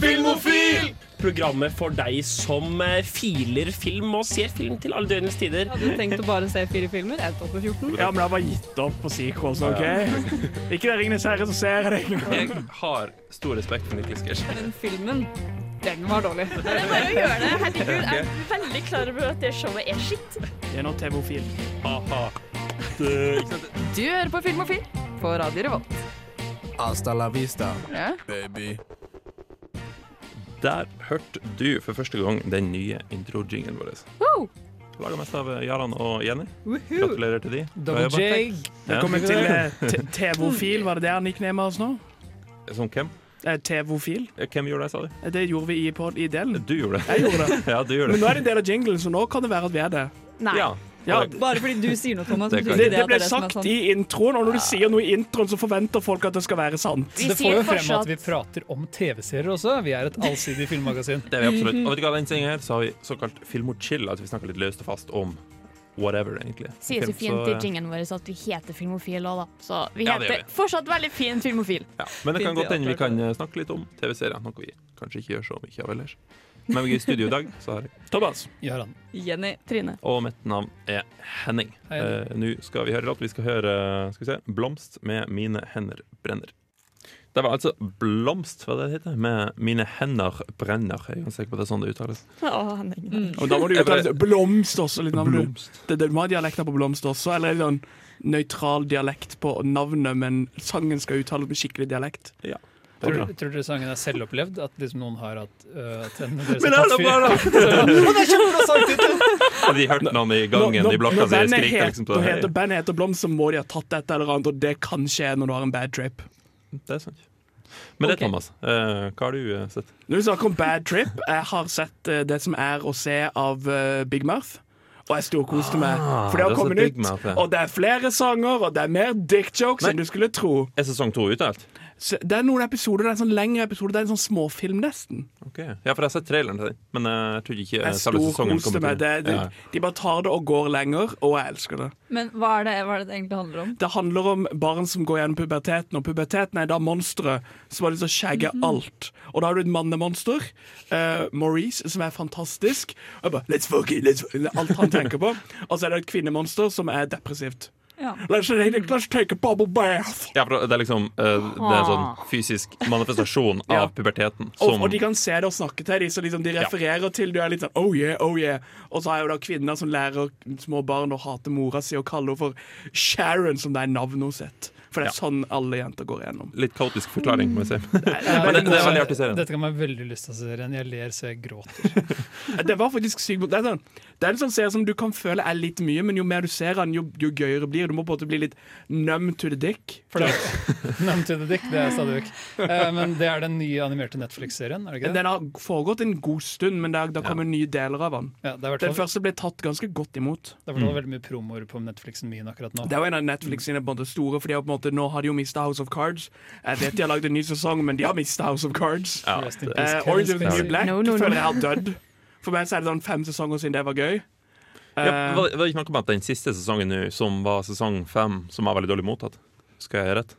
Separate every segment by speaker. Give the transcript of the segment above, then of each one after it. Speaker 1: Filmofil!
Speaker 2: Programmet for deg som eh, filer film og ser film til alle døgnets tider.
Speaker 3: Hadde du tenkt å bare se fire filmer? Jeg tok på 14.
Speaker 4: Ja, men jeg har bare gitt opp på sequels, OK? Ikke det Ringenes herre som ser deg.
Speaker 1: Jeg har stor respekt for Nicholas Gersh.
Speaker 3: Den filmen, den var dårlig.
Speaker 5: Det er bare å gjøre det. Herregud, jeg er veldig klar over at det showet er skitt.
Speaker 4: Det er nå TV-ofil.
Speaker 2: Ha-ha.
Speaker 3: Du hører på Film og Film på Radio Revolt.
Speaker 6: Hasta la vista,
Speaker 3: Ja.
Speaker 6: baby.
Speaker 1: Der hørte du for første gang den nye introjingen vår.
Speaker 3: Wow.
Speaker 1: Laga mest av Jaran og Jenny.
Speaker 3: Woohoo.
Speaker 1: Gratulerer til de.
Speaker 2: Double
Speaker 1: Bra jobba.
Speaker 2: J.
Speaker 4: Velkommen til eh, t- TV-ofil. Var det det han nicknamet oss nå?
Speaker 1: Som hvem?
Speaker 4: Eh, TV-ofil.
Speaker 1: Eh, Hvem gjorde det, sa du? Eh,
Speaker 4: Eh, Det gjorde vi i, pod- i delen.
Speaker 1: Du gjorde det.
Speaker 4: Jeg gjorde det.
Speaker 1: Ja, du gjorde
Speaker 4: Men nå
Speaker 1: det.
Speaker 4: er det en del av jinglen, så nå kan det være at vi er det.
Speaker 3: Nei.
Speaker 1: Ja.
Speaker 4: Ja,
Speaker 3: Bare fordi du sier noe, Thomas.
Speaker 1: Det
Speaker 3: betyr
Speaker 1: kan-
Speaker 4: Det,
Speaker 3: ikke
Speaker 4: det
Speaker 3: at
Speaker 4: ble
Speaker 3: er som er sånn.
Speaker 4: sagt
Speaker 3: sant.
Speaker 4: i introen, og når du sier noe i introen, så forventer folk at det skal være sant.
Speaker 5: Vi
Speaker 7: Det får
Speaker 5: sier
Speaker 7: jo frem at
Speaker 5: fortsatt
Speaker 7: vi prater om TV-serier også. Vi er et allsidig filmmagasin.
Speaker 1: Det er vi absolutt. Og vet du hva, den sendingen her så har vi såkalt filmochill, at vi snakker litt løst og fast om whatever, egentlig.
Speaker 5: Sier så
Speaker 1: Film,
Speaker 5: fint i
Speaker 1: eh,
Speaker 5: jingen vår at vi heter Filmofil òg, da. Så vi
Speaker 1: Ja, det
Speaker 5: heter
Speaker 1: gjør
Speaker 5: fortsatt veldig fint Filmofil.
Speaker 1: Ja. Men det kan
Speaker 3: Fint,
Speaker 1: godt
Speaker 3: ja,
Speaker 1: hende vi
Speaker 3: klart.
Speaker 1: kan eh, snakke litt om TV-serier, noe vi kanskje ikke gjør så mye av ellers. Men vi er i studio i dag, så har jeg
Speaker 4: Thomas.
Speaker 7: Gjøran.
Speaker 3: Jenny.
Speaker 5: Trine.
Speaker 1: Og mitt navn er Henning.
Speaker 7: Hei, Henning.
Speaker 1: Eh, Nå skal vi høre låt. Vi skal høre eh, skal vi se, 'Blomst med mine hender brenner'. Det var altså 'Blomst' hva det heter, med 'Mine hender brenner'. Jeg er ganske sikker på at det er sånn det uttales.
Speaker 5: Mm.
Speaker 3: mm.
Speaker 4: Og da må du
Speaker 1: Jeg
Speaker 4: uttale
Speaker 1: bare-
Speaker 4: blomst også. Litt navn. du- Det, det, du må ha dialekter på blomst også, eller en sånn nøytral dialekt på navnet, men sangen skal uttales med skikkelig dialekt.
Speaker 7: Tror, tror dere sangen er selvopplevd? At liksom noen har hatt øh, at en deres
Speaker 1: Men alle
Speaker 7: tatt
Speaker 1: bare
Speaker 7: fyr?
Speaker 1: Hadde de hørt noen i gangen i blokka si
Speaker 4: bandet
Speaker 1: skrike
Speaker 4: het-
Speaker 1: liksom
Speaker 4: når
Speaker 1: til
Speaker 4: heter,
Speaker 1: det?
Speaker 4: bandet heter Blomst, så må de ha tatt et eller annet, og det kan skje når du har en bad trip.
Speaker 1: Det er sant. Men det,
Speaker 3: Ok.
Speaker 1: Thomas, eh, hva har du eh, sett?
Speaker 4: Når vi snakker om bad trip, jeg har sett eh, det som er å se av eh, Big Mouth. Og jeg storkoste meg,
Speaker 1: Ah,
Speaker 4: for det
Speaker 1: det
Speaker 4: har
Speaker 1: er så
Speaker 4: kommet
Speaker 1: Big
Speaker 4: ut.
Speaker 1: Mouth, ja.
Speaker 4: Og det er flere sanger, og det er mer dick jokes
Speaker 1: Nei.
Speaker 4: enn du skulle tro.
Speaker 1: Er sesong to ute alt?
Speaker 4: Så det er noen episoder, det er en sånn lengre episode, det er en sånn småfilm nesten.
Speaker 1: Ok. Ja, for jeg har sett traileren til den, men eh, jeg tror ikke eh,
Speaker 4: Jeg
Speaker 1: selve sesongen
Speaker 4: storkoste
Speaker 1: kommer
Speaker 4: meg. Det,
Speaker 1: til.
Speaker 4: det,
Speaker 1: Ja.
Speaker 4: De bare tar det og går lenger, og jeg elsker det.
Speaker 3: Men hva er, det, hva er det det egentlig handler om?
Speaker 4: Det handler om barn som går gjennom puberteten, og puberteten er da monstre som har lyst til å skjegge alt. Og da har du et mannemonster, eh, Maurice, som er fantastisk. Og jeg bare, let's fuck it, let's fuck it. Det er alt han tenker på. Og så er det et kvinnemonster som er depressivt.
Speaker 3: Ja.
Speaker 4: Let's, let's take a bubble bath.
Speaker 1: Ja, for det er liksom eh, Det er en sånn fysisk manifestasjon
Speaker 4: Ja.
Speaker 1: av puberteten
Speaker 4: Og,
Speaker 1: som
Speaker 4: og de kan se det og snakke til dem, så liksom de refererer til du er litt sånn oh yeah, oh yeah. Og så har jeg jo da kvinner som lærer små barn å hate mora si og kalle henne for Sharon, som det er navnet hun sett. For det er sånn alle jenter går gjennom.
Speaker 1: Litt kaotisk forklaring, må jeg
Speaker 4: Mm.
Speaker 1: si.
Speaker 7: Men
Speaker 1: det- det er veldig artig serien.
Speaker 7: Dette kan man ha veldig lyst til å se serien. Jeg ler så jeg gråter.
Speaker 4: Det var faktisk sykt mot- Det er, sånn, det er en sånn serie som du kan føle er litt mye, men jo mer du ser den, jo, jo gøyere blir det. Du må på en måte bli litt numb to the dick.
Speaker 7: For det, Nam to the dick, det er stadig vekk. Eh, Men det er den nye animerte Netflix-serien, er det ikke det?
Speaker 4: Den har foregått en god stund, men det har- det kommer nye deler av den.
Speaker 7: Ja, det er i hvert
Speaker 4: Den
Speaker 7: fall-
Speaker 4: første ble tatt ganske godt imot.
Speaker 7: det er i hvert fall veldig mye promoer på Netflixen min akkurat nå.
Speaker 4: Det er jo en av Netflix sine på en måte store, for de har på en måte, nå har de jo mista House of Cards. Jeg vet de har lagd en ny sesong, men de har mista House of Cards.
Speaker 1: Ja,
Speaker 7: Rest in
Speaker 1: det-
Speaker 7: peace,
Speaker 4: Eh,
Speaker 7: Kevin
Speaker 4: Orange is the
Speaker 7: Spacey.
Speaker 4: New Black
Speaker 5: No, no, no.
Speaker 4: føler jeg har dødd. For meg så er det sånn fem sesonger siden det var gøy.
Speaker 1: ja,
Speaker 4: Eh.
Speaker 1: var, det- var det ikke noe med at den siste sesongen nå, som var sesong fem, som var veldig dårlig mottatt? Skal jeg ha rett?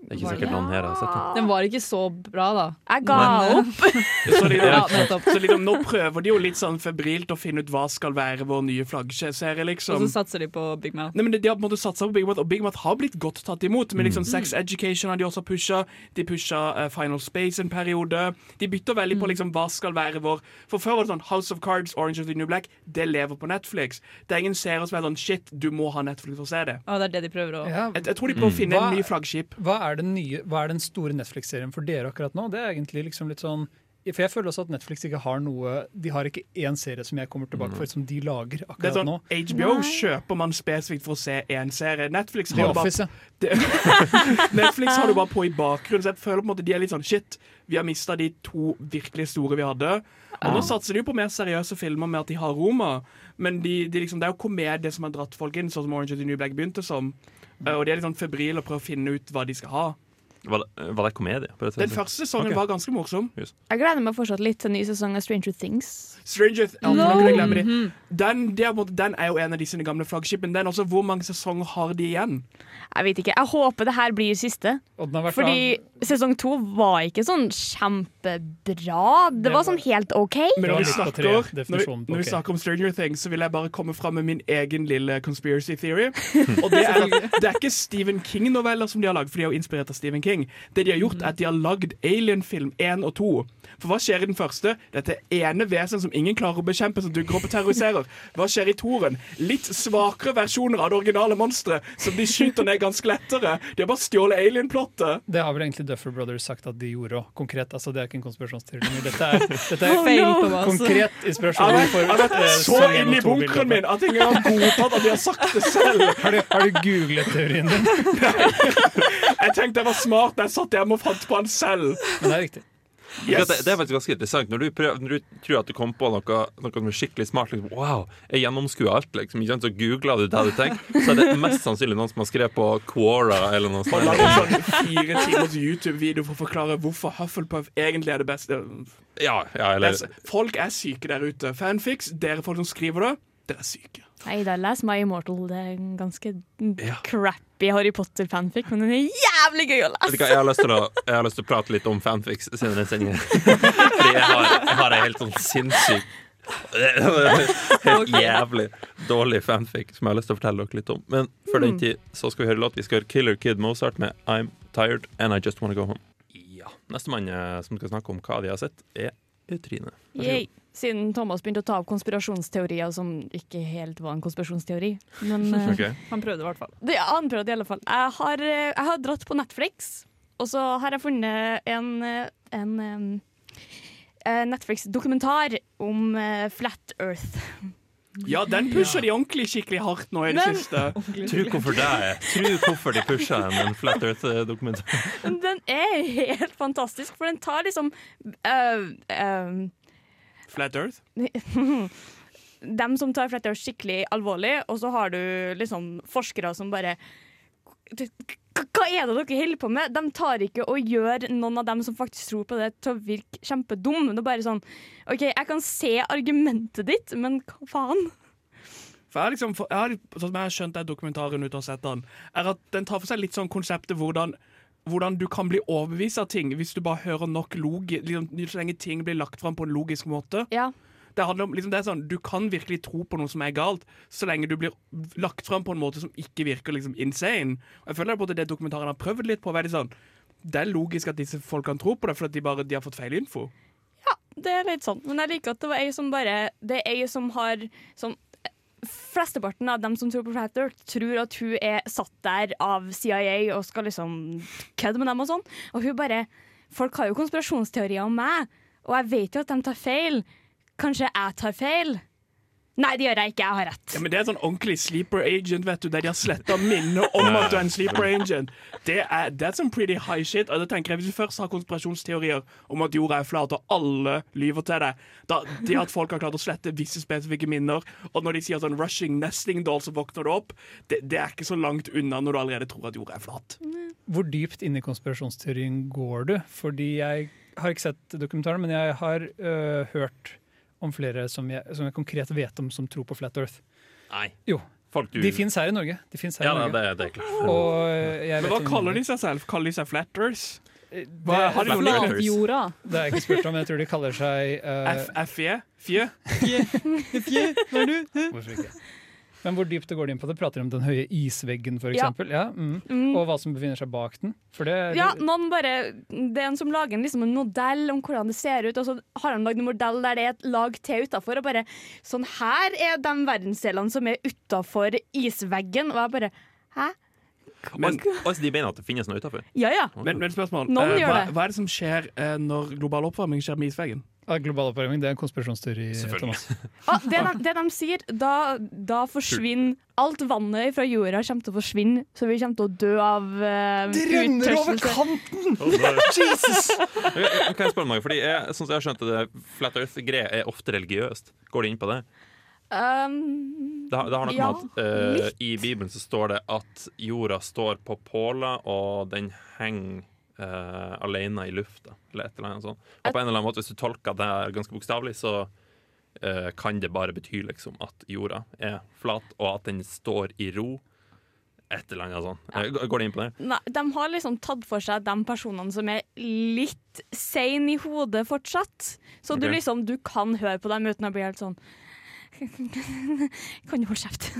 Speaker 1: Det er ikke
Speaker 3: var det
Speaker 1: sikkert noen her har sett den.
Speaker 3: Mm,
Speaker 1: eh,
Speaker 3: Den var ikke så bra, da.
Speaker 5: Jeg ga
Speaker 3: Men, eh,
Speaker 5: opp.
Speaker 4: Så de,
Speaker 3: Ja, nettopp.
Speaker 4: Så liksom, nå prøver de jo litt sånn febrilt å finne ut hva skal være vår nye flaggserie,
Speaker 3: Og
Speaker 4: liksom.
Speaker 3: så satser de på Big Mouth.
Speaker 4: Nei, men de, de har på en måte satsa på Big Mouth, og Big Mouth har blitt godt tatt imot. Men
Speaker 7: Mm.
Speaker 4: liksom Sex Education har de også pusha. De pusha eh, Final Space en periode. De bytter veldig
Speaker 7: Mm.
Speaker 4: på liksom hva skal være vår For før var det sånn House of Cards, Orange is the New Black. Det lever på Netflix. Det er ingen serier som er sånn shit, du må ha Netflix for å se det.
Speaker 3: Å, det er det de prøver å
Speaker 7: Ja,
Speaker 4: Jeg, jeg tror de prøver å finne
Speaker 7: Mm. Hva-
Speaker 4: en ny flaggskip.
Speaker 7: Hva er, den nye, hva er den store Netflix-serien for dere akkurat nå? Det er egentlig liksom litt sånn for jeg føler også at Netflix ikke har noe De har ikke én serie som jeg kommer tilbake for, som de
Speaker 4: Mm.
Speaker 7: lager
Speaker 4: Det er
Speaker 7: akkurat
Speaker 4: sånn,
Speaker 7: nå.
Speaker 4: HBO kjøper man spesifikt for å se én serie. Netflix
Speaker 7: The
Speaker 4: har bare
Speaker 7: Office, ja.
Speaker 4: Det, Netflix har du bare på i bakgrunnen, så jeg føler på en måte de er litt sånn shit. Vi har mista de to virkelig store vi hadde. Og nå satser de jo på mer seriøse filmer med at de har Roma, men de, de liksom, det er jo komedie som har dratt folk inn, sånn som Orange is the New Black begynte som. Eh, Og de er litt sånn febrile og prøver å finne ut hva de skal ha.
Speaker 1: Var det, var det komedie? på det sånn?
Speaker 4: Den
Speaker 1: tidspunktet?
Speaker 4: første sesongen
Speaker 1: Ok.
Speaker 4: var ganske morsom.
Speaker 5: Jeg gleder meg fortsatt litt til ny sesong av Stranger Things.
Speaker 4: Stranger Th ja, for nå kunne jeg glemme de. Den, de er på en måte, den er jo en av de sine gamle flaggskip, men den også, hvor mange sesonger har de igjen?
Speaker 5: Jeg vet ikke. Jeg håper det her blir siste.
Speaker 7: Og den har vært
Speaker 5: Fordi sesong to var ikke sånn kjempebra. Det var sånn helt OK.
Speaker 4: Men
Speaker 7: Det var
Speaker 4: når vi,
Speaker 7: litt på
Speaker 4: snakker,
Speaker 7: tre,
Speaker 4: når, vi,
Speaker 7: definisjonen på
Speaker 4: når vi
Speaker 7: ok.
Speaker 4: snakker om Stranger Things, så vil jeg bare komme fram med min egen lille conspiracy theory. Og det er, det er ikke Stephen King-noveller som de har lagd, for de er jo inspirert av Stephen King. Det de har gjort, er at de har lagd Alien-film 1 og 2. For hva skjer i den første? Dette ene vesenet som ingen klarer å bekjempe, som dukker opp og terroriserer. Hva skjer i toren? Litt svakere versjoner av det originale monsteret, som de skyter ned ganske lettere. De har bare stjålet alien-plottet.
Speaker 7: Det har vel egentlig Duffer Brothers sagt at de gjorde òg, konkret. Altså, det er ikke en konspirasjonsteori. men Dette er, dette er
Speaker 3: Feil på meg, altså.
Speaker 7: konkret
Speaker 4: Jeg
Speaker 7: inspirasjon.
Speaker 4: har vært- jeg har
Speaker 7: eh,
Speaker 4: vært så
Speaker 7: sesong én og
Speaker 4: inne i
Speaker 7: to
Speaker 4: bunkeren
Speaker 7: bilder.
Speaker 4: min at jeg ikke har godtatt at de har sagt det selv.
Speaker 7: Har du, har du googlet teorien din?
Speaker 4: Jeg tenkte jeg var smart da jeg satt hjemme og fant på den selv.
Speaker 7: Men det er riktig.
Speaker 1: Ja,
Speaker 4: Yes.
Speaker 1: Det, det er faktisk ganske interessant når du, prøver, når du tror at du kom på noe, noe som er skikkelig smart. Liksom, wow, jeg gjennomskuer alt, liksom. Ikke sant? Så googler du det du tenker, så er det mest sannsynlig noen som har skrevet på Quora eller noe
Speaker 4: Og lage
Speaker 1: sånt.
Speaker 4: en sånn fire timers YouTube-video for å forklare hvorfor Hufflepuff egentlig er det beste.
Speaker 1: Ja,
Speaker 4: Det
Speaker 1: ja, eller,
Speaker 4: er, folk er syke der ute. Fanfics, dere folk som skriver det, dere er syke.
Speaker 5: Nei da, les My Immortal. Det er en ganske
Speaker 1: Ja.
Speaker 5: crappy Harry Potter-fanfic, men den er jævlig gøy å
Speaker 1: Vet
Speaker 5: lese!
Speaker 1: du hva, jeg har, lyst til å, jeg har lyst til å prate litt om fanfics senere i sendingen. Fordi jeg har, jeg har en helt sånn sinnssyk Helt jævlig dårlig fanfic som jeg har lyst til å fortelle dere litt om. Men før den tid så skal vi høre låt. Vi skal høre Killer Kid Mozart med I'm Tired And I Just Wanna Go Home. Ja, Nestemann eh, som skal snakke om hva de har sett, er Trine.
Speaker 5: Yay. Siden Thomas begynte å ta opp konspirasjonsteorier som ikke helt var en konspirasjonsteori. Men eh,
Speaker 1: Ok.
Speaker 3: Han prøvde i hvert fall.
Speaker 5: det er annen prøvd i alle fall. Jeg har, eh, jeg har dratt på Netflix, og så har jeg funnet en, eh, en em, eh, Netflix-dokumentar om eh, Flat Earth.
Speaker 4: Ja, den pusher de ordentlig skikkelig hardt nå i det
Speaker 5: Men-
Speaker 4: siste.
Speaker 1: Tro hvorfor det er. Tro hvorfor de pusha en, en Flat Earth-dokumentar.
Speaker 5: Men Den er helt fantastisk, for den tar liksom eh, eh,
Speaker 4: Flat Earth.
Speaker 5: dem som tar fletta skikkelig alvorlig, og så har du liksom forskere som bare K- Hva er det dere holder på med? De tar ikke og gjør noen av dem som faktisk tror på det, til å virke kjempedum. Det er bare sånn OK, jeg kan se argumentet ditt, men hva faen?
Speaker 4: For jeg har liksom, for- jeg har, sånn som jeg har skjønt den dokumentaren uten å ha sett den, er at den tar for seg litt sånn konseptet hvordan hvordan du kan bli overbevist av ting hvis du bare hører nok logi, liksom, så lenge ting blir lagt fram på en logisk måte.
Speaker 5: Ja.
Speaker 4: Det handler om, liksom, det er sånn, Du kan virkelig tro på noe som er galt, så lenge du blir lagt fram på en måte som ikke virker liksom insane. Og jeg føler på at det dokumentaren har prøvd litt på. å være litt sånn, det er logisk at disse folkene tror på det, for at de bare de har fått feil info.
Speaker 5: Det er litt sånn. Men jeg liker at det var ei som bare Det er ei som har som Flesteparten av dem som tror på Flat Earth, tror at hun er satt der av CIA og skal liksom kødde med dem og sånn. Og hun bare Folk har jo konspirasjonsteorier om meg, og jeg vet jo at de tar feil. Kanskje jeg tar feil? Nei, det gjør jeg ikke. Jeg har rett.
Speaker 4: Ja, men Det er sånn ordentlig sleeper agent, vet du, der de har sletta minnet om at du er en sleeper agent. Det er that's some pretty high shit. Og da tenker jeg, Hvis du først har konspirasjonsteorier om at jorda er flat, og alle lyver til deg da, Det at folk har klart å slette visse spesifikke minner, og når de sier sånn 'rushing nesting doll', så våkner du opp, det, det er ikke så langt unna når du allerede tror at jorda er flat.
Speaker 7: Hvor dypt inn i konspirasjonsteorien går du? Fordi jeg har ikke sett dokumentaren, men jeg har øh, hørt om flere som jeg, som jeg konkret vet om som tror på Flat Earth.
Speaker 1: Nei.
Speaker 7: Jo,
Speaker 1: Folk du
Speaker 7: de fins her i Norge. De finnes her
Speaker 1: Ja,
Speaker 7: i
Speaker 1: nei,
Speaker 7: Norge.
Speaker 1: det, det er klart.
Speaker 7: Og øh,
Speaker 4: Men
Speaker 7: jeg vet
Speaker 4: hva
Speaker 7: om-
Speaker 4: kaller de seg selv? Kaller de seg flatters?
Speaker 7: Det,
Speaker 4: Hva har de for noe?
Speaker 3: Flatjorda.
Speaker 7: det har jeg ikke spurt om, men jeg tror de kaller seg
Speaker 5: Eh,
Speaker 7: øh,
Speaker 4: FFE? E, Fje?
Speaker 7: Hvorfor ikke? Men hvor dypt det går inn på det? Prater de om den høye isveggen, f.eks.?
Speaker 5: Ja.
Speaker 7: Ja. mm.
Speaker 5: Mm.
Speaker 7: Og hva som befinner seg bak den? For det,
Speaker 5: Ja, noen bare, Det er en som lager en, liksom, en modell om hvordan det ser ut, og så har han lagd en modell der det er et lag til utafor. Og bare sånn her er de verdensdelene som er utafor isveggen. Og jeg bare Hæ?
Speaker 4: Men-
Speaker 1: Altså, de mener at det finnes noe utafor.
Speaker 5: Ja ja.
Speaker 4: Men, men spørsmål,
Speaker 5: Noen
Speaker 4: eh,
Speaker 5: gjør
Speaker 4: hva,
Speaker 5: det.
Speaker 4: hva er det som skjer eh, når global oppvarming skjer med isveggen?
Speaker 7: Ja, global oppvarming det er en konspirasjonsteori.
Speaker 1: Selvfølgelig.
Speaker 7: Thomas.
Speaker 5: Ah, det, de, det de sier, da, da forsvinner alt vannet fra jorda kommer til å forsvinne, så vi kommer til å dø av uh,
Speaker 7: kanten!
Speaker 1: Jesus! Kan jeg spørre om noe? Fordi jeg, sånn som jeg har skjønt at det, Flat Earth-greier er ofte religiøst. Går de inn på det?
Speaker 5: Um,
Speaker 1: Det, har- det har noe
Speaker 5: Ja,
Speaker 1: med at eh, I Bibelen så står det at jorda står på påler, og den henger eh, alene i lufta. Eller et eller annet sånt. Og på en eller annen måte, hvis du tolker det her ganske bokstavelig, så eh, kan det bare bety liksom at jorda er flat, og at den står i ro. Et eller annet sånt. Eh, Går det inn på det?
Speaker 5: Nei, de har liksom tatt for seg de personene som er litt sein i hodet fortsatt. Så du
Speaker 1: Ok.
Speaker 5: liksom, du kan høre på dem uten å bli helt sånn Kan du holde kjeft?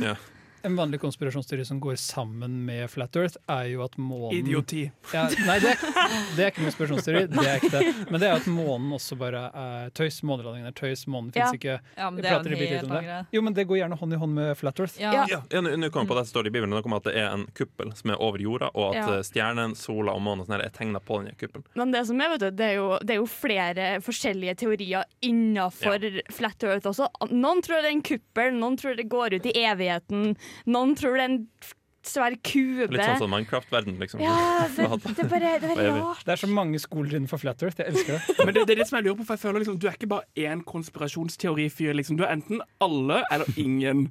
Speaker 7: En vanlig konspirasjonsteori som går sammen med Flat Earth, er jo at månen
Speaker 4: Idioti.
Speaker 7: Ja, nei, det er, det er ikke en konspirasjonsteori. Det er ikke det. Men det er jo at månen også bare er tøys. Månelandingen er tøys. Månen
Speaker 5: Ja.
Speaker 7: fins ikke.
Speaker 8: Ja, men
Speaker 7: Vi
Speaker 8: det er
Speaker 7: prater
Speaker 8: jo en
Speaker 7: litt
Speaker 8: helt
Speaker 7: om det.
Speaker 8: annen greie.
Speaker 7: Jo, men det går gjerne hånd i hånd med Flat Earth.
Speaker 8: Ja.
Speaker 5: Ja.
Speaker 1: Ja, ja nå- nå kom jeg på det som står i Bibelen, noe om at det er en kuppel som er over jorda, og at
Speaker 5: Ja.
Speaker 1: eh, stjernen, sola og månen og sånn her er tegna på denne kuppelen.
Speaker 5: Men det som er, vet du, det er jo, det er jo flere forskjellige teorier innafor flat earth også. Noen tror det er en kuppel, noen tror det går ut i evigheten, noen tror det er en f- svær kube.
Speaker 1: Litt sånn som Minecraft-verden, liksom.
Speaker 5: ja, det, det er bare det
Speaker 1: Hva
Speaker 5: er
Speaker 1: er vi?
Speaker 5: rart.
Speaker 7: Det er så mange skoler innenfor Flat Earth. Jeg elsker det.
Speaker 4: Men det, det er det som jeg lurer på, for jeg føler liksom, du er ikke bare én konspirasjonsteorifyr. Liksom. Du er enten alle eller ingen.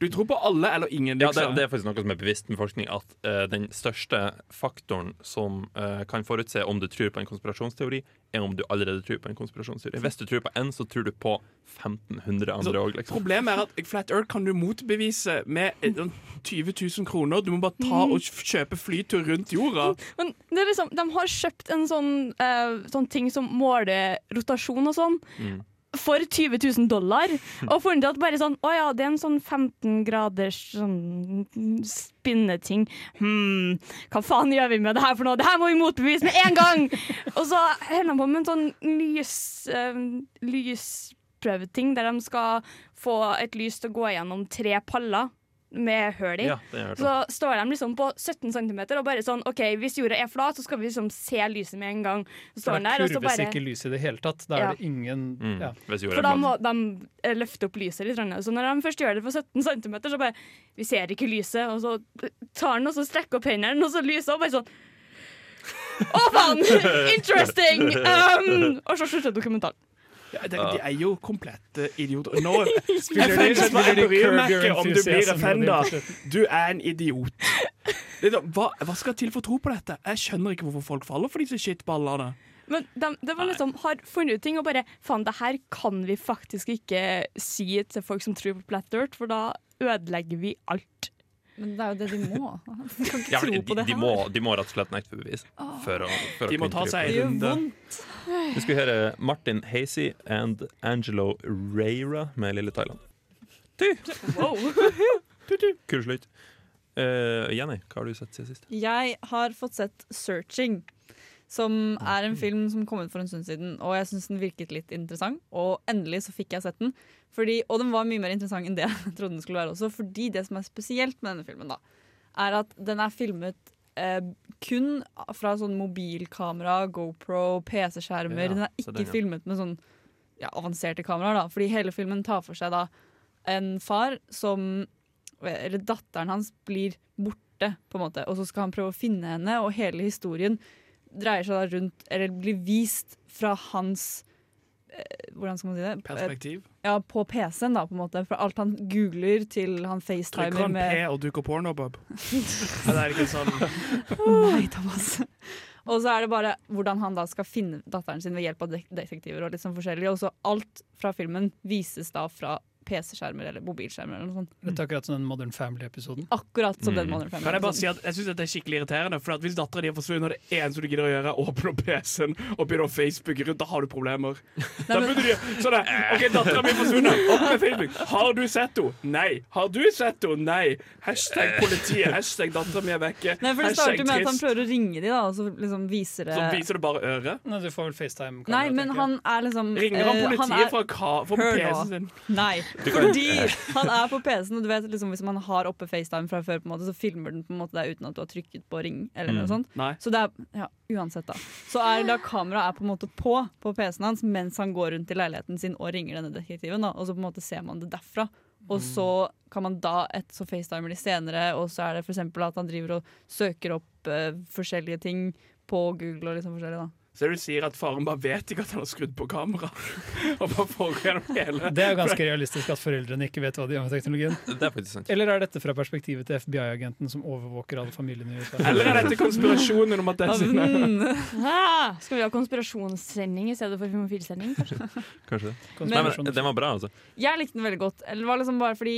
Speaker 4: Du tror på alle eller ingen.
Speaker 1: Ja, det,
Speaker 4: Liksom.
Speaker 1: det er faktisk noe som er bevisst med forskning, at eh, den største faktoren som eh, kan forutse om du tror på en konspirasjonsteori, er om du allerede tror på en konspirasjonsteori. Hvis du tror på én, så tror du på 1500 andre òg, liksom.
Speaker 4: Problemet er at Flat Earth kan du motbevise med eh, sånn 20 000 kroner. Du må bare ta og kjøpe flytur rundt jorda.
Speaker 5: Men det er liksom, de har kjøpt en sånn, eh, sånn ting som måler rotasjon og sånn.
Speaker 1: Mm.
Speaker 5: For 20 000 dollar. Og funnet at bare sånn Å ja, det er en sånn 15 graders sånn spinneting. Hm, hva faen gjør vi med det her for noe? Det her må vi motbevise med en gang! og så holder de på med en sånn lys, eh, lysprøveting der de skal få et lys til å gå gjennom tre paller med hull i.
Speaker 1: Ja, det sånn. har jeg hørt om.
Speaker 5: Så står de liksom på 17 cm og bare sånn OK, hvis jorda er flat, så skal vi liksom se lyset med en gang. Så står den
Speaker 7: da
Speaker 5: der, og så
Speaker 7: kurves
Speaker 5: bare
Speaker 7: ikke lyset i det hele tatt. Da er
Speaker 5: Ja.
Speaker 7: det ingen
Speaker 1: Mm,
Speaker 7: ja.
Speaker 1: Hvis jorda
Speaker 5: For
Speaker 1: er
Speaker 5: da
Speaker 1: flat.
Speaker 5: må de eh, løfte opp lyset litt. Så når de først gjør det på 17 cm, så bare Vi ser ikke lyset. Og så tar han og så strekker opp hendene, og så lyser og bare sånn Å, faen! Interesting! Um, og så slutter dokumentaren.
Speaker 4: Ja, de, de er jo komplette idioter. Nå, jeg
Speaker 7: Spiller de-
Speaker 4: føler ikke at
Speaker 7: spiller de
Speaker 4: jeg bryr meg
Speaker 7: Curb Your
Speaker 4: ikke om du blir
Speaker 7: Enthusiasm når de
Speaker 4: offenda.
Speaker 7: på slutten?
Speaker 4: Du er en idiot. Det er sånn, Hva, hva skal til for å tro på dette? Jeg skjønner ikke hvorfor folk faller for disse shitballene.
Speaker 5: Men de, de var liksom, har funnet ut ting og bare Faen, det her kan vi faktisk ikke si til folk som tror på Plat Dirt, for da ødelegger vi alt.
Speaker 8: Men det er jo det de må. De kan ikke
Speaker 1: Ja, men
Speaker 8: tro
Speaker 1: de,
Speaker 8: på det
Speaker 1: de,
Speaker 8: her.
Speaker 1: må, de må rett og slett nekte bevis. For å, for å
Speaker 4: De må
Speaker 1: kunne
Speaker 4: ta
Speaker 1: tro på
Speaker 4: seg
Speaker 8: det
Speaker 1: det.
Speaker 4: en
Speaker 8: gjør
Speaker 4: runde.
Speaker 8: vondt.
Speaker 1: Vi skal høre Martin Hazy and Angelo Reira med Lille Thailand. Kul slutt. Eh, Jenny, hva har du sett siden sist?
Speaker 8: Jeg har fått sett 'Searching', som
Speaker 1: Ah,
Speaker 8: er
Speaker 1: mm.
Speaker 8: en film som kom ut for en stund siden. Og jeg syns den virket litt interessant, og endelig så fikk jeg sett den. Fordi, og den var mye mer interessant enn det jeg trodde den skulle være også. Fordi det som er spesielt med denne filmen, da, er at den er filmet eh, kun fra sånn mobilkamera, GoPro, PC-skjermer.
Speaker 1: Ja,
Speaker 8: den er
Speaker 1: så
Speaker 8: ikke
Speaker 1: den, ja.
Speaker 8: filmet med sånn ja, avanserte kameraer, da. Fordi hele filmen tar for seg da en far som Eller datteren hans blir borte, på en måte. Og så skal han prøve å finne henne, og hele historien dreier seg da rundt Eller blir vist fra hans eh, Hvordan skal man si det?
Speaker 4: Perspektiv.
Speaker 8: Eh, Ja, på PC-en, da, på en måte. Fra alt han googler til han
Speaker 4: Trykker
Speaker 8: facetimer
Speaker 4: han P
Speaker 8: med
Speaker 4: og dukker porno, Bob? Ja, det er ikke sånn.
Speaker 8: Nei, Thomas. Og så er det bare hvordan han da skal finne datteren sin ved hjelp av dek- detektiver. Og litt sånn forskjellig Og så alt fra filmen vises da fra PC-skjermer eller mobilskjermer. eller noe sånt
Speaker 7: Dette er akkurat som den sånn Modern Family-episoden.
Speaker 8: Akkurat som den
Speaker 1: Mm.
Speaker 8: Modern
Speaker 4: Kan jeg bare
Speaker 8: Family.
Speaker 4: si at jeg syns det er skikkelig irriterende. For at hvis dattera di er forsvunnet, og det eneste du gidder å gjøre, er å åpne opp PC-en og begynne å facebooke rundt, da har du problemer. Da
Speaker 8: men-
Speaker 4: burde de sånn der, OK, dattera mi er forsvunnet. Opp med Facebook. Har du sett henne? Nei. Har du sett henne? Nei. Hashtag politiet. Hashtag dattera mi er vekke.
Speaker 8: Nei, for Det starter
Speaker 4: Hashtag
Speaker 8: med at han
Speaker 4: trist.
Speaker 8: prøver å ringe de da og så liksom viser
Speaker 4: Så
Speaker 8: det
Speaker 4: viser det bare øret.
Speaker 7: Nei, du får vel FaceTime.
Speaker 8: Nei, men han er liksom
Speaker 4: Ringer han
Speaker 8: eh,
Speaker 4: politiet
Speaker 8: er-
Speaker 4: fra, ka- fra
Speaker 8: Hør nå.
Speaker 4: PC-en sin?
Speaker 8: Nei, fordi han er på PC-en, og du vet liksom hvis man har oppe FaceTime fra før, på en måte, så filmer den på en måte deg uten at du har trykket på ring. eller noe
Speaker 1: Mm.
Speaker 8: sånt.
Speaker 4: Nei.
Speaker 8: Så det er, ja, uansett da. Så er da kameraet er på en måte på på PC-en hans mens han går rundt i leiligheten sin og ringer denne detektiven, da, og så på en måte ser man det derfra. Og så kan man da et, så facetimer de senere, og så er det f.eks. at han driver og søker opp eh, forskjellige ting på Google og liksom forskjellig, da.
Speaker 4: Så du sier at faren bare vet ikke at han har skrudd på kamera? Og bare får gjennom hele
Speaker 7: Det er jo ganske realistisk at foreldrene ikke vet hva de gjør med teknologien.
Speaker 1: Det er faktisk sant.
Speaker 7: Eller er dette fra perspektivet til FBI-agenten som overvåker alle familiene i USA?
Speaker 4: Eller er dette konspirasjonen om at det er
Speaker 8: Altså,
Speaker 4: sånn sin
Speaker 8: mm.
Speaker 5: Ah, skal vi Mm. ha konspirasjonssending i stedet for filmofilsending?
Speaker 1: Kanskje det. Nei,
Speaker 7: Konspirasjon.
Speaker 1: men Den var bra, altså.
Speaker 8: Jeg likte den veldig godt. Eller det var liksom bare fordi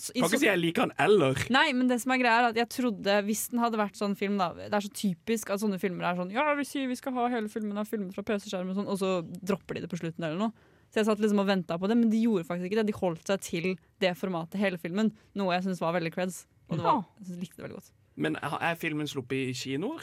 Speaker 8: s- i
Speaker 4: Kan ikke si
Speaker 8: så-
Speaker 4: jeg liker han eller.
Speaker 8: Nei, men det som er greia er at jeg trodde Hvis den hadde vært sånn film, da Det er så typisk at sånne filmer er sånn Ja, vi sier vi skal ha hele filmen av filmer fra PC-skjerm og sånn, og så dropper de det på slutten eller noe. Så jeg satt liksom og venta på det, men de gjorde faktisk ikke det. De holdt seg til det formatet hele filmen, noe jeg syns var veldig creds. Og det var, jeg synes, likte det veldig godt.
Speaker 4: Men er filmen sluppet i kinoer?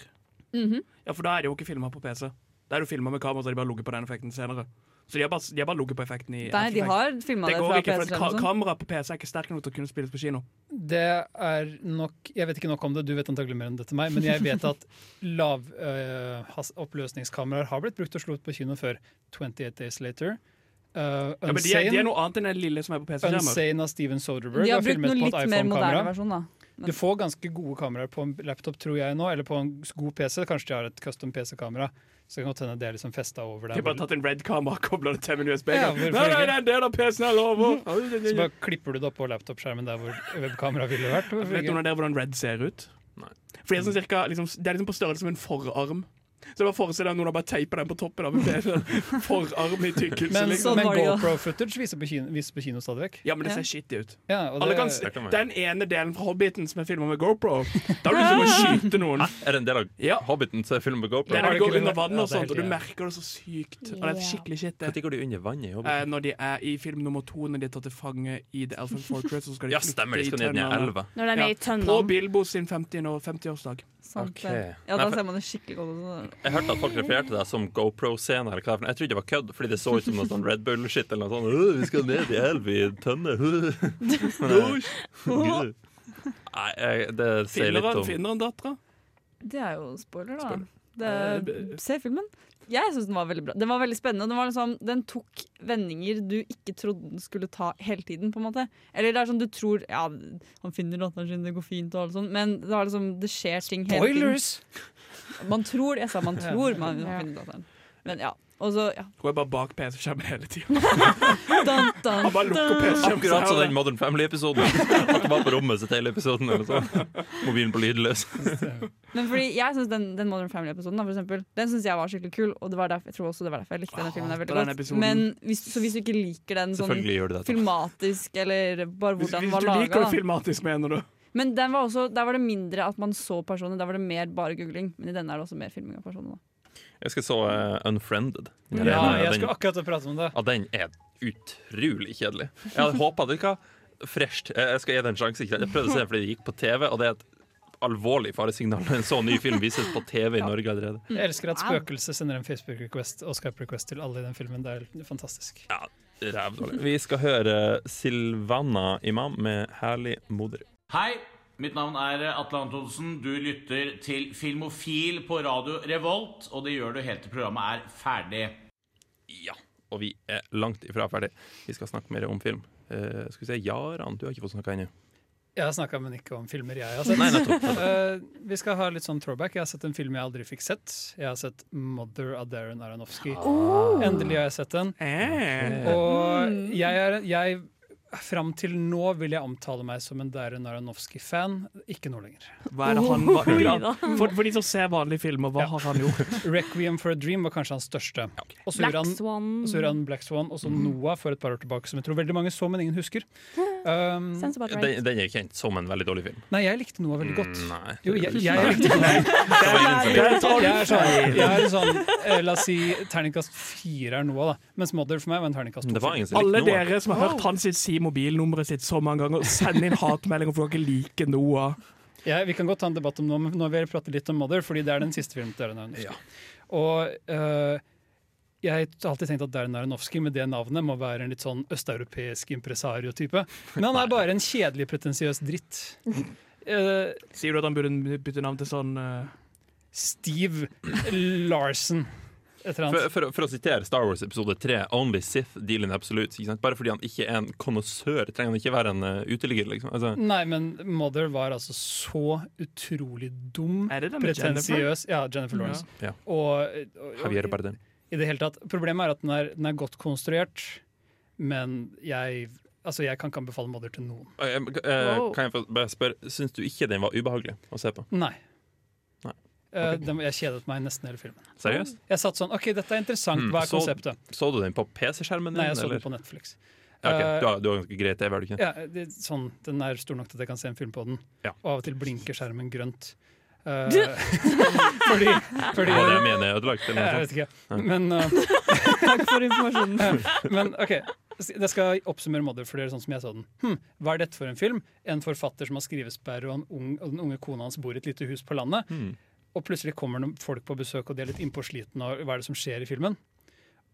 Speaker 8: Mhm.
Speaker 4: Ja, for da er det jo ikke filma på PC. Da er det jo filma med kamera, så har de bare ligget på den effekten senere. Så de har bare, de har bare ligget på effekten i
Speaker 8: Nei, de
Speaker 4: After
Speaker 8: har
Speaker 4: Effects.
Speaker 8: filma
Speaker 4: Det
Speaker 8: det
Speaker 4: går
Speaker 8: fra
Speaker 4: ikke, for
Speaker 8: PC-skjerm
Speaker 4: ka
Speaker 8: og sånn.
Speaker 4: kamera på PC er ikke sterk nok til å kunne spilles på kino.
Speaker 7: Det er nok Jeg vet ikke nok om det, du vet antagelig mer enn dette meg, men jeg vet at lavoppløsningskameraer har blitt brukt og slått på kino før. 28 Days Later. Uh,
Speaker 4: Ja, men de er, de er
Speaker 7: Unsane,
Speaker 4: noe annet enn den lille som er på PC-skjermer.
Speaker 7: Unsane av Steven Soderberg
Speaker 8: De har
Speaker 7: var
Speaker 8: brukt
Speaker 7: filmet
Speaker 8: noe
Speaker 7: på et
Speaker 8: litt mer moderne
Speaker 7: iPhone-kamera.
Speaker 8: versjon, da.
Speaker 7: Du får ganske gode kameraer på en laptop, tror jeg nå, eller på en god PC. Kanskje de har et custom PC-kamera. Så det kan godt hende det er liksom festa over
Speaker 4: De har
Speaker 7: der.
Speaker 4: bare
Speaker 7: hvor-
Speaker 4: tatt en red-kamera og kobla det til en USB.
Speaker 7: Ja,
Speaker 4: nei,
Speaker 7: hvorfor
Speaker 4: nei,
Speaker 7: ikke?
Speaker 4: det er en del av PC-en jeg
Speaker 8: Mhm.
Speaker 4: lover!
Speaker 7: Så bare klipper du det oppå laptopskjermen der hvor webkameraet ville vært. Hvorfor
Speaker 4: Vet
Speaker 7: ikke?
Speaker 4: noen av dere hvordan red ser ut?
Speaker 1: Nei.
Speaker 4: For det er, sånn cirka, liksom, det er liksom på størrelse med en forarm. Så det var forestille deg at noen har bare teipa den på toppen av en PC. Forarm i tykkelse.
Speaker 7: Men,
Speaker 4: Liksom.
Speaker 8: sånn
Speaker 7: men
Speaker 8: var det jo.
Speaker 7: GoPro-footage viser på kino, vises på kino stadig vekk.
Speaker 4: Ja, men det
Speaker 8: Ja.
Speaker 4: ser shitty ut.
Speaker 7: Ja, og
Speaker 4: Alle
Speaker 7: det-
Speaker 4: kan s-
Speaker 1: Det kan være.
Speaker 4: den ene delen fra Hobbiten som er filma med GoPro, da er det som å skyte noen.
Speaker 1: Er det en del av
Speaker 4: Ja.
Speaker 1: Hobbiten til filmen på GoPro?
Speaker 4: Det er
Speaker 7: Har
Speaker 4: når
Speaker 7: du
Speaker 4: du går
Speaker 7: ikke
Speaker 4: under
Speaker 7: det?
Speaker 4: vann
Speaker 7: Ja,
Speaker 4: og
Speaker 7: det er
Speaker 4: sånt, og du
Speaker 7: helt
Speaker 4: merker det så sykt. Og det er skikkelig shit, det.
Speaker 1: Når går de under vannet i
Speaker 4: Eh,
Speaker 1: Hobbiten?
Speaker 4: når de er i film nummer to, når de er tatt til fange i The Elephant Fortress, så skal de
Speaker 1: Ja, stemmer, de skal ned i
Speaker 4: tønnene.
Speaker 1: elva.
Speaker 5: Når de
Speaker 4: Ja.
Speaker 5: er i
Speaker 4: På
Speaker 5: tønnene.
Speaker 4: Bilbo sin 50 år- 50-årsdag.
Speaker 8: Sant,
Speaker 1: Ok.
Speaker 8: det. Ja,
Speaker 1: Nei,
Speaker 8: da
Speaker 1: for-
Speaker 8: ser man det skikkelig godt ut.
Speaker 1: Jeg hørte at folk refererte deg som GoPro-scene. eller hva det er for noe. Jeg trodde det var kødd, fordi det så ut som noe sånn Red Bull-shit. eller noe sånt. «Øh, Vi skal ned i elv i en tønne. Men, eh, Nei, jeg, det sier
Speaker 4: Finner
Speaker 1: litt
Speaker 4: han,
Speaker 1: om
Speaker 4: finner han dattera?
Speaker 8: Det er jo spoiler, da.
Speaker 1: Spoiler.
Speaker 4: Eh,
Speaker 8: Det, se filmen. Jeg syns den var veldig bra. Den var veldig spennende. og Den, var liksom, den tok vendinger du ikke trodde den skulle ta hele tiden. på en måte Eller det er sånn du tror Ja, han finner datteren sin, det går fint, og alt sånt, men det, er liksom, det skjer ting hele
Speaker 7: Spoilers!
Speaker 8: tiden. Man tror Jeg sa man tror man
Speaker 3: Ja.
Speaker 8: finner datteren. Men ja. Og så, ja.
Speaker 4: Hun er bare bak PC-skjermen hele tida.
Speaker 8: Dun, dun,
Speaker 4: Han bare lukker PC-skjermen. så
Speaker 1: Akkurat som
Speaker 4: her-
Speaker 1: den Modern Family-episoden. At det var på rommet sitt hele episoden. Eller så. Mobilen på lydløs.
Speaker 4: Sånn
Speaker 8: Men fordi jeg synes den, den Modern Family-episoden da, for eksempel, Den synes jeg var skikkelig kul, og det var derfor, jeg tror også det var derfor jeg likte denne filmen der
Speaker 4: hater den
Speaker 8: veldig godt.
Speaker 4: episoden.
Speaker 8: Men hvis, så hvis du ikke liker den sånn
Speaker 1: Selvfølgelig gjør de det.
Speaker 8: filmatisk, eller bare
Speaker 4: Hvis,
Speaker 8: hvordan
Speaker 4: hvis du
Speaker 8: den var
Speaker 4: liker det
Speaker 8: laga
Speaker 4: filmatisk, mener du.
Speaker 8: Men den var også, der var det mindre at man så personene, der var det mer bare googling. Men i denne er det også mer filming av personene. da.
Speaker 1: Jeg skal så eh, Unfriended. Den
Speaker 7: Ja,
Speaker 1: ene-
Speaker 7: jeg
Speaker 1: den-
Speaker 7: skulle akkurat prate om det.
Speaker 1: Ja, den er utrolig kjedelig. Jeg hadde håpa det ikke var fresht. Jeg jeg skal gi det en sjanse. ikke sant? Jeg prøvde å se den fordi det gikk på TV, og det er et alvorlig faresignal når en så ny film vises på TV i Norge allerede.
Speaker 7: Jeg elsker at Spøkelset sender en Facebook-request og Skype-request til alle i den filmen. Det er fantastisk.
Speaker 1: Rævdårlig. Vi skal høre eh, Silvana Imam med 'Herlig moder'.
Speaker 9: Hei, mitt navn er Atle Antonsen. Du lytter til Filmofil på Radio Revolt, og det gjør du helt til programmet er ferdig.
Speaker 1: Ja, og vi er langt ifra ferdig. Vi skal snakke mer om film. Eh, skal vi se, Jaran, du har ikke fått snakka ennå.
Speaker 7: Jeg har snakka, men ikke om filmer jeg har sett.
Speaker 1: Nei, nettopp.
Speaker 7: Eh, vi skal ha litt sånn throwback. Jeg har sett en film jeg aldri fikk sett. Jeg har sett 'Mother' av Darren Aronofsky. Endelig har jeg sett den.
Speaker 4: Eh.
Speaker 5: Mm.
Speaker 7: Og jeg er jeg, Fram til nå vil jeg omtale meg som en Darren Aronofsky-fan. Ikke nå lenger.
Speaker 4: Hva er det han var ja. for, for de som ser vanlige filmer, hva
Speaker 7: Ja.
Speaker 4: har han gjort?
Speaker 7: 'Requiem for a Dream' var kanskje hans største. Og så gjorde
Speaker 5: Black
Speaker 7: han
Speaker 5: Swan.
Speaker 7: Og så gjorde han Black Swan og så
Speaker 1: Mm.
Speaker 7: Noah for et par år tilbake, som jeg tror veldig mange så, men ingen husker. Um,
Speaker 5: Sounds about
Speaker 1: Den,
Speaker 5: right.
Speaker 1: den er kjent som en veldig dårlig film. Mm,
Speaker 7: nei, jeg likte Noah veldig godt.
Speaker 1: Nei.
Speaker 7: Jo, jeg, jeg likte
Speaker 4: Det er et
Speaker 7: jeg er sånn, jeg er sånn eh, La oss si terningkast fire er Noah, da. Mens Mother for meg var en terningkast
Speaker 1: Det
Speaker 7: to.
Speaker 1: var ingen som
Speaker 4: Alle
Speaker 1: likte noe.
Speaker 4: dere som har hørt han sitt si mobilnummeret sitt så mange ganger, send inn hatmeldinger for dere liker Noah.
Speaker 7: Ja, vi kan godt ta en debatt om noe, men nå vil jeg prate litt om Mother, fordi det er den siste filmen til Darren Aronofsky.
Speaker 1: Ja.
Speaker 7: Og eh, jeg har alltid tenkt at Darren Aronofsky med det navnet må være en litt sånn østeuropeisk impresario-type, men han er bare en kjedelig, pretensiøs dritt. Eh,
Speaker 4: Sier du at han burde bytte navn til sånn eh,
Speaker 7: Steve Larsen. Et eller
Speaker 1: For,
Speaker 7: annet.
Speaker 1: for, for å sitere Star Wars episode 3, Only Sith deal in absolutes. Ikke sant? Bare fordi han ikke er en konnoissør, trenger han ikke være en eh, uteligger. Liksom. Altså,
Speaker 7: Nei, men Mother var altså så utrolig dum,
Speaker 4: Er det det med Jennifer?
Speaker 7: pretensiøs Ja, Jennifer Lawrence.
Speaker 1: Ja.
Speaker 7: Og, og,
Speaker 1: Javier
Speaker 7: og
Speaker 1: Bardem.
Speaker 7: i det hele tatt Problemet er at den er, den er godt konstruert, men jeg Altså, jeg kan ikke anbefale Mother til noen.
Speaker 1: Eh, eh,
Speaker 5: Wow.
Speaker 1: Kan jeg få bare spørre, syns du ikke den var ubehagelig å se på?
Speaker 7: Nei.
Speaker 1: Nei.
Speaker 7: Eh,
Speaker 1: Ok.
Speaker 7: den, jeg kjedet meg nesten hele filmen.
Speaker 1: Seriøst?
Speaker 7: Jeg satt sånn OK, dette er interessant.
Speaker 1: Mm,
Speaker 7: Hva er
Speaker 1: så-
Speaker 7: konseptet?
Speaker 1: Så du den på PC-skjermen din?
Speaker 7: Nei, jeg så
Speaker 1: eller?
Speaker 7: den på Netflix.
Speaker 1: Ja, ok. du, har, du har ganske grei TV, har du ikke?
Speaker 7: Ja, det, sånn, Den er stor nok til at jeg kan se en film på den.
Speaker 1: Ja.
Speaker 7: Og av og til blinker skjermen grønt. Eh,
Speaker 5: Du-
Speaker 7: fordi,
Speaker 1: Det
Speaker 7: fordi
Speaker 1: var det jeg mener er ødelagt. eller noe
Speaker 7: Jeg
Speaker 1: sånt.
Speaker 7: vet ikke. Men, eh,
Speaker 8: Takk for informasjonen.
Speaker 7: men OK. Jeg skal oppsummere Mother, for det er sånn som jeg så den. Hm, hva er dette for en film? En forfatter som har skrivesperre, og, en ung, og den unge kona hans bor i et lite hus på landet.
Speaker 1: Hmm.
Speaker 7: Og plutselig kommer det folk på besøk, og de er litt innpåslitne av hva er det som skjer i filmen.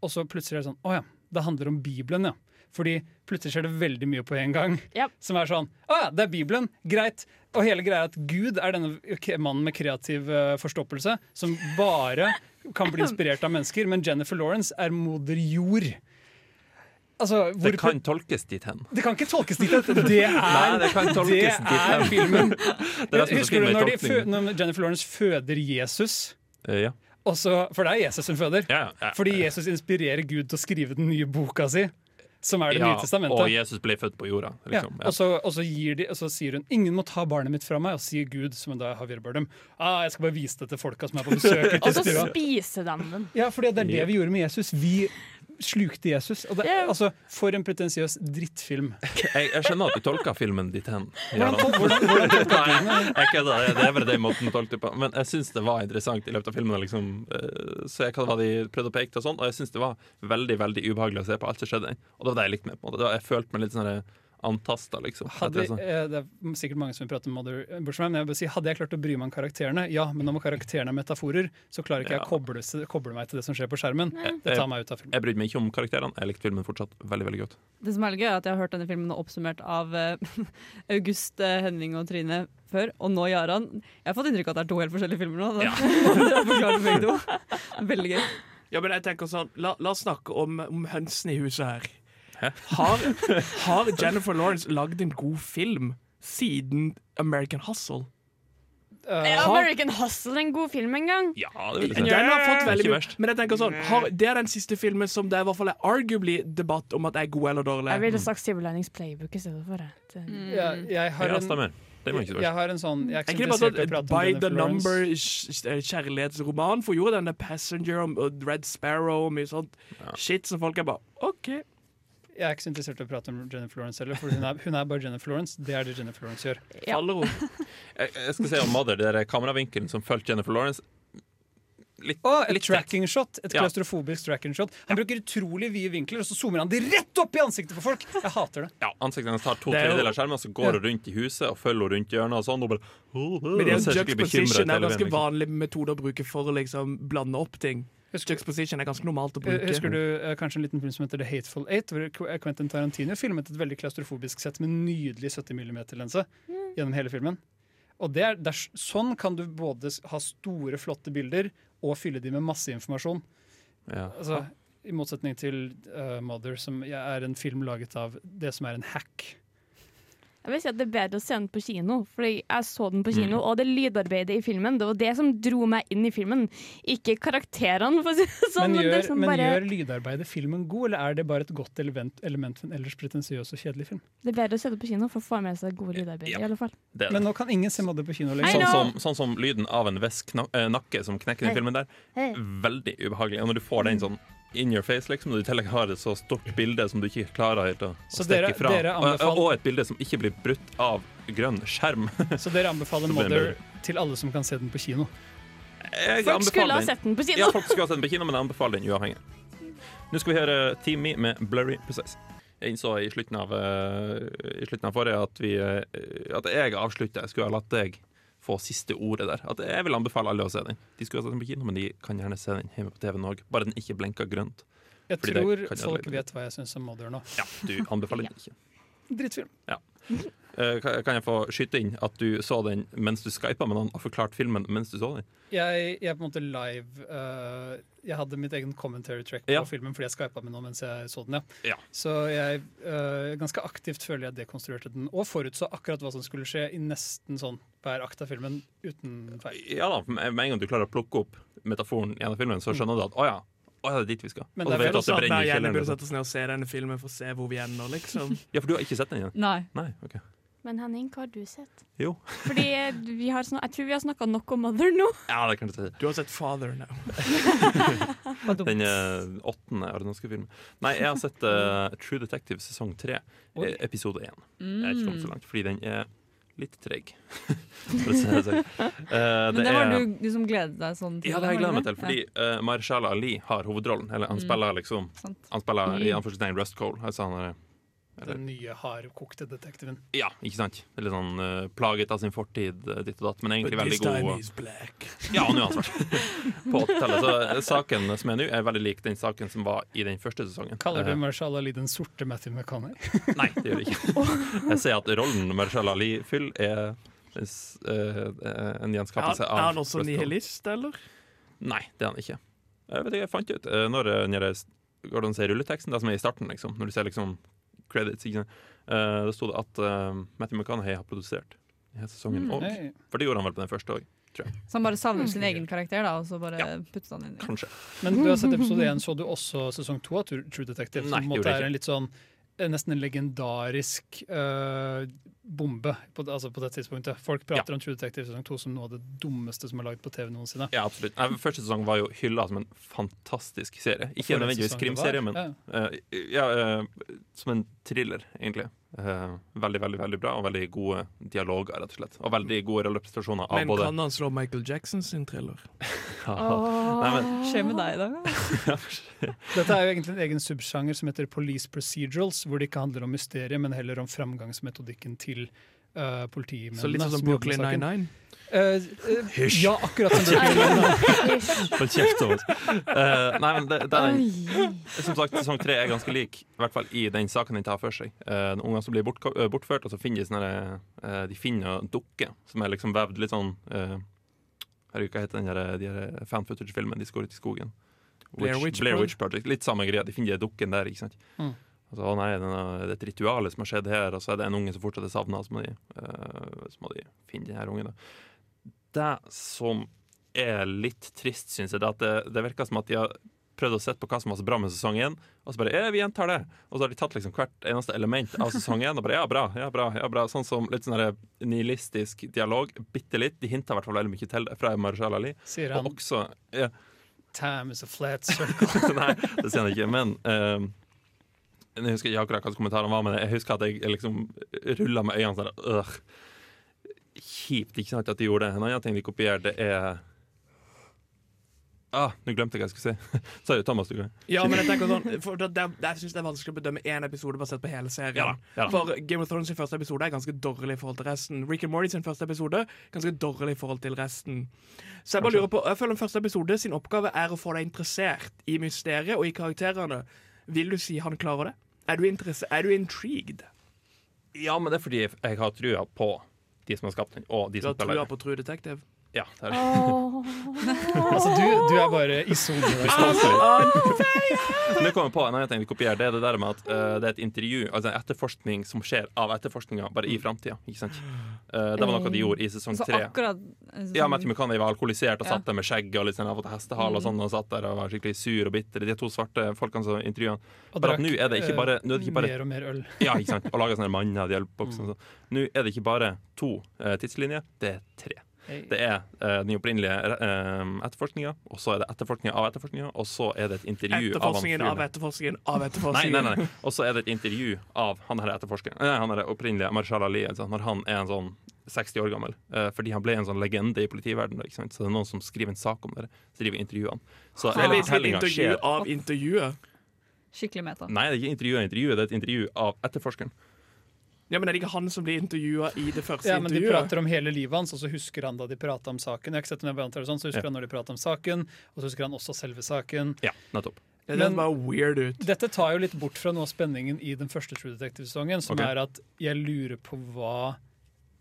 Speaker 7: Og så plutselig er det sånn Å ja, det handler om Bibelen, ja. Fordi plutselig skjer det veldig mye på en gang.
Speaker 5: Japp.
Speaker 7: Som er sånn Å ja, det er Bibelen! Greit. Og hele greia er at Gud er denne k- mannen med kreativ eh, forstoppelse som bare kan bli inspirert av mennesker, men Jennifer Lawrence er moder jord. Altså, hvor
Speaker 1: Det kan tolkes dit hen.
Speaker 7: det kan ikke tolkes dit at det er
Speaker 1: Nei, det kan tolkes
Speaker 7: det
Speaker 1: dit hen.
Speaker 7: er filmen.
Speaker 1: Det er det som er så fint
Speaker 7: Husker du
Speaker 1: med
Speaker 7: når, de fø
Speaker 1: tolkning.
Speaker 7: når Jennifer Lawrence føder Jesus?
Speaker 1: Eh, Ja.
Speaker 7: Og så- for det er Jesus hun føder.
Speaker 1: Ja, ja.
Speaker 7: Fordi Jesus inspirerer Gud til å skrive den nye boka si, som er Det nye testamentet.
Speaker 1: og Jesus ble født på jorda. Liksom.
Speaker 7: Ja, og, så, og, så gir de, og så sier hun 'ingen må ta barnet mitt fra meg', og sier Gud, som da er Javier Bardem, ah, 'jeg skal bare vise det til folka som er på
Speaker 5: Og
Speaker 7: besøk'. ute i
Speaker 5: så
Speaker 7: stua».
Speaker 5: spiser de den.
Speaker 7: Ja, for det er det vi gjorde med Jesus. Vi slukte Jesus. Og det,
Speaker 5: Ja.
Speaker 7: altså, for en pretensiøs drittfilm.
Speaker 1: Jeg, jeg skjønner at du tolka filmen dit hen. Ja,
Speaker 7: Hvordan,
Speaker 1: da.
Speaker 7: hvordan, hvordan
Speaker 1: Nei, jeg kødder. Det- Det er bare den måten folk tolker på. Men jeg syns det var interessant i løpet av filmen. Liksom. eh, Så jeg hva det var de prøvde å peke til, og sånn Og jeg syns det var veldig veldig ubehagelig å se på alt som skjedde. Og det var det jeg likte med. på en måte Det var- Jeg følte meg litt sånn antasta, liksom. Etter
Speaker 7: Hadde,
Speaker 1: det, sånn.
Speaker 7: eh, det er sikkert mange som vil prate om Mother eh, bortsett fra meg, men jeg vil bare si, hadde jeg klart å bry meg om karakterene, ja, men om karakterene er metaforer, så klarer ikke jeg å koble, koble meg til det som skjer på skjermen.
Speaker 1: Eh,
Speaker 7: Det tar meg ut av filmen. Eh,
Speaker 1: Jeg brydde meg ikke om karakterene. Jeg likte filmen fortsatt veldig veldig godt.
Speaker 8: Det som er litt gøy, er at jeg har hørt denne filmen oppsummert av eh, August, eh, Henning og Trine før, og nå Jaran. Jeg har fått inntrykk av at det er to helt forskjellige filmer nå. da. Det forklarer begge to. Veldig gøy.
Speaker 4: Ja, men jeg tenker sånn, La, la oss snakke om, om hønsene i huset her. Har, har Jennifer Lawrence lagd en god film siden American Hustle?
Speaker 7: Eh,
Speaker 5: Er American Hustle en god film en gang?
Speaker 1: Ja, det vil
Speaker 4: Den
Speaker 1: jeg si.
Speaker 4: har fått veldig
Speaker 1: Ikke
Speaker 4: mye
Speaker 1: verst.
Speaker 4: Men jeg tenker sånn, har, det er den siste filmen som det er i hvert fall er arguably debatt om at er god eller dårlig.
Speaker 5: Jeg ville sagt Silver Linings Playbook i stedet for det. det.
Speaker 7: jeg, jeg, har
Speaker 1: Ja,
Speaker 7: en,
Speaker 1: stemmer. Det var ikke så
Speaker 7: jeg
Speaker 1: verst.
Speaker 7: har en sånn Jeg er
Speaker 4: Er
Speaker 7: ikke så
Speaker 4: ikke det bare sånn
Speaker 7: interessert i å prate om
Speaker 4: by the
Speaker 7: Jennifer Lawrence.
Speaker 4: number kj- kjærlighetsroman? For gjorde den der Passenger om og Red Sparrow og mye sånt shit som folk er bare OK.
Speaker 7: Jeg er ikke så interessert i å prate om Jennifer Lawrence heller, for hun er, hun er bare Jennifer Lawrence. Det er det Jennifer Lawrence gjør.
Speaker 5: Ja.
Speaker 4: Faller hun.
Speaker 1: Jeg, jeg skal si om Mother, det der kameravinkelen som fulgte Jennifer Lawrence. Litt,
Speaker 7: Å, et
Speaker 1: litt
Speaker 7: tracking shot, et
Speaker 1: Ja.
Speaker 7: klaustrofobisk tracking shot. Han bruker utrolig vide vinkler, og så zoomer han de rett opp i ansiktet på folk! Jeg hater det.
Speaker 1: ja, Ansiktet hennes tar to
Speaker 4: Det er jo-
Speaker 1: tredjedeler av skjermen, og så går hun rundt i huset og følger hun rundt hjørnet. Og sånn, og bare,
Speaker 4: Men det
Speaker 1: Hun
Speaker 4: er
Speaker 1: ser
Speaker 4: jo
Speaker 1: skikkelig bekymret
Speaker 4: juxtaposition
Speaker 1: hele
Speaker 4: er
Speaker 1: veien,
Speaker 4: ganske
Speaker 1: liksom.
Speaker 4: vanlig metode å bruke for å liksom blande opp ting.
Speaker 7: Husker-
Speaker 4: Juxtaposition er ganske normalt å
Speaker 7: Eh,
Speaker 4: bruke.
Speaker 7: Husker du eh, kanskje en liten film som heter The Hateful Eight? Hvor Qu- eh, Quentin Tarantino filmet et veldig klaustrofobisk sett med en nydelig 70 mm-lense
Speaker 5: Mm.
Speaker 7: gjennom hele filmen. Og det er, det er, s- Sånn kan du både s- ha store, flotte bilder og fylle de med masse informasjon.
Speaker 1: liksom. Ja.
Speaker 7: Altså, I motsetning til eh, Mother, som jeg er en film laget av det som er en hack.
Speaker 5: Jeg vil si at Det er bedre å se den på kino, Fordi jeg så den på kino. Og det lydarbeidet i filmen Det var det som dro meg inn i filmen, ikke karakterene. For å si det sånn,
Speaker 7: Men,
Speaker 5: men det
Speaker 7: gjør,
Speaker 5: som
Speaker 7: men
Speaker 5: bare,
Speaker 7: gjør lydarbeidet filmen god, eller er det bare et godt element, element for en ellers pretensiøs og kjedelig film?
Speaker 5: det er bedre å se det på kino for å få med seg gode lydarbeid.
Speaker 1: Ja.
Speaker 5: i alle fall
Speaker 1: Det er det.
Speaker 7: Men nå kan ingen se Mother på kino lenger.
Speaker 5: I
Speaker 1: Sånn
Speaker 5: know.
Speaker 1: som, sånn som lyden av en vesk kna eh, nakke som knekker den filmen der. Veldig ubehagelig. Og når du får den sånn in your face, liksom, og du i tillegg har et så stort bilde som du ikke klarer helt å, å
Speaker 7: Så
Speaker 1: stikke
Speaker 7: dere-
Speaker 1: ifra,
Speaker 7: dere
Speaker 1: og,
Speaker 7: anbefaler-
Speaker 1: og et bilde som ikke blir brutt av grønn skjerm
Speaker 7: Så dere
Speaker 1: Så
Speaker 7: anbefaler
Speaker 1: blir det
Speaker 7: Mother til alle som kan se den på kino.
Speaker 1: Jeg
Speaker 5: Folk skulle
Speaker 1: anbefaler
Speaker 5: ha
Speaker 1: den.
Speaker 5: sett den på
Speaker 1: Ja,
Speaker 5: kino!
Speaker 1: folk skulle ha sett den på kino, men jeg anbefaler den uavhengig. Nå skal vi høre Team Me med Blurry Precise. Jeg innså i slutten av, eh, i slutten av forrige at, vi, eh, at jeg avslutta. Jeg skulle ha latt deg få siste ordet der. At jeg vil anbefale alle å se den. De skulle ha sett den på kino, men de kan gjerne se den hjemme på TV-en òg. Bare den ikke blenker grønt.
Speaker 7: Jeg
Speaker 1: Fordi det
Speaker 7: tror
Speaker 1: kan jeg
Speaker 7: folk
Speaker 1: leve med.
Speaker 7: vet hva jeg syns om Mother nå.
Speaker 1: Ja, du anbefaler den ikke.
Speaker 7: Drittfilm.
Speaker 1: Eh, kan kan jeg få skyte inn at du så den mens du skypa med noen og forklarte filmen mens du så den?
Speaker 7: Jeg, jeg er på en måte live eh, Jeg hadde mitt egen commentary track på
Speaker 1: Ja.
Speaker 7: filmen fordi jeg skypa med noen mens jeg så den. ja.
Speaker 1: Ja.
Speaker 7: Så jeg eh, ganske aktivt føler jeg dekonstruerte den, og forutså akkurat hva som skulle skje i nesten sånn hver akt av filmen uten feil.
Speaker 1: Ja da, med en gang du klarer å plukke opp metaforen gjennom filmen, så skjønner du at å ja, å ja, det er dit vi skal.
Speaker 7: Men
Speaker 1: Og
Speaker 7: det
Speaker 1: du
Speaker 7: er
Speaker 1: vet at
Speaker 7: vel
Speaker 1: det
Speaker 4: Sånn,
Speaker 1: brenner
Speaker 4: nei,
Speaker 1: i
Speaker 4: Jenny
Speaker 1: kjelleren. liksom.
Speaker 4: burde sette oss ned og se denne filmen for å se hvor vi ender, liksom.
Speaker 1: Ja, for du har ikke sett den igjen?
Speaker 8: Nei.
Speaker 1: Nei, ok
Speaker 5: Men Henning, hva har du sett?
Speaker 1: Jo.
Speaker 5: Fordi vi har snak- Jeg tror vi har snakka nok om Mother nå.
Speaker 1: Ja, det kan du si.
Speaker 4: Du har sett Father nå.
Speaker 1: Den eh, åttende aronoske filmen. Nei, jeg har sett eh, True Detective sesong tre,
Speaker 7: Oi.
Speaker 1: eh, episode én. Jeg er ikke
Speaker 8: Mm.
Speaker 1: kommet så langt, fordi den er litt treg. For å si det sånn. Eh,
Speaker 8: Men det
Speaker 1: er-
Speaker 8: var du, du som gledet deg sånn til
Speaker 1: Ja, det har jeg
Speaker 8: var
Speaker 1: gledet meg
Speaker 8: det?
Speaker 1: til, fordi eh, Mahershala Ali har hovedrollen. Eller han spiller liksom
Speaker 8: Sant.
Speaker 1: Han spiller i
Speaker 8: Mm.
Speaker 1: anførselstegn Rust Cole. Altså han er,
Speaker 7: Den nye hardkokte detektiven.
Speaker 1: ja, ikke sant? Litt sånn eh, plaget av sin fortid, eh, ditt og datt, men egentlig veldig god. og-
Speaker 4: black.
Speaker 1: Ja, nå er han svart. På 80-tallet. Så eh, saken som er nå, er veldig lik den saken som var i den første sesongen.
Speaker 7: Kaller
Speaker 1: Eh,
Speaker 7: du Marshall Ali den sorte Matthew McConney?
Speaker 1: Nei, det gjør jeg ikke. Jeg ser at rollen Mahershala Ali fyller, er eh, s- eh, eh, en
Speaker 4: Er han-
Speaker 1: gjenskapelse av
Speaker 4: er han også
Speaker 1: Rust Cole.
Speaker 4: nihilist, eller?
Speaker 1: Nei, det er han ikke. Jeg vet ikke, jeg fant ut eh, når eh, når jeg går og ser rulleteksten, det som er i starten, liksom, når du ser liksom credits, ikke sant? Eh, da sto det at uh, Matthew McConaughey har produsert i hele sesongen.
Speaker 4: Mm,
Speaker 1: og,
Speaker 7: Hey.
Speaker 1: for det gjorde han vel på den første òg,
Speaker 8: Så han bare savner sin egen karakter, da, og så bare
Speaker 1: Mm. Ja.
Speaker 8: puttet han inn i
Speaker 1: kanskje.
Speaker 7: Men du har sett
Speaker 4: Mhm.
Speaker 7: episode 1, så du også sesong 2 av True True Detective.
Speaker 1: Nei,
Speaker 7: Som på
Speaker 1: gjorde
Speaker 7: en måte
Speaker 1: jeg
Speaker 7: er en litt sånn eh, Nesten en legendarisk eh, bombe på, det- altså på det tidspunktet. Folk prater om True Detective sesong 2 som noe av det dummeste som er laget på TV noensinne.
Speaker 1: Ja, absolutt. Nei, første sesong var jo hylla som en fantastisk serie. Ikke
Speaker 7: For en
Speaker 1: nødvendigvis
Speaker 7: sesong det var.
Speaker 1: krimserie, men
Speaker 7: Ja.
Speaker 1: eh, ja, eh, som en thriller, egentlig. Eh, veldig, veldig veldig bra, og veldig gode dialoger, rett og slett. Og veldig gode representasjoner av
Speaker 4: Men
Speaker 1: både
Speaker 4: kan han slå Michael Jackson sin thriller?
Speaker 1: Nei, men,
Speaker 8: Hva skjer med deg i dag?
Speaker 7: Dette er jo egentlig en egen subsjanger som heter police procedurals, hvor det ikke handler om mysteriet, men heller om framgangsmetodikken til uh, politimennene.
Speaker 4: Så litt sånn som
Speaker 7: som jobber
Speaker 4: Brooklyn
Speaker 7: med saken.
Speaker 4: Nine-Nine?
Speaker 7: Eh, eh,
Speaker 1: Hysj.
Speaker 7: ja, akkurat som Brooklyn Nine-Nine.
Speaker 1: Hold kjeft, Thomas. Eh, nei, men det, det er den. Som sagt, sesong tre er ganske lik, i hvert fall i den saken den tar for seg. Uh, Ungene som blir bortko- eh, bortført, og så finner de sånne eh, De finner dukker som er liksom vevd litt sånn eh, Herregud, hva heter den der, de der fan footage-filmen de skal ut i skogen?
Speaker 4: Blair Witch
Speaker 1: Blair
Speaker 4: Project.
Speaker 1: Witch Project. Litt samme greia. De finner de dukken der, ikke sant.
Speaker 7: Mm.
Speaker 1: Og så, å nei, den er- det er et ritual som har skjedd her, og så er det en unge som fortsatt er savna, så, må de, eh, så må de finne den her ungen. Da. Det som er litt trist, syns jeg, det er at det, det virker som at de har prøvd å sette på hva som var så bra med sesong én, og så bare eh, vi gjentar det. Og så har de tatt liksom hvert eneste element av sesong én og bare ja, bra, ja, bra. ja, bra Sånn som litt sånn der nihilistisk dialog. Bitte litt. De hinter i hvert fall veldig mye til det fra Marshall Ali.
Speaker 7: Sier
Speaker 1: Og
Speaker 7: han
Speaker 1: også ja,
Speaker 7: Time is a flat circle.
Speaker 1: Nei, det sier han ikke. Men eh, jeg husker ikke akkurat hva kommentaren var, men jeg husker at jeg liksom rulla med øynene sånn der, «Ugh». Kjipt, ikke sant, at de gjorde det. En annen ting de kopierte, er Ah, nå glemte jeg hva jeg skulle si. Sorry, Thomas. du kan
Speaker 4: Ja, men jeg tenker sånn for det, det, Jeg synes det er vanskelig å bedømme én episode basert på hele serien.
Speaker 1: Ja da, ja da.
Speaker 4: For Game of Thrones sin første episode er ganske dårlig i forhold til resten. Rick and Morty sin første episode ganske dårlig i forhold til resten. Så jeg bare lurer på Jeg føler den første episode sin oppgave er å få deg interessert i mysteriet og i karakterene. Vil du si han klarer det? Er du, interesse- er du intrigued?
Speaker 1: Ja, men det er fordi jeg jeg har trua på de som har skapt den, og de
Speaker 4: Du
Speaker 1: som
Speaker 4: har
Speaker 1: spiller
Speaker 4: trua
Speaker 1: den.
Speaker 4: på True Detective?
Speaker 1: Ja, det
Speaker 8: Ah.
Speaker 1: er
Speaker 7: Altså, du, du er bare i sonen i dag.
Speaker 8: Ah.
Speaker 1: Nå kommer jeg på en annen ting de kopierer. Det er det der med at eh, det er et intervju, altså en etterforskning som skjer av etterforskninga, bare
Speaker 4: Mm.
Speaker 1: i framtida. Ikke sant? Eh, det var noe de gjorde i sesong
Speaker 8: Mm. Så
Speaker 1: tre.
Speaker 8: akkurat eh, sånn
Speaker 1: Ja, Matthew McConaughey var alkoholisert og
Speaker 8: Ja. Mm.
Speaker 1: satt der med skjegg og litt sånn, fått hestehale og sånn, og satt der og var skikkelig sur og bitter. De to svarte folkene som intervjua han.
Speaker 7: Og
Speaker 1: Bare at
Speaker 7: drakk,
Speaker 1: nå er det ikke
Speaker 7: eh,
Speaker 1: bare- nå er det ikke bare-
Speaker 7: mer og mer øl.
Speaker 1: Ja, ikke sant? Og laga sånne
Speaker 4: Mm.
Speaker 1: manner og hjelpebokser og sånn. Nå er det ikke bare to eh, tidslinjer, det er tre. Det er eh, den opprinnelige uh, etterforskninga, og så er det etterforskninga av etterforskninga, og så er det et intervju av han
Speaker 4: Etterforskningen av
Speaker 1: fyren.
Speaker 4: etterforskningen av
Speaker 1: Nei,
Speaker 4: etterforskningen.
Speaker 1: nei, nei. Og så er det et intervju av han her etterforskeren. Nei, han her opprinnelige Marshall Ali, altså, når han er en sånn 60 år gammel. Eh, fordi han ble en sånn legende i politiverdenen. Ikke sant? Så det er noen som skriver en sak om det. Så driver intervjuene. Så
Speaker 4: Det er
Speaker 1: hele
Speaker 4: liksom et
Speaker 1: fortellinga
Speaker 4: intervju
Speaker 1: skjer
Speaker 4: av intervjuet.
Speaker 8: Skikkelig meta.
Speaker 1: Nei, det er ikke intervju av intervjuet, det er et intervju av etterforskeren.
Speaker 4: Ja, Men er det ikke han som blir intervjua i det første
Speaker 7: Ja, men De
Speaker 4: intervjuet?
Speaker 7: prater om hele livet hans, og så husker han da de prata om saken. Jeg har ikke sett den, jeg bare antar det sånn, så husker
Speaker 1: Ja.
Speaker 7: han når de pratet om saken, og så husker han også selve saken.
Speaker 1: Ja, nettopp.
Speaker 4: Det høres
Speaker 7: Men-
Speaker 4: bare weird ut.
Speaker 7: Dette tar jo litt bort fra noe av spenningen i den første True Detective-sesongen, som
Speaker 1: Ok.
Speaker 7: er at jeg lurer på hva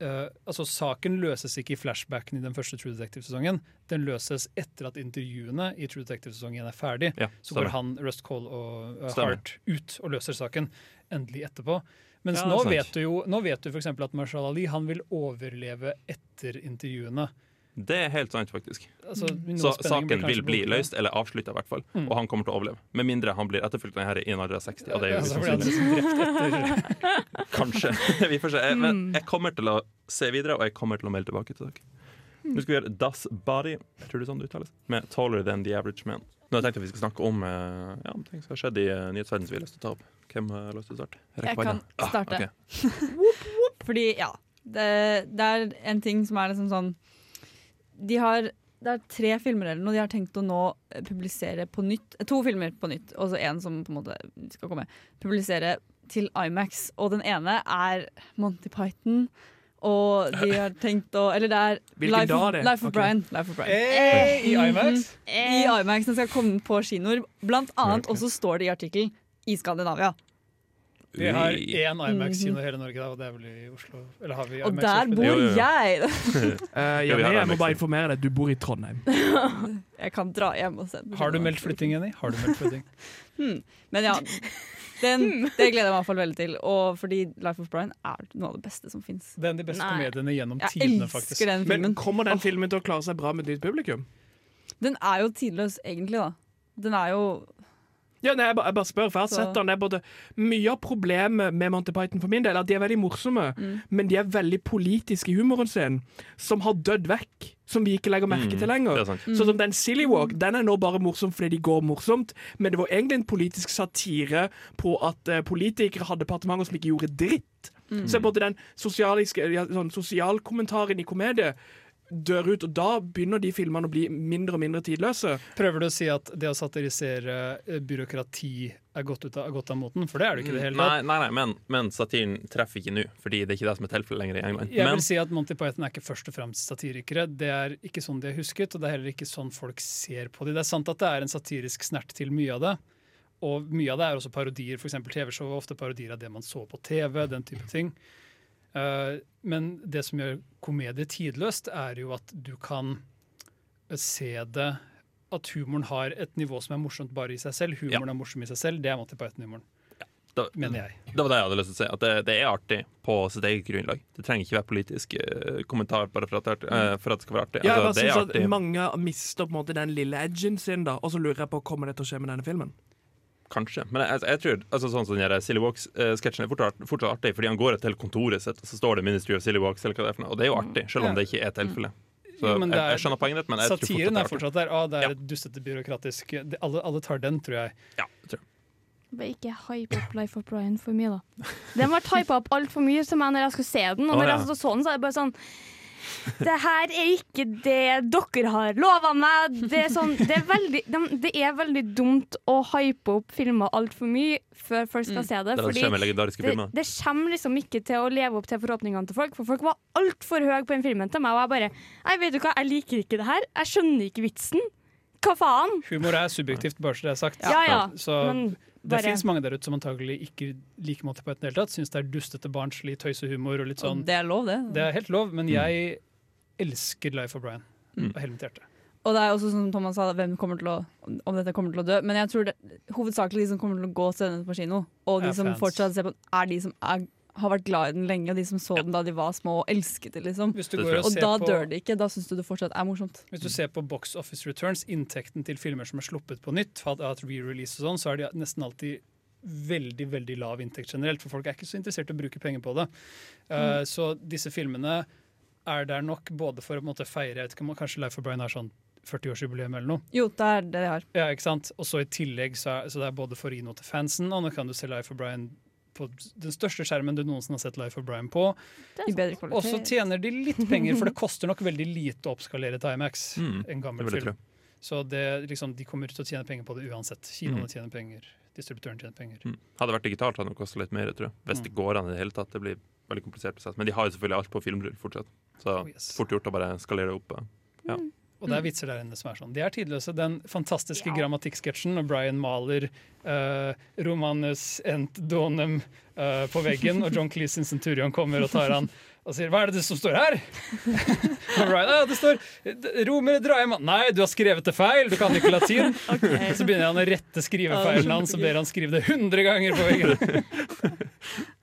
Speaker 7: eh, altså Saken løses ikke i flashbacken i den første True Detective-sesongen. Den løses etter at intervjuene i True Detective-sesongen er ferdig.
Speaker 1: Ja,
Speaker 7: Så går
Speaker 1: stemmer.
Speaker 7: han, Rust Cole og eh,
Speaker 1: Stemmer.
Speaker 7: Hart ut og løser saken endelig etterpå. Mens
Speaker 1: Ja, det er
Speaker 7: nå,
Speaker 1: sant.
Speaker 7: vet du jo, nå vet du for eksempel at Marshall Ali han vil overleve etter intervjuene.
Speaker 1: Det er helt sant, faktisk.
Speaker 7: Altså,
Speaker 8: Mm.
Speaker 7: noe
Speaker 1: Så
Speaker 7: spenning blir
Speaker 1: saken
Speaker 7: kanskje
Speaker 1: vil bli
Speaker 7: borte.
Speaker 1: løst, eller avslutta i hvert fall.
Speaker 7: Mm.
Speaker 1: Og han kommer til å overleve. Med mindre han blir etterfulgt av en herre i en alder av 60. Og det er jo
Speaker 7: Altså, blir han
Speaker 1: usannsynlig.
Speaker 7: liksom drept etter
Speaker 1: Kanskje. Vi får se. Jeg, men
Speaker 7: Mm.
Speaker 1: jeg kommer til å se videre, og jeg kommer til å melde tilbake til dere.
Speaker 7: Mm.
Speaker 1: Nå skal vi gjøre Das Body, jeg tror det er sånn det uttales, med Taller Than The Average Man. Nå har jeg tenkt at vi skal snakke om eh, ja, om ting som har skjedd i eh, nyhetsverdenen som vi har lyst til å ta opp. Hvem eh, har lyst til å starte? Rekker
Speaker 8: Jeg
Speaker 1: på
Speaker 8: kan
Speaker 1: henne. Ah,
Speaker 8: starte.
Speaker 1: ok.
Speaker 8: Fordi, ja det, det er en ting som er liksom sånn De har Det er tre filmer eller noe de har tenkt å nå eh, publisere på nytt. eh, To filmer på nytt, og så en som på en måte skal komme. Publisere til Imax. Og den ene er Monty Python. Og de har tenkt å Eller det er
Speaker 4: Hvilken
Speaker 8: Life,
Speaker 4: dag er
Speaker 8: of-
Speaker 4: det?
Speaker 8: Life of
Speaker 4: Ok.
Speaker 8: Brian. Life of Brian.
Speaker 7: Hey, Eh,
Speaker 8: Mm.
Speaker 7: I IMAX?
Speaker 8: I IMAX den skal komme på kinoer. Blant annet også står det i artikkelen i Skandinavia.
Speaker 7: Vi har
Speaker 1: Ui.
Speaker 7: én IMAX-kino i hele Norge, da, og det er vel i Oslo. Eller har vi
Speaker 8: Mm. Og
Speaker 7: IMAX?
Speaker 8: der bor
Speaker 1: Jo, jo, jo.
Speaker 4: Eh,
Speaker 8: jeg!
Speaker 1: Ja, vi liksom- har
Speaker 4: Janne, jeg må
Speaker 1: Imax.
Speaker 4: bare informere deg, du bor i Trondheim.
Speaker 8: Jeg kan dra hjem og se den.
Speaker 7: Har du meldt flytting, Jenny? Har du meldt flytting?
Speaker 8: Men ja, den, det gleder jeg meg i hvert fall veldig til. Og fordi Life of Brian er noe av det beste som fins.
Speaker 7: Det er en av de beste
Speaker 5: Nei.
Speaker 7: komediene gjennom
Speaker 8: Jeg
Speaker 7: tidene,
Speaker 8: elsker
Speaker 7: faktisk.
Speaker 8: den
Speaker 4: Men
Speaker 8: filmen.
Speaker 4: kommer den filmen til å klare seg bra med ditt publikum?
Speaker 8: Den er jo tidløs, egentlig, da. Den er jo
Speaker 4: Ja, nei, jeg, bare, jeg bare spør, for jeg har
Speaker 8: Så-
Speaker 4: sett den. Det er både, mye av problemet med Monty Python for min del er at de er veldig morsomme,
Speaker 8: Mm.
Speaker 4: men de er veldig politiske i humoren sin, som har dødd vekk. Som vi ikke legger merke til lenger.
Speaker 1: Mm. det er sant.
Speaker 4: Sånn
Speaker 8: Mm.
Speaker 4: som den Silly Walk den er nå bare morsom fordi de går morsomt, men det var egentlig en politisk satire på at eh, politikere hadde departementer som ikke gjorde dritt.
Speaker 8: Mm.
Speaker 4: Så både den sosialiske, ja, sånn, sosialkommentaren i komedie dør ut, og da begynner de filmene å bli mindre og mindre tidløse.
Speaker 7: Prøver du å si at det å satirisere eh, byråkrati er godt ut av, er godt av moten? For det er det ikke i det hele tatt.
Speaker 1: Nei, nei, nei men, men satiren treffer ikke nå, fordi det er ikke det som er tilfellet lenger i England.
Speaker 7: Jeg
Speaker 1: Men
Speaker 7: vil si at Monty Python er ikke først og fremst satirikere. Det er ikke sånn de er husket, og det er heller ikke sånn folk ser på dem. Det er sant at det er en satirisk snert til mye av det, og mye av det er også parodier. For eksempel TV-show er ofte parodier av det man så på TV, den type ting. Eh, Men det som gjør komedie tidløst, er jo at du kan se det at humoren har et nivå som er morsomt bare i seg selv. Humoren er morsom i seg selv, det er Monty Python-humoren,
Speaker 1: da,
Speaker 7: mener jeg.
Speaker 1: det var det jeg hadde lyst til å si. At det, det er artig på sitt eget grunnlag. Det trenger ikke være politisk eh, kommentar bare for at det, er artig, eh, for at det skal være artig.
Speaker 4: Ja, jeg
Speaker 1: Altså,
Speaker 4: bare
Speaker 1: det er
Speaker 4: synes
Speaker 1: artig.
Speaker 4: at mange mister på en måte den lille edgen sin, da. Og så lurer jeg på kommer det til å skje med denne filmen.
Speaker 1: Kanskje. Men jeg, jeg tror altså, sånn som den der Silly Walks-sketsjen er fortsatt, fortsatt artig, fordi han går til kontoret sitt, og så står det 'Ministry of Silly Walks', eller hva det er for noe. Og det er jo artig, selv om det ikke er tilfellet. Så
Speaker 7: Mm. Jo, men
Speaker 1: jeg,
Speaker 7: det er-
Speaker 1: jeg skjønner poenget ditt, men jeg tror
Speaker 7: Satiren er
Speaker 1: fortsatt
Speaker 7: fortsatt der. Ah, det
Speaker 1: Ja.
Speaker 7: er et dustete byråkratisk det, alle, alle tar den, tror jeg.
Speaker 1: det er artig. Ja, jeg tror.
Speaker 5: Bare ikke hype opp Life of Brian for mye, da. Den ble hypa opp altfor mye til meg når jeg skulle se den. Og
Speaker 1: Å,
Speaker 5: når
Speaker 1: ja.
Speaker 5: jeg så så den, så er det bare sånn Det her er ikke det dere har lova meg. Det er, sånn, det, er veldig, dem- det er veldig dumt å hype opp filmer altfor mye før folk skal se
Speaker 1: Mm.
Speaker 5: det.
Speaker 1: Det er det som
Speaker 5: Fordi
Speaker 1: skjer med legendariske
Speaker 5: det,
Speaker 1: filmer.
Speaker 5: det kommer liksom ikke til å leve opp til forhåpningene til folk, for folk var altfor høye på den filmen til meg. Og jeg bare Nei, vet du hva, jeg liker ikke det her. Jeg skjønner ikke vitsen. Hva faen?
Speaker 7: Humor er subjektivt, bare så det er sagt.
Speaker 5: Ja ja.
Speaker 7: Så
Speaker 5: Men
Speaker 7: det
Speaker 5: bare
Speaker 7: fins mange der ute som antagelig ikke liker Monty Python i det hele tatt. Syns det er dustete barnslig tøysehumor og litt
Speaker 8: og
Speaker 7: sånn.
Speaker 8: Det er lov, det.
Speaker 7: Det er helt lov,
Speaker 1: Mm.
Speaker 7: men jeg elsker Life of Brian av hele mitt hjerte.
Speaker 8: Og det er også som Thomas sa, hvem kommer til å, om dette kommer til å dø. Men jeg tror det, hovedsakelig de som kommer til å gå og se den på kino, og de
Speaker 7: Er
Speaker 8: som
Speaker 7: fans.
Speaker 8: fortsatt ser på den, er de som er, har vært glad i den lenge, og de som så den da de var små og elsket det, liksom.
Speaker 7: Hvis du,
Speaker 1: Det
Speaker 7: går
Speaker 1: tror
Speaker 7: og
Speaker 8: Og
Speaker 7: ser
Speaker 8: da
Speaker 7: på,
Speaker 8: dør det ikke. Da syns du det fortsatt er morsomt.
Speaker 7: hvis du ser på Box Office Returns, inntekten til filmer som er sluppet på nytt, fra at re-release og sånn, så er de nesten alltid veldig veldig lav inntekt generelt, for folk er ikke så interessert i å bruke penger på det. Eh, Så disse filmene er der nok både for å på en måte feire jeg vet ikke, om- Kanskje Life of Brian har sånn 40-årsjubileum eller noe.
Speaker 8: Jo, det er det de har.
Speaker 7: Ja, ikke sant? Og så i tillegg så er, så det er både for å gi noe til fansen, og nå kan du se Life of Brian på den største skjermen du noensinne har sett Life of Brian på.
Speaker 5: sånn.
Speaker 8: I bedre
Speaker 7: Og så
Speaker 8: kvalitet.
Speaker 7: tjener de litt penger, for det koster nok veldig lite å oppskalere til IMAX.
Speaker 1: Mm,
Speaker 7: En
Speaker 1: Det
Speaker 7: gammel
Speaker 1: vil jeg tro.
Speaker 7: film. Så det, liksom, de kommer til å tjene penger på det uansett. Kinoene tjener penger, distributøren tjener penger.
Speaker 1: Mm. Hadde det vært digitalt, hadde det kosta litt mer, tror jeg. Hvis
Speaker 7: Mm.
Speaker 1: det går an i det hele tatt. Det blir veldig komplisert prosess. Men de har jo selvfølgelig alt på filmrull fortsatt. Så
Speaker 7: Oh, yes.
Speaker 1: fort gjort å bare skalere opp. eh.
Speaker 7: Og det er vitser der inne som er sånn. De er tidløse. Den fantastiske
Speaker 5: Ja.
Speaker 7: grammatikkssketsjen når Brian maler eh, Romanus ent donem eh, på veggen, og John Cleese sin centurion kommer og tar han og sier 'Hva er det som står her?' og Brian, «Ah, det står eh, 'Romer draema'. Nei, du har skrevet det feil! Du kan ikke latin. Så begynner han å rette skrivefeilen hans, og ber han skrive det 100 ganger på veggen.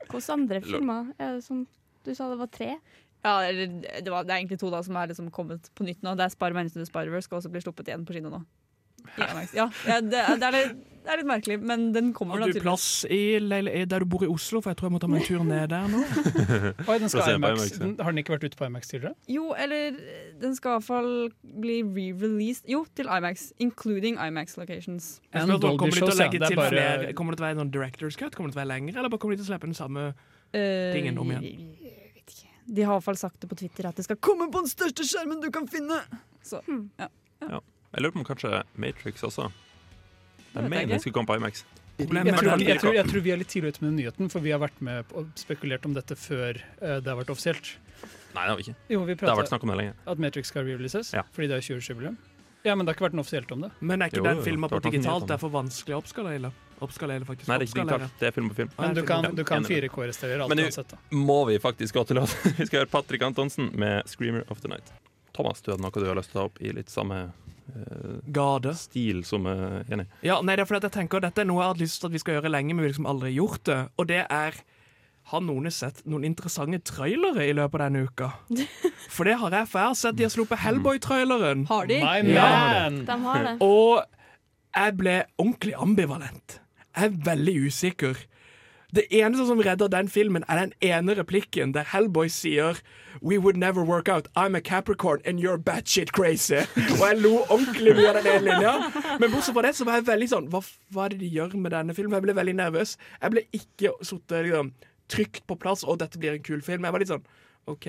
Speaker 5: Hvilke andre filmer er det som Du sa det var tre?
Speaker 8: Ja, eller det, var, det er egentlig to da som er liksom kommet på nytt nå. Det er Spar menneskene til Spider-Verse skal også bli sluppet igjen på kino nå. I IMAX. Ja, ja, det, er- det, er litt, det er litt merkelig, men den kommer
Speaker 4: Har
Speaker 8: da
Speaker 4: du
Speaker 8: tydeligvis.
Speaker 4: plass i leil- der du bor i Oslo, for jeg tror jeg må ta meg en tur ned der nå.
Speaker 7: Oi, den skal
Speaker 1: Plasserer på
Speaker 7: IMAX.
Speaker 1: IMAX, ja.
Speaker 7: Den, har den ikke vært ute på IMAX tidligere?
Speaker 8: Jo, eller eh, den skal i hvert fall bli re-released Jo, til IMAX, including IMAX locations.
Speaker 4: Jeg
Speaker 7: En
Speaker 4: spør bare,
Speaker 7: Dolby
Speaker 4: Kommer de til å
Speaker 7: Show, ja.
Speaker 4: legge
Speaker 7: Det er
Speaker 4: til
Speaker 7: bare-
Speaker 4: flere? Kommer det til å være en sånn director's cut? Kommer det til å være lengre, eller bare kommer de til å slippe den samme?
Speaker 8: Eh,
Speaker 4: Tingen om igjen.
Speaker 8: Jeg vet ikke. De har i hvert fall sagt det på Twitter at det skal komme på den største skjermen du kan finne! Så, ja.
Speaker 1: Jeg lurer på om kanskje Matrix også.
Speaker 8: vet jeg
Speaker 1: Jeg mener
Speaker 8: ikke.
Speaker 1: den skulle komme på IMAX.
Speaker 7: Jeg
Speaker 4: Problemet med
Speaker 7: tror, ikke-
Speaker 4: den
Speaker 7: jeg, tror, jeg tror vi er litt tidlig ute med den nyheten, for vi har vært med på- og spekulert om dette før eh, det har vært offisielt.
Speaker 1: Nei, det har vi ikke.
Speaker 7: Jo, vi
Speaker 1: Det har vært
Speaker 7: pratet
Speaker 1: snakk om det lenge.
Speaker 7: at Matrix skal releases,
Speaker 1: Ja.
Speaker 7: fordi det er 20-årsjubileum. Ja, men det har ikke vært noe offisielt om det.
Speaker 4: Men er ikke
Speaker 1: Jo, jo,
Speaker 4: den
Speaker 1: jo.
Speaker 4: filmen
Speaker 1: Det
Speaker 4: på
Speaker 1: har tatt en nyhet
Speaker 4: digitalt?
Speaker 1: om
Speaker 4: Det er for vanskelig å oppskalere. Oppskalere, faktisk.
Speaker 1: sånn. Nei, det er ikke
Speaker 4: Oppskalere.
Speaker 1: digitalt. Det er film på film.
Speaker 4: Nei,
Speaker 7: Men du
Speaker 4: film-
Speaker 7: kan, du kan
Speaker 1: enig med
Speaker 7: 4K-restaurere alt
Speaker 1: Men du-
Speaker 7: uansett. da.
Speaker 1: Må vi faktisk gå til låt? Vi skal høre Patrick Antonsen med 'Screamer of the Night'. Thomas, du hadde noe du har lyst til å ta opp i litt samme eh,
Speaker 4: Gade.
Speaker 1: stil som eh, Jenny.
Speaker 4: Ja, nei, det er fordi at jeg tenker at Dette er noe jeg har hatt lyst til at vi skal gjøre lenge, men vi har liksom aldri gjort det. Og det er Har noen sett noen interessante trailere i løpet av denne uka? For det har jeg, for jeg har sett de har sluppet Hellboy-traileren.
Speaker 8: Har de?
Speaker 7: My
Speaker 4: Ja.
Speaker 7: man!
Speaker 5: De har det.
Speaker 4: Og jeg ble ordentlig ambivalent. Jeg er veldig usikker. Det eneste som redder den filmen, er den ene replikken der Hellboy sier We would never work out. I'm a Capricorn and you're batshit crazy. Og jeg lo ordentlig mye av den ene linja. Men bortsett fra det så var jeg veldig sånn Hva, hva er det de gjør med denne filmen? Jeg ble veldig nervøs. Jeg ble ikke sittet liksom, trygt på plass, og dette blir en kul film. Jeg var litt sånn OK,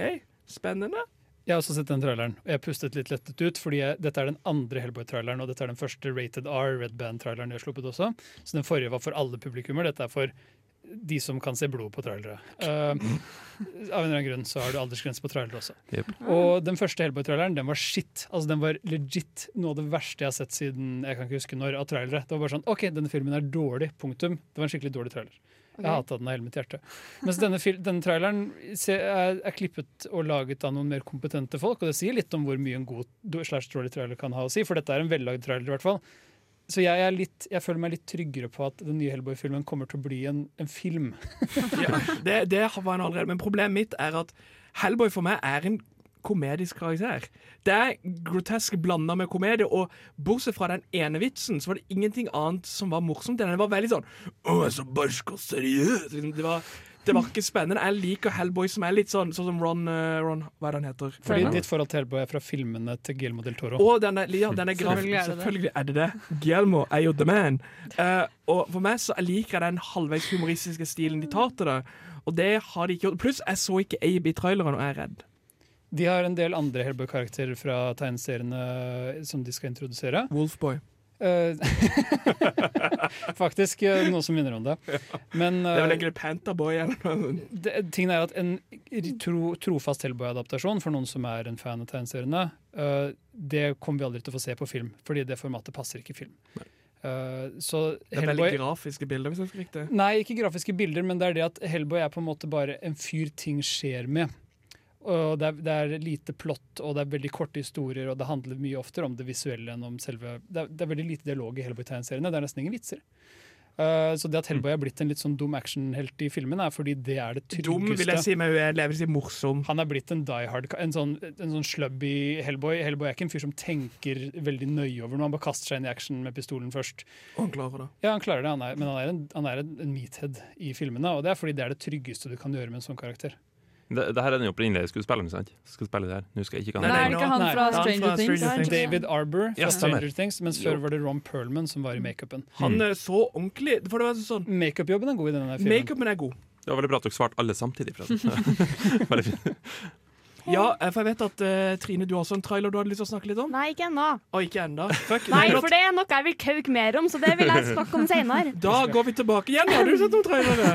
Speaker 4: spennende.
Speaker 7: Jeg har også sett den traileren, og jeg pustet litt lettet ut, fordi jeg, dette er den andre Hellboy-traileren, og dette er den første Rated R, Red Band-traileren de har sluppet også. Så den forrige var for alle publikummer, dette er for de som kan se blod på trailere. Eh, av en eller annen grunn så har du aldersgrense på trailere også.
Speaker 1: Jep.
Speaker 7: Og den første Hellboy-traileren, den var shit. Altså den var legit noe av det verste jeg har sett siden jeg kan ikke huske når, av trailere. Det var bare sånn OK, denne filmen er dårlig, punktum. Det var en skikkelig dårlig trailer. Jeg hata den av hele mitt hjerte. Mens denne, fil- denne traileren se- er, er klippet og laget av noen mer kompetente folk, og det sier litt om hvor mye en god do- slash dårlig trailer kan ha å si, for dette er en vellagd trailer i hvert fall. Så jeg, er litt, jeg føler meg litt tryggere på at den nye Hellboy-filmen kommer til å bli en, en film.
Speaker 4: ja, det, det var han allerede. Men problemet mitt er at Hellboy for meg er en komedisk karakter. Det er grotesk blanda med komedie, og bortsett fra den ene vitsen, så var det ingenting annet som var morsomt. Den var veldig sånn Å, jeg er så barsk og seriøs. Liksom, Det var, det var ikke spennende. Jeg liker Hellboy som er litt sånn sånn som Ron, eh, Ron Hva er det han heter?
Speaker 7: Fordi
Speaker 5: Fair
Speaker 7: ditt forhold til Hellboy er fra filmene til Guillermo del Toro.
Speaker 4: Og denne, ja, denne grafen
Speaker 8: Selvfølgelig er det det.
Speaker 4: Selvfølgelig er det det. Guillermo er jo the man. Eh, og for meg så liker jeg den halvveis humoristiske stilen de tar til det. Og det har de ikke gjort. Pluss, jeg så ikke Abe i traileren, og jeg er redd.
Speaker 7: De har en del andre Hellboy-karakterer fra tegneseriene eh, som de skal introdusere.
Speaker 4: Wolfboy.
Speaker 7: Eh, Faktisk eh, noe som minner om det. Men
Speaker 4: Det er vel
Speaker 7: eh,
Speaker 4: egentlig Pantherboy eller noe sånt.
Speaker 7: det, tingen er at en tro, trofast Hellboy-adaptasjon for noen som er en fan av tegneseriene, eh, det kommer vi aldri til å få se på film, fordi det formatet passer ikke film. Eh, så
Speaker 4: Det er veldig
Speaker 7: Hellboy
Speaker 4: grafiske bilder, hvis jeg husker riktig.
Speaker 7: Nei, ikke grafiske bilder, men det er det at Hellboy er på en måte bare en fyr ting skjer med. Og det er, det er lite plott, og det er veldig korte historier, og det handler mye oftere om det visuelle enn om selve Det er, det er veldig lite dialog i Hellboy-tegneseriene, det er nesten ingen vitser.
Speaker 4: Mm.
Speaker 7: Eh, så det at Hellboy er blitt en litt sånn dum actionhelt i filmen, er fordi det er det
Speaker 4: Dum vil jeg
Speaker 7: tryggeste.
Speaker 4: si, men uedelig. Jeg vil si morsom.
Speaker 7: Han er blitt en die hard, en sånn, en sånn slubby Hellboy. Hellboy er ikke en fyr som tenker veldig nøye over noe, han bare kaster seg inn i action med pistolen først.
Speaker 4: Og han klarer det.
Speaker 7: Ja, han klarer det, han er, men han er, en, han er en, en meathead i filmene. Og det er fordi det er det tryggeste du kan gjøre med en sånn karakter.
Speaker 1: Det, det her er den opprinnelige skuespilleren, sant? Skal spille det her. Nå skal jeg ikke kan
Speaker 4: Nei,
Speaker 8: Nei,
Speaker 4: nei,
Speaker 8: er det ikke han
Speaker 7: nei.
Speaker 8: fra
Speaker 4: Det er han
Speaker 8: Stranger
Speaker 4: fra
Speaker 8: Things?
Speaker 4: Stranger Things.
Speaker 7: David Arbor fra
Speaker 1: Ja, stemmer.
Speaker 7: Stranger Things, mens før var det Ron Perlman som var i makeupen.
Speaker 4: Han eh, så ordentlig For det var sånn
Speaker 7: Makeupjobben er god i denne filmen.
Speaker 4: Makeupen er god.
Speaker 1: Det var veldig bra at dere svarte alle samtidig, forresten. Bare fint.
Speaker 4: Ja, eh, for jeg vet at eh, Trine, du har også en trailer du hadde lyst til å snakke litt om.
Speaker 5: Nei, ikke ennå.
Speaker 4: Og ikke enda. Fuck,
Speaker 5: Nei,
Speaker 4: det er
Speaker 5: for det er noe jeg vil kauke mer om, så det vil jeg snakke om senere.
Speaker 4: Da går vi tilbake igjen. Har du sett noen trailere?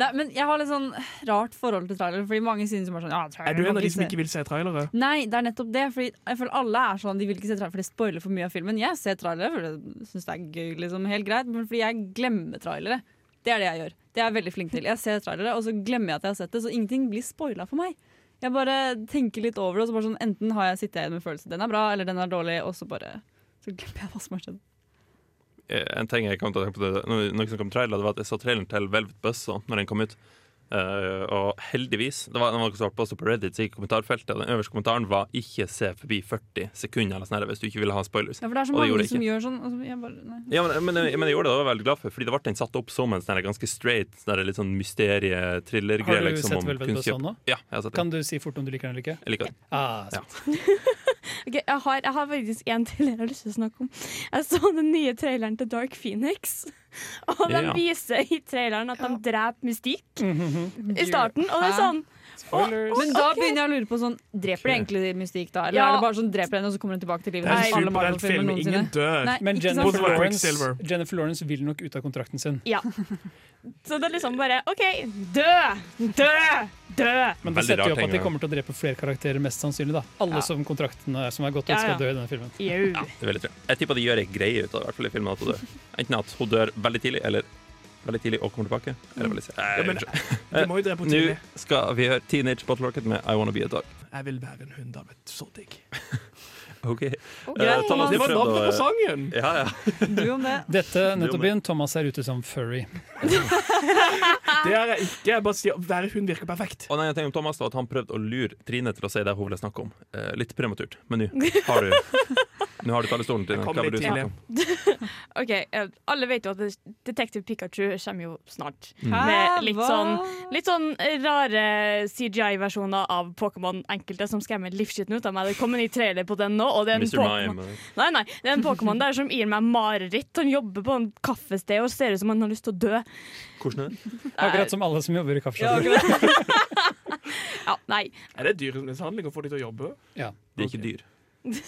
Speaker 8: Nei, men jeg har litt sånn rart forhold til trailer, fordi mange synes som er sånn ja,
Speaker 4: Er du en av de som ikke vil se trailere?
Speaker 8: Nei, det er nettopp det. Fordi jeg føler alle er sånn De vil ikke se trailer, for det spoiler for mye av filmen. Jeg ser trailere, for jeg syns det er gøy, liksom, helt greit, men fordi jeg glemmer trailere. Det er det jeg gjør. Det er jeg veldig flink til. Jeg ser trailere, og så glemmer jeg at jeg har sett det, så ingenting blir spoila for meg. Jeg bare tenker litt over det, og så bare sånn enten har jeg sittet igjen med følelsen den er bra, eller den er dårlig, og så bare så glemmer jeg hva som har skjedd.
Speaker 1: Eh, En ting jeg kom til å tenke på det, når vi når vi snakket om trailer, det var at jeg så traileren til Velvet Buzzsaw når den kom ut. Eh, og heldigvis Det var det var noen som holdt på å stå på Reddit, så gikk kommentarfeltet, og den øverste kommentaren var 'ikke se forbi 40 sekunder' eller sånn her, hvis du ikke ville ha spoilers.
Speaker 8: Ja, for det er så
Speaker 1: Og det
Speaker 8: mange
Speaker 1: gjorde jeg
Speaker 8: som
Speaker 1: ikke.
Speaker 8: gjør sånn. Og så jeg bare, nei.
Speaker 1: Ja, men, men, men jeg gjorde det, og jeg var veldig glad for fordi det ble den satt opp som en sånn her ganske straight sånn her litt sånn mysterie-thriller-greie.
Speaker 7: Har du
Speaker 1: liksom,
Speaker 7: sett
Speaker 1: om
Speaker 7: Velvet
Speaker 1: kunstkjøp-
Speaker 7: Buzzsaw nå?
Speaker 1: Ja, jeg har sett den.
Speaker 7: Kan du si fort om du liker den eller ikke?
Speaker 1: Jeg liker den.
Speaker 7: Ah,
Speaker 1: Ja.
Speaker 5: Ok, jeg, har, jeg har faktisk en til jeg har lyst til å snakke om. Jeg så den nye traileren til Dark Phoenix. Og de
Speaker 1: Ja.
Speaker 5: viser i traileren at de dreper mystikk i starten. Og det er
Speaker 8: Hæ?
Speaker 5: sånn
Speaker 7: Spoilers!
Speaker 8: Men da begynner jeg å lure på sånn Dreper de egentlig Mystikk da? Eller
Speaker 5: Ja.
Speaker 8: er det bare sånn dreper henne, og så kommer hun tilbake til livet?
Speaker 4: Det er
Speaker 8: som alle
Speaker 4: en superheltfilm.
Speaker 8: Marvel-filmer
Speaker 4: Ingen
Speaker 8: noensinne?
Speaker 4: dør.
Speaker 8: Nei,
Speaker 7: Men
Speaker 8: ikke sant?
Speaker 7: Jennifer
Speaker 4: Hvorfor er
Speaker 7: Lawrence,
Speaker 4: Quicksilver?
Speaker 7: Jennifer Lawrence vil nok ut av kontrakten sin.
Speaker 5: Ja. Så det er liksom bare OK, dø! Dø! Dø!
Speaker 7: Men det
Speaker 1: Veldig
Speaker 7: setter
Speaker 1: rart,
Speaker 7: jo opp at de
Speaker 1: tenker jeg.
Speaker 7: kommer til å drepe flere karakterer, mest sannsynlig. da. Alle
Speaker 5: Ja.
Speaker 7: som kontrakten er, som er gått ut,
Speaker 5: Ja,
Speaker 7: skal
Speaker 5: ja.
Speaker 7: dø i denne filmen.
Speaker 5: Jau.
Speaker 1: Det vil jeg tro. Jeg tipper de gjør ei greie ut av det, i hvert fall i filmen at hun dør. Enten at hun dør veldig tidlig, eller veldig tidlig og kommer tilbake. Eller veldig sent.
Speaker 4: Ja, men-
Speaker 1: Eh,
Speaker 4: De må jo drepe
Speaker 1: Nå
Speaker 4: tidlig.
Speaker 1: skal vi høre Teenage Bottle Rocket med I Wanna Be A Dog.
Speaker 4: Jeg vil være en hund, da, vet du. Så digg.
Speaker 1: OK.
Speaker 5: Greit,
Speaker 1: Eh, Thomas,
Speaker 4: Det var
Speaker 1: du prøvde
Speaker 4: navnet
Speaker 1: å-
Speaker 4: på sangen!
Speaker 1: Ja, ja.
Speaker 8: Du om det.
Speaker 7: Dette nettopp inn. Thomas ser ute som furry.
Speaker 4: Det er jeg ikke. Jeg bare sier være hund virker perfekt.
Speaker 1: Og nei, jeg tenker om Thomas da, at Han prøvde å lure Trine til å si det hun ville snakke om. Eh, litt prematurt, men nå har du Nå har du talerstolen, Trine.
Speaker 4: kom
Speaker 1: Hva vil
Speaker 4: litt
Speaker 1: du snakke om?
Speaker 5: OK, eh, alle vet jo at Detective Pikachu kommer jo snart.
Speaker 8: Hæ?
Speaker 5: Med litt
Speaker 8: Hva?
Speaker 5: sånn- Litt sånn rare CGI-versjoner av Pokémon enkelte som skremmer livskiten ut av meg. Det kommer en ny trailer på den nå, og det er en
Speaker 1: Mr.
Speaker 5: Pokémon
Speaker 1: Mime. eh?
Speaker 5: Nei, nei, det er en Pokémon der som gir meg mareritt. Han jobber på en kaffested og ser ut som han har lyst til å dø.
Speaker 1: Hvordan er det?
Speaker 7: Akkurat som alle som jobber i kaffeshoppen.
Speaker 5: Ja, nei.
Speaker 4: Er det dyremishandling å få de til å jobbe?
Speaker 1: De er ikke dyr. Ja, Jeg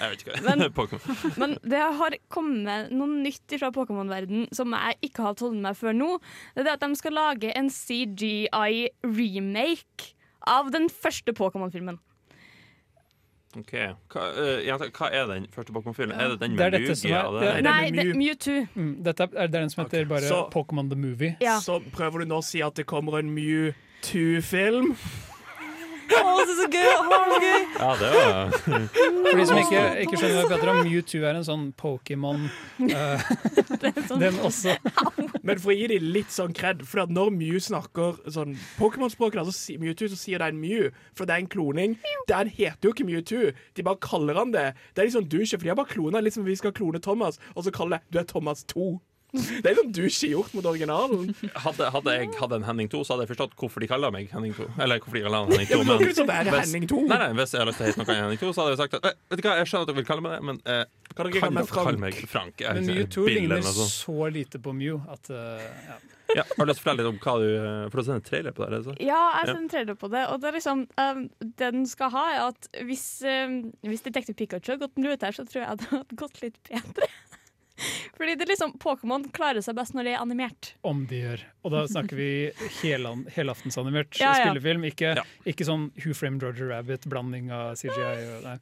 Speaker 1: vet ikke hva
Speaker 5: Men-
Speaker 1: Pokémon.
Speaker 5: Men det har kommet noe nytt fra Pokémon-verden som jeg ikke har tålt meg før nå. Det er det at de skal lage en CGI-remake av den første Pokémon-filmen.
Speaker 1: Ok. Hva, eh, ja, hva er den første Pokémon-filmen? Er det den
Speaker 7: Det er
Speaker 1: med
Speaker 7: dette som
Speaker 1: Lugia?
Speaker 7: er-
Speaker 1: og
Speaker 7: det er-
Speaker 4: det
Speaker 1: det-
Speaker 5: Nei,
Speaker 4: med
Speaker 5: det,
Speaker 4: Mew?
Speaker 5: Mewtwo.
Speaker 7: Mm, dette er, det er den som heter bare
Speaker 4: så-
Speaker 7: Pokémon the Movie.
Speaker 5: Ja.
Speaker 4: Så prøver du nå å si at det kommer en Mew2-film?
Speaker 8: Å, det er så gøy! Å, så gøy!
Speaker 1: Ja, det var
Speaker 7: For de som ikke, ikke skjønner hva jeg prater om, Mewtwo er en sånn Pokémon eh,
Speaker 5: sånn-
Speaker 7: Den også.
Speaker 4: Men for å gi dem litt sånn cred, for at når Mew snakker sånn Pokémon-språket, altså si- Mewtwo, så sier de en Mew, for det er en kloning. Den heter jo ikke Mewtwo, de bare kaller han det. Det er litt sånn douche, for de har bare klona, litt som vi skal klone Thomas, og så kaller de Du er Thomas 2. Det er litt sånn douche gjort mot originalen.
Speaker 1: hadde, hadde jeg hatt en Henning 2, så hadde jeg forstått hvorfor de kaller meg Henning 2. Eller hvorfor de kaller han Henning 2.
Speaker 4: Ja, men
Speaker 1: men-
Speaker 4: det er ikke så være
Speaker 1: hvis-
Speaker 4: Henning 2.
Speaker 1: Nei, nei, Hvis jeg hadde lyst til å hete noe annet enn Henning 2, så hadde jeg sagt at «Eh, Vet du hva, jeg skjønner at dere vil kalle meg det, men
Speaker 4: Kan
Speaker 1: eh,
Speaker 4: dere kalle meg
Speaker 1: dere kalle
Speaker 4: Frank?
Speaker 1: meg Frank? Jeg er
Speaker 7: Men
Speaker 1: ikke en
Speaker 7: Mewtwo
Speaker 1: bill eller
Speaker 7: ligner
Speaker 1: noe sånt.
Speaker 7: så lite på Mew at eh, ja.
Speaker 1: Ja, har du lyst til å fortelle litt om hva du eh, For du har sendt en trailer på det? er det så?
Speaker 5: Ja, jeg
Speaker 1: Ja.
Speaker 5: sentrerer det på det. Og det er liksom, um, det den skal ha, er at hvis, um, hvis Detektiv Pikachu hadde gått en lurt her, så tror jeg det hadde gått litt bedre. Fordi det er liksom, Pokémon klarer seg best når de er animert.
Speaker 7: Om de gjør. Og da snakker vi helan- helaftensanimert
Speaker 5: Ja, ja.
Speaker 7: spillefilm, ikke,
Speaker 1: Ja.
Speaker 7: ikke sånn Who Framed Roger Rabbit-blanding av CGI. Og, nei.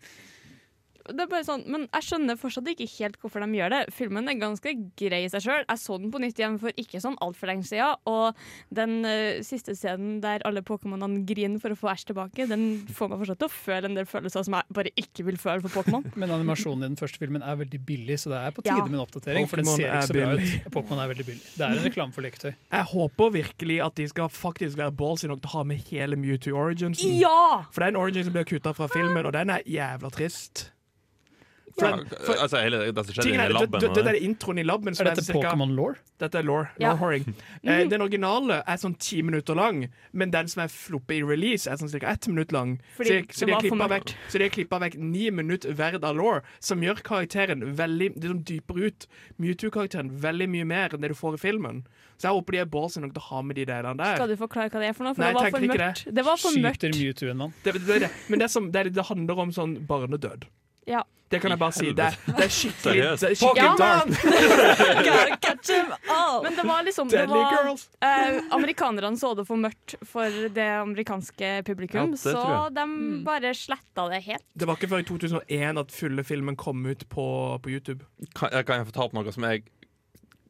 Speaker 5: Det er bare sånn, Men jeg skjønner fortsatt ikke helt hvorfor de gjør det. Filmen er ganske grei i seg sjøl. Jeg så den på nytt igjen for ikke sånn altfor lenge siden. Og den eh, siste scenen der alle Pokémonene griner for å få Æsj tilbake, den får meg fortsatt til å føle en del følelser som jeg bare ikke vil føle for Pokémon.
Speaker 7: Men animasjonen i den første filmen er veldig billig, så det er på tide
Speaker 5: Ja.
Speaker 7: med en oppdatering. For den
Speaker 4: Pokémon
Speaker 7: ser ikke så
Speaker 4: er
Speaker 7: bra ut. Pokémon er veldig billig. Det er en reklame for leketøy.
Speaker 4: Jeg håper virkelig at de skal faktisk være ballsy nok til å ha med hele Mewtwo Originsen.
Speaker 5: Ja!
Speaker 4: For det er en origin som blir kutta fra filmen, og den er jævla trist. For
Speaker 1: Ja,
Speaker 4: den, for,
Speaker 1: altså, hele det som skjedde
Speaker 4: tingen
Speaker 1: i
Speaker 4: er,
Speaker 1: laben?
Speaker 4: det,
Speaker 1: og
Speaker 4: det, det
Speaker 1: det.
Speaker 4: er introen i laben som
Speaker 7: Er
Speaker 4: er,
Speaker 7: dette
Speaker 4: cirka
Speaker 7: Pokémon Law?
Speaker 4: Dette er lore.
Speaker 5: Ja.
Speaker 4: lore horing. Eh, den originale er sånn ti minutter lang, men den som er floppy i release, er sånn ca. ett minutt lang.
Speaker 5: Fordi
Speaker 4: så, de-
Speaker 5: det
Speaker 4: så, de har
Speaker 5: var for
Speaker 4: klippet
Speaker 5: mørkt.
Speaker 4: vekk, så de har klippa vekk ni minutter hver av law, som gjør karakteren veldig det som dyper ut Mewtwo-karakteren veldig mye mer enn det du får i filmen. Så jeg håper de er ballsy nok til å ha med de delene der.
Speaker 5: Skal du forklare hva det er for noe? For
Speaker 4: Nei,
Speaker 5: det var
Speaker 4: jeg
Speaker 5: for
Speaker 4: tenker ikke
Speaker 5: mørkt. Det var for mørkt.
Speaker 7: Skyter Mewtwo en mann?
Speaker 4: Det, det, det, men det, er som, det, er- det handler om sånn barnedød.
Speaker 5: Ja.
Speaker 4: Det kan jeg bare si. Det, er- det er skikkelig,
Speaker 1: Seriøst?
Speaker 4: det er skikkelig
Speaker 5: Ja.
Speaker 4: dark.
Speaker 8: Gotta catch 'em all!
Speaker 5: Men det var liksom det
Speaker 4: Deadly
Speaker 5: var,
Speaker 4: girls.
Speaker 5: eh, Amerikanerne så det for mørkt for det amerikanske
Speaker 1: Ja,
Speaker 5: publikum,
Speaker 1: det
Speaker 5: så
Speaker 1: tror
Speaker 5: de
Speaker 8: Mm.
Speaker 5: bare sletta det helt.
Speaker 4: Det var ikke før i 2001 at fulle filmen kom ut på, på YouTube.
Speaker 1: Kan, jeg- kan jeg få ta opp noe som jeg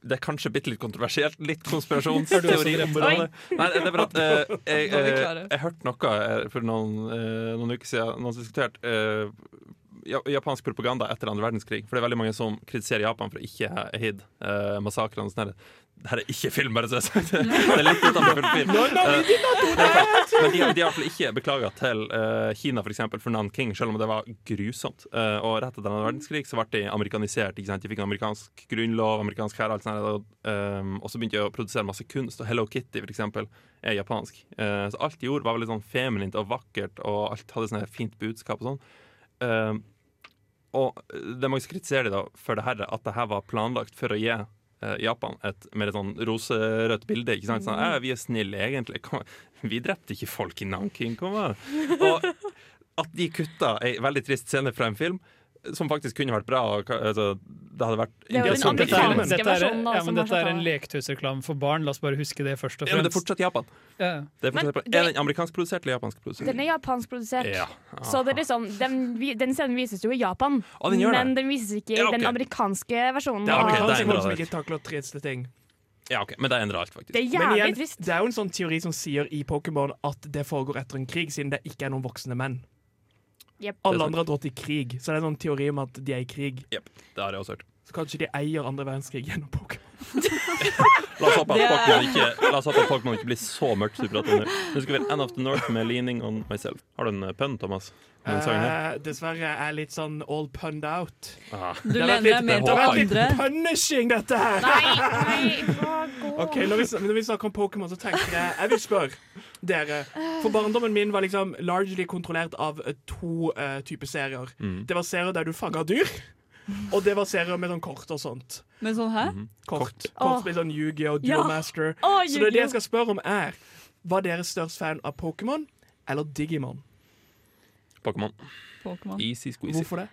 Speaker 1: det er kanskje bitte litt kontroversielt. Litt
Speaker 7: Er du også
Speaker 1: konspirasjonsteori.
Speaker 7: drept?
Speaker 1: om det. Nei, det er bare at eh, jeg,
Speaker 8: Da er vi
Speaker 1: eh,
Speaker 8: klare.
Speaker 1: jeg hørte noe eh, for noen, eh, noen uker siden noen som diskuterte eh, ja- japansk propaganda etter andre verdenskrig. For det er veldig mange som kritiserer Japan for å ikke ha hid uh, massakrene. og sånn her. Det her er ikke film, bare så jeg har sagt det. Det er litt utenfor film. Eh, det er feil. Men de har de har iallfall ikke beklaga til eh, Kina, f.eks., for, eksempel, for Nanking, selv om det var grusomt. Eh, og rett etter andre verdenskrig så ble de amerikanisert. Ikke sant? De fikk en amerikansk grunnlov, amerikansk hær, alt sånt. her, Og, ehm, og så begynte de å produsere masse kunst. Og Hello Kitty, f.eks., er japansk. Eh, så alt de gjorde, var veldig sånn feminint og vakkert, og alt hadde sånn her fint budskap og sånn. Ehm, og det er mange som kritiserer de da for det her, at det her var planlagt for å gi eh, Japan et mer sånn roserødt bilde. ikke sant? Sånn, «Eh, vi er snille, egentlig. Kom, vi drepte ikke folk i Nanking. Kom an. Og at de kutta ei veldig trist scene fra en film som faktisk kunne vært bra. og ka- Altså, det hadde vært
Speaker 5: Det er jo den
Speaker 1: interessant.
Speaker 7: Dette er,
Speaker 5: amerikanske
Speaker 7: dette er,
Speaker 5: versjonen, da,
Speaker 7: ja,
Speaker 5: som
Speaker 7: men
Speaker 5: har
Speaker 7: dette
Speaker 5: tatt
Speaker 7: er en
Speaker 5: av.
Speaker 7: leketøysreklame for barn. La oss bare huske det først og
Speaker 1: Ja, men det er
Speaker 7: fremst.
Speaker 1: fortsatt Japan.
Speaker 7: Ja, ja.
Speaker 1: Det er,
Speaker 5: Men
Speaker 1: fortsatt Japan.
Speaker 5: det-
Speaker 1: er den amerikanskprodusert eller japanskprodusert?
Speaker 5: Den er japanskprodusert.
Speaker 1: Ja.
Speaker 5: Så det er liksom, den, vi- den scenen vises jo i Japan,
Speaker 1: Å, den gjør det.
Speaker 5: men den vises ikke i
Speaker 1: Ja, ok.
Speaker 5: den amerikanske versjonen.
Speaker 1: Ja, ok,
Speaker 5: av-
Speaker 1: det er
Speaker 4: Amerikanske folk som
Speaker 1: bra.
Speaker 4: ikke takler triste ting.
Speaker 1: Ja, ok, Men det endrer alt, faktisk.
Speaker 5: Det
Speaker 4: Men
Speaker 5: er jævlig
Speaker 4: igjen,
Speaker 5: trist.
Speaker 4: det er jo en sånn teori som sier i Pokémon at det foregår etter en krig, siden det ikke er noen voksne menn.
Speaker 5: Jep.
Speaker 4: Alle andre har dratt i krig, så det er en sånn teori om at de er i krig.
Speaker 1: Jep, det har jeg også hørt.
Speaker 4: Så kanskje de eier andre verdenskrig gjennom Pokémon.
Speaker 1: La oss håpe at
Speaker 8: Det er-
Speaker 1: Pokémon ikke, la oss håpe at Pokémon ikke blir så mørkt. som vi prater om Nå Nå skal vi til End of the North med 'Leaning on Myself'. Har du en eh, pønn, Thomas? Med den sangen her?
Speaker 4: Eh, dessverre er jeg litt sånn all punned out.
Speaker 1: Ah.
Speaker 8: Du
Speaker 4: Det har
Speaker 8: lener
Speaker 4: vært
Speaker 8: deg
Speaker 4: litt-
Speaker 8: mer
Speaker 1: det
Speaker 8: til
Speaker 1: har vært
Speaker 4: Litt
Speaker 8: andre.
Speaker 4: punishing, dette her!
Speaker 5: Nei, nei, hva går
Speaker 4: Ok, når vi, sn- når vi snakker om Pokémon, så tenker jeg Jeg vil spørre dere. For barndommen min var liksom largely kontrollert av eh, to eh, typer serier.
Speaker 1: Mm.
Speaker 4: Det var serier der du fanga dyr, og det var serier med sånn kort og sånt.
Speaker 8: Men sånn hæ?
Speaker 4: Kort. Kort,
Speaker 5: Åh.
Speaker 4: med sånn Yugi og
Speaker 8: Ja.
Speaker 4: Duel Master.
Speaker 5: Å,
Speaker 4: Så det, er det
Speaker 5: Yu-Gi-Oh!
Speaker 4: jeg skal spørre om, er Var dere størst fan av Pokémon eller Digimon?
Speaker 1: Pokémon.
Speaker 8: Pokémon.
Speaker 1: Easy squeezy.
Speaker 4: Hvorfor det?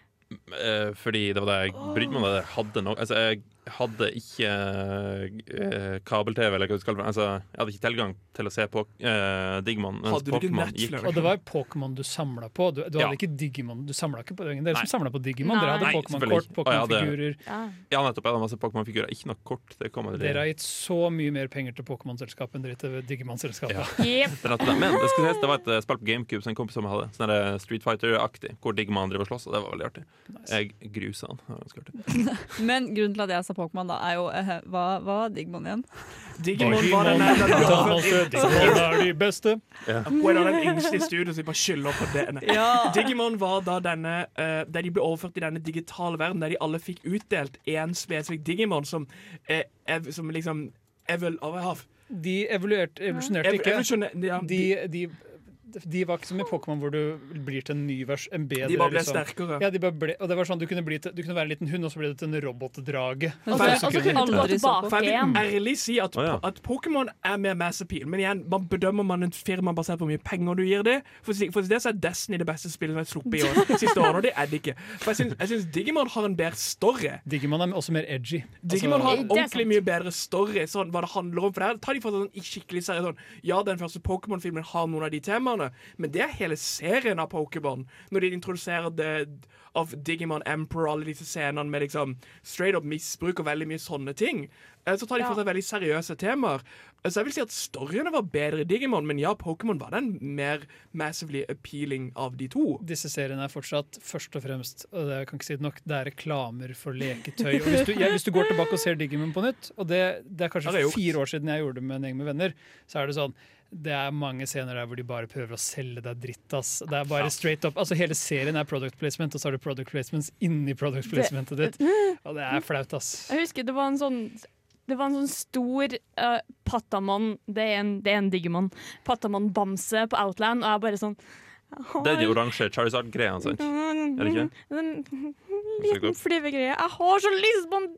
Speaker 1: Eh, fordi det var det jeg brydde meg om. Det jeg hadde nok, altså, jeg hadde ikke eh, kabel-TV, eller hva du skal kalle det. Altså, jeg hadde ikke tilgang til å se på eh, Digimon. mens
Speaker 4: Hadde du ikke
Speaker 1: Pokémon
Speaker 4: Netflix?
Speaker 1: gikk.
Speaker 7: Og det var Pokémon du samla på. Du, du hadde
Speaker 1: Ja.
Speaker 7: ikke Digimon. Du samlet ikke på det. Dere
Speaker 1: Nei.
Speaker 7: som samla på Digimon, dere hadde
Speaker 1: Nei,
Speaker 7: Pokémon-kort,
Speaker 1: selvfølgelig ikke. Å, ja, det-
Speaker 7: Pokémon-figurer.
Speaker 5: Ja.
Speaker 1: Ja, nettopp. Jeg hadde masse Pokémon-figurer. Ikke noe kort. Det kom aldri.
Speaker 7: Dere har gitt så mye mer penger til Pokémon-selskapet enn dere til Digimon-selskapet.
Speaker 1: Ja.
Speaker 5: Jep.
Speaker 1: Det er nettopp det. Men det, skal sies, det var et eh, spill på GameCube som en kompis av meg hadde. Sånn der, eh, Street Fighter-aktig, hvor Digimon driver og slåss, og det var veldig artig. Jeg grusa han. Det var ganske artig.
Speaker 8: Men grunnen til at jeg sa Pokémon, da, er jo eh, Hva hva var Digimon igjen?
Speaker 4: Digimon var den der den var
Speaker 7: Donald Trump, Digimon er de beste.
Speaker 4: Hun er da den yngste i studio som bare skylder på det. Nei.
Speaker 8: Ja.
Speaker 4: Digimon var da denne eh, Der de ble overført i denne digitale verden, der de alle fikk utdelt én spesifikk Digimon som, eh, ev, som liksom Evil Overhav.
Speaker 7: De evoluerte, evolusjonerte
Speaker 4: Ev,
Speaker 7: ikke.
Speaker 4: evolusjone- ja,
Speaker 7: De,
Speaker 4: de,
Speaker 7: de, de var ikke som i Pokémon, hvor du blir til en ny vers, en bedre.
Speaker 4: de bare ble
Speaker 7: liksom.
Speaker 4: sterkere.
Speaker 7: Ja, de bare ble, og det var sånn, du kunne, bli til, du kunne være en liten hund, og så ble du til en robotdrage.
Speaker 8: Og
Speaker 5: Og så- og så kunne du gå
Speaker 8: Aldri så på.
Speaker 5: tilbake
Speaker 4: For jeg
Speaker 5: igjen.
Speaker 4: vil ærlig si at,
Speaker 1: Å, ja.
Speaker 4: at Pokémon er mer mass appeal. Men igjen, man bedømmer man et firma basert på hvor mye penger du gir det. For, si- for det så er Destiny det beste spillet som jeg har sluppet i år, siste året, og det er det ikke. For jeg syns- jeg syns Digimon har en bedre story.
Speaker 7: Digimon er også mer edgy. Altså-
Speaker 4: Digimon har
Speaker 5: Altså, det er
Speaker 4: ordentlig
Speaker 5: sant.
Speaker 4: mye bedre story, sånn hva det handler om. For det her tar de for sånn, i skikkelig serie sånn Ja, den første Pokémon-filmen har noen av de temaene, men det er hele serien av Pokémon. Når de introduserer det av Digimon Emperor, alle disse scenene med liksom straight up misbruk og veldig mye sånne ting, eh, så tar de for seg veldig seriøse temaer. Eh, Så jeg vil si at storyene var bedre i Digimon, men ja, Pokémon var den mer massively appealing av de to.
Speaker 7: Disse seriene er fortsatt først og fremst og det, jeg kan ikke si det nok, det er reklamer for leketøy. Og hvis, du, jeg, hvis du går tilbake og ser Digimon på nytt, og det, det er
Speaker 4: Har
Speaker 7: kanskje
Speaker 4: jeg gjort.
Speaker 7: fire år siden jeg gjorde det med en gjeng med venner, så er det sånn det er mange scener der hvor de bare prøver å selge deg dritt. ass. Det er bare straight up. Altså Hele serien er product placement, og så har du product placements inni product placementet ditt. Og det er flaut, ass.
Speaker 5: Jeg husker det var en sånn det var en sånn stor eh, Patamon det er, en, det er en Digimon. Patamon-bamse på Outland, og jeg bare sånn
Speaker 1: Det er de oransje Charizard-greiene, sant?
Speaker 5: Er
Speaker 1: det ikke?
Speaker 5: En mm, liten flyvegreie. Jeg har så lyst på en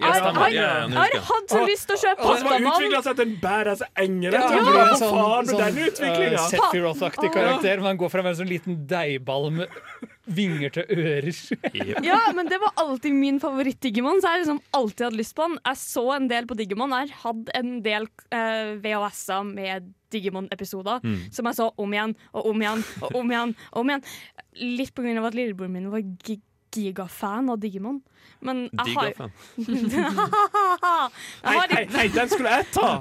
Speaker 1: Ja,
Speaker 5: Jeg
Speaker 1: stemmer.
Speaker 5: har-
Speaker 1: Ja, ja, nå husker
Speaker 5: jeg har
Speaker 1: jeg.
Speaker 5: hatt så lyst til å kjøpe
Speaker 4: Han som har
Speaker 5: Patamon!
Speaker 4: utvikla seg til en badass engel! Ja,
Speaker 7: Det blir en
Speaker 4: Hva
Speaker 7: sånn-
Speaker 4: faen med
Speaker 7: sånn,
Speaker 4: den utviklinga?
Speaker 7: eh, Sephiroth-aktig karakter, men han går fra å være en sånn liten deigball med vinger til ører.
Speaker 1: Jep.
Speaker 5: Ja, men det var alltid min favoritt-Digimon, så jeg har liksom alltid hatt lyst på den. Jeg så en del på Digimon. Jeg hadde en del eh, VHS-er med Digimon-episoder
Speaker 1: Mm.
Speaker 5: som jeg så om igjen og om igjen og om igjen. og om igjen. Litt på grunn av at lillebroren min var gi- gigafan av Digimon. Men jeg har
Speaker 1: Digafan.
Speaker 5: Jeg
Speaker 4: Hei,
Speaker 5: har
Speaker 4: hei,
Speaker 5: litt,
Speaker 4: hei, den skulle jeg ta!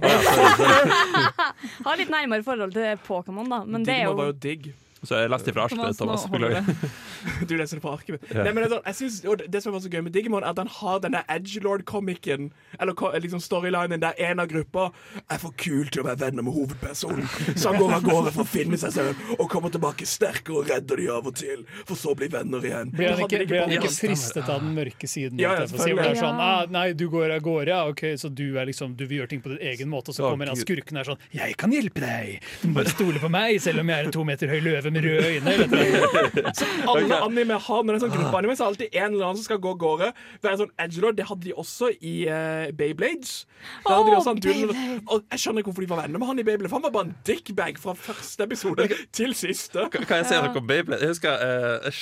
Speaker 5: har litt nærmere forhold til Pokémon, da. Men det er
Speaker 4: Digimon var jo
Speaker 5: jo
Speaker 4: digg.
Speaker 1: Så jeg leste ifra Arsle,
Speaker 8: Thomas, nå
Speaker 1: Thomas.
Speaker 8: holder
Speaker 1: Beklager.
Speaker 4: Du leser det på arket mitt.
Speaker 1: Ja.
Speaker 4: Nei, men det, er sånn, jeg synes, og det som er så gøy med Digimon, er at han har denne Edgelord-komikken, eller ko- liksom storylinen der en av gruppa er for kul til å være venner med hovedpersonen, så han går av gårde for å finne seg selv og kommer tilbake sterkere og redder de av og til, for så å bli venner igjen.
Speaker 7: Blir
Speaker 4: Det hadde
Speaker 7: han ikke,
Speaker 4: de
Speaker 7: blir han
Speaker 4: på
Speaker 7: ikke
Speaker 4: Digimon.
Speaker 7: fristet av den mørke siden?
Speaker 4: Ja, ja,
Speaker 7: holdt jeg på å si, hvor det er
Speaker 5: selvfølgelig.
Speaker 7: sånn, ah, nei, du går av gårde, ja, ok, så du, er liksom, du vil gjøre ting på din egen måte, og så
Speaker 1: Å,
Speaker 7: kommer han
Speaker 1: Gud.
Speaker 7: skurken og er sånn 'Jeg kan hjelpe deg! Du må bare stole på meg, selv om jeg er en to meter høy løve med røde øyne.' eller et eller annet.
Speaker 4: Alle anime har når det er sånn gruppeanime, så er det alltid en eller annen som skal gå av gårde. Være sånn Edgelord, det hadde de også i eh, Beyblades. Der hadde de også en duel- og jeg skjønner ikke hvorfor de var venner med han i Beyblade, for han var bare en dickbag fra første episode til siste.
Speaker 1: Kan kan jeg si noe om Beyblade? Jeg husker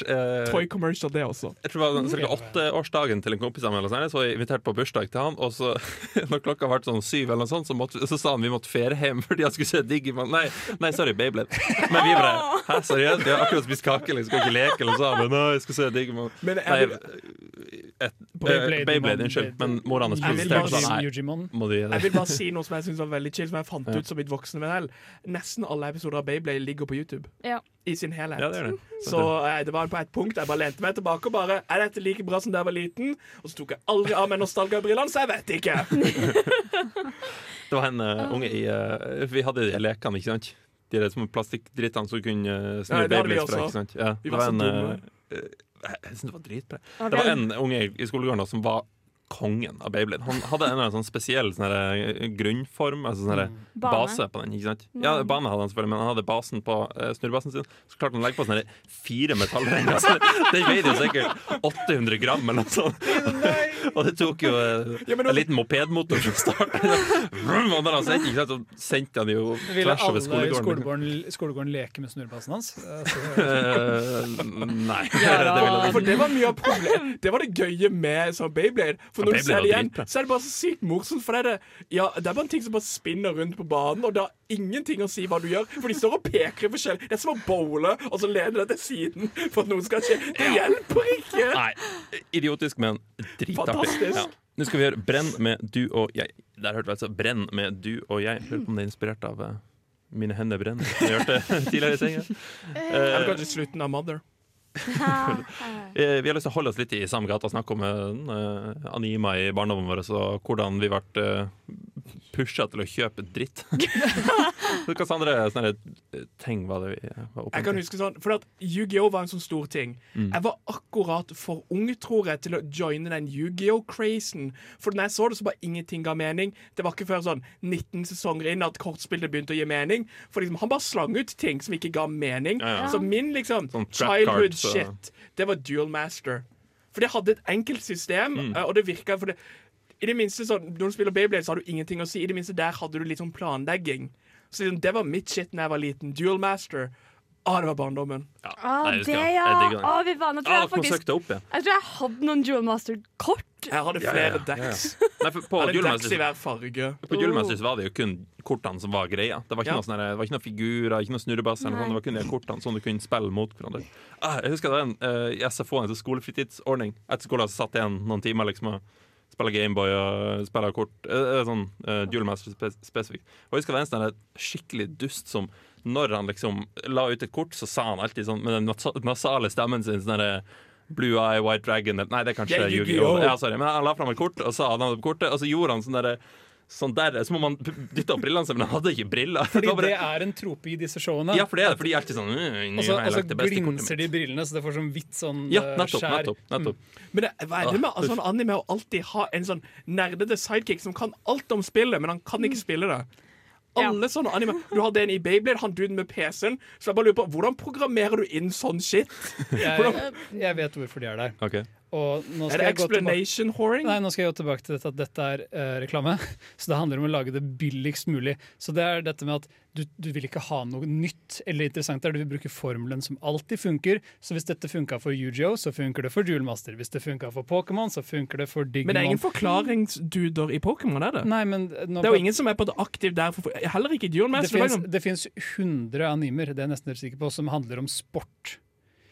Speaker 1: eh, eh,
Speaker 4: Toy commercial, det også.
Speaker 1: Jeg tror det var cirka åtteårsdagen til en kompis av meg, eller noe sånt, så jeg inviterte på bursdag til han. Og så, når klokka ble sånn syv, eller noe sånt, så, måtte, så sa han vi måtte ferie hjem fordi han skulle se Digimon. Nei, nei sorry, Beyblade. Men vi bare Hæ, seriøst? Vi har akkurat spist kake, liksom, skal ikke leke, eller noe sånt. Men nei, jeg skal se Digimon.
Speaker 4: Men
Speaker 1: Nei,
Speaker 4: jeg, vil-
Speaker 1: et, Beyblade, Beyblade, unnskyld. Men mora hans
Speaker 4: Jeg vil bare
Speaker 1: protesterte sånn.
Speaker 4: si-
Speaker 1: Nei,
Speaker 7: Yujimon.
Speaker 1: må du gi
Speaker 4: jeg
Speaker 1: det?
Speaker 4: vil bare si noe som jeg synes var veldig chill, som jeg fant ut som mitt voksne venn. Nesten alle episoder av Beyblade ligger på YouTube.
Speaker 5: Ja.
Speaker 4: I sin helhet.
Speaker 1: Ja, det gjør det.
Speaker 4: Så eh, det var på et punkt jeg bare lente meg tilbake og bare Er dette like bra som da jeg var liten? Og så tok jeg aldri av meg nostalgabrillene, så jeg vet ikke.
Speaker 1: Det var en eh, unge i eh, Vi hadde de lekene, ikke sant? De der små plastikkdrittene som kunne eh, snu
Speaker 4: Ja, det hadde vi
Speaker 1: babyer fra,
Speaker 4: også.
Speaker 1: ikke sant? Ja,
Speaker 4: Vi
Speaker 1: det
Speaker 4: var
Speaker 1: var
Speaker 4: så
Speaker 1: en
Speaker 4: dumme.
Speaker 1: eh, eh, Jeg synes det var dritbra. Det var en unge i- i skolegården da, som var kongen av Beyblade. Han hadde en eller annen sånn spesiell sånn her, eh, grunnform, altså sånn
Speaker 4: Mm.
Speaker 1: her base på den. ikke sant? Ja, bane hadde han selvfølgelig, men han hadde basen på eh, snurrebasen sin. Så klarte han å legge på sånne her fire metallrenger. Altså, den veide jo sikkert 800 gram eller noe sånt. Og det tok jo eh,
Speaker 4: Ja, men altså-
Speaker 1: en liten mopedmotor som startet. Vroom, Og når han sendte, ikke sant, så sendte han jo
Speaker 7: Ville
Speaker 1: tvers
Speaker 7: alle
Speaker 1: over
Speaker 7: i
Speaker 1: skolegården.
Speaker 7: skolegården, skolegården leke med snurrebassen hans? Altså,
Speaker 1: Eh, nei, det ville
Speaker 4: Ja, for det var mye av problemet. Det var det gøye med sånn Beyblade. For
Speaker 1: Ja,
Speaker 4: når du
Speaker 1: Beyblade
Speaker 4: ser det
Speaker 1: var
Speaker 4: igjen,
Speaker 1: dritbra.
Speaker 4: så er det bare så sykt morsomt. For det er, det, ja, det er bare en ting som bare spinner rundt på banen, og det har ingenting å si hva du gjør. For de står og peker i forskjell. Det er som å bowle, og så leder det til siden for at noe skal skje. Det hjelper ikke!
Speaker 1: Nei, idiotisk, men dritartig.
Speaker 4: Fantastisk.
Speaker 1: Ja. Nå skal vi gjøre 'Brenn med du og jeg'. Der hørte vi altså 'Brenn med du og jeg'. Lurer på om det er inspirert av eh, 'Mine hender brenner'. som Vi hørte tidligere i senga.
Speaker 4: Eller kanskje slutten av Mother.
Speaker 1: Eh, vi har lyst til å holde oss litt i samme gata og snakke om eh, anima i barndommen vår og hvordan vi ble pusha til å kjøpe dritt. Hvilke andre sånne eh, ting var det vi eh, var oppe
Speaker 4: Jeg kan huske sånn, for at Yu-Gi-Oh! var en sånn stor ting.
Speaker 1: Mm.
Speaker 4: Jeg var akkurat for ung, tror jeg, til å joine den Yu-Gi-Oh!-crazen. For når jeg så det, så bare ingenting ga mening. Det var ikke før sånn 19 sesonger inn at kortspillet begynte å gi mening. For liksom, han bare slang ut ting som ikke ga mening.
Speaker 1: Ja, ja.
Speaker 4: Så min liksom
Speaker 1: Sånn trap
Speaker 4: childhood
Speaker 1: cards, ja.
Speaker 4: shit, det var Duel Master. For det hadde et enkelt system,
Speaker 1: Mm.
Speaker 4: eh, og det virka for det i det minste sånn, Når du spiller Beyblade, så har du ingenting å si. I det minste der hadde du litt sånn planlegging. Så liksom, Det var mitt shit da jeg var liten. Duel Master. Ah, det var barndommen.
Speaker 1: Ja,
Speaker 5: Ah,
Speaker 1: jeg husker
Speaker 5: det,
Speaker 1: den.
Speaker 5: ja!
Speaker 1: Jeg digger den.
Speaker 5: Ah, vi vant. Jeg tror
Speaker 1: Ah,
Speaker 5: jeg, faktisk,
Speaker 1: konseptet opp, ja.
Speaker 5: jeg tror jeg hadde noen Jewel Master-kort.
Speaker 4: Jeg hadde
Speaker 1: Ja,
Speaker 4: flere
Speaker 1: ja, ja.
Speaker 4: decks.
Speaker 1: Nei, for på
Speaker 4: Jeg hadde decks i
Speaker 1: Julemasters
Speaker 4: hver farge.
Speaker 1: På Julemesters var det jo kun kortene som var greia. Det var ikke,
Speaker 4: Ja.
Speaker 1: noe sånn her- det var ikke noen figurer, ikke noen snurrebasser. eller noe
Speaker 5: Nei.
Speaker 1: sånt. Det var kun de kortene som du kunne spille mot hverandre. Ah, jeg husker det var en eh, i SFO, en sånn skolefritidsordning. Etter skolen så satt jeg igjen noen timer liksom, og spilla Gameboy og spilla kort. eh, eh, sånn uh, Julemester spe spesifikt. Og jeg husker det var en sånn her skikkelig dust som når han liksom la ut et kort, så sa han alltid sånn med den nas- nasale stemmen sin sånn herre Blue Eye, White Dragon Nei, det er kanskje
Speaker 4: Det er
Speaker 1: Yu-Gi-Oh!
Speaker 4: Yu-Gi-Oh!
Speaker 1: Ja, sorry. Men han la fram et kort, og sa navnet på kortet, og så gjorde han sånn derre Sånn der, så må man dytte opp brillene sine, men han hadde ikke briller.
Speaker 7: fordi
Speaker 1: Det var
Speaker 7: det
Speaker 1: bare,
Speaker 7: er en trope i disse showene.
Speaker 1: ja, for det er det, for de er alltid sånn mm,
Speaker 7: Og
Speaker 1: nå
Speaker 7: så
Speaker 1: har jeg
Speaker 7: altså,
Speaker 1: lagt det beste kortet
Speaker 7: glinser de
Speaker 1: mitt.
Speaker 7: brillene, så det får sånn hvitt sånn
Speaker 1: Ja,
Speaker 4: øh,
Speaker 7: eh,
Speaker 1: nettopp.
Speaker 7: skjær.
Speaker 1: nettopp, nettopp.
Speaker 4: Men det, hva
Speaker 7: Ah,
Speaker 4: er det med sånn anime å alltid ha en sånn nerdete sidekick som kan alt om spillet, men han kan
Speaker 7: Mm.
Speaker 4: ikke spille det? Alle sånne anime Du hadde en i Beyblade, han duden med PC-en. Så jeg bare lurer på, hvordan programmerer du inn sånn shit?
Speaker 7: Jeg, jeg vet hvorfor de er der.
Speaker 1: Ok.
Speaker 7: Og nå
Speaker 4: Er
Speaker 7: skal
Speaker 4: det
Speaker 7: jeg gå tilbake
Speaker 4: explanation whoring?
Speaker 7: Nei, nå skal jeg gå tilbake til dette at dette er eh, reklame. Så det handler om å lage det billigst mulig. Så det er dette med at du, du vil ikke ha noe nytt eller interessant der. Du vil bruke formelen som alltid funker. Så hvis dette funka for UGO, så funker det for Duelmaster. Hvis det funka for Pokémon, så funker det for Digimon.
Speaker 4: Men det er ingen forklaringsduder i Pokémon, er det?
Speaker 7: Nei, men nå,
Speaker 4: Det er jo ingen som er på det aktiv der. For, heller ikke Duel
Speaker 7: Det
Speaker 4: Master.
Speaker 7: finnes-
Speaker 4: liksom.
Speaker 7: Det fins 100 animer det er jeg nesten helt sikker på, som handler om sport.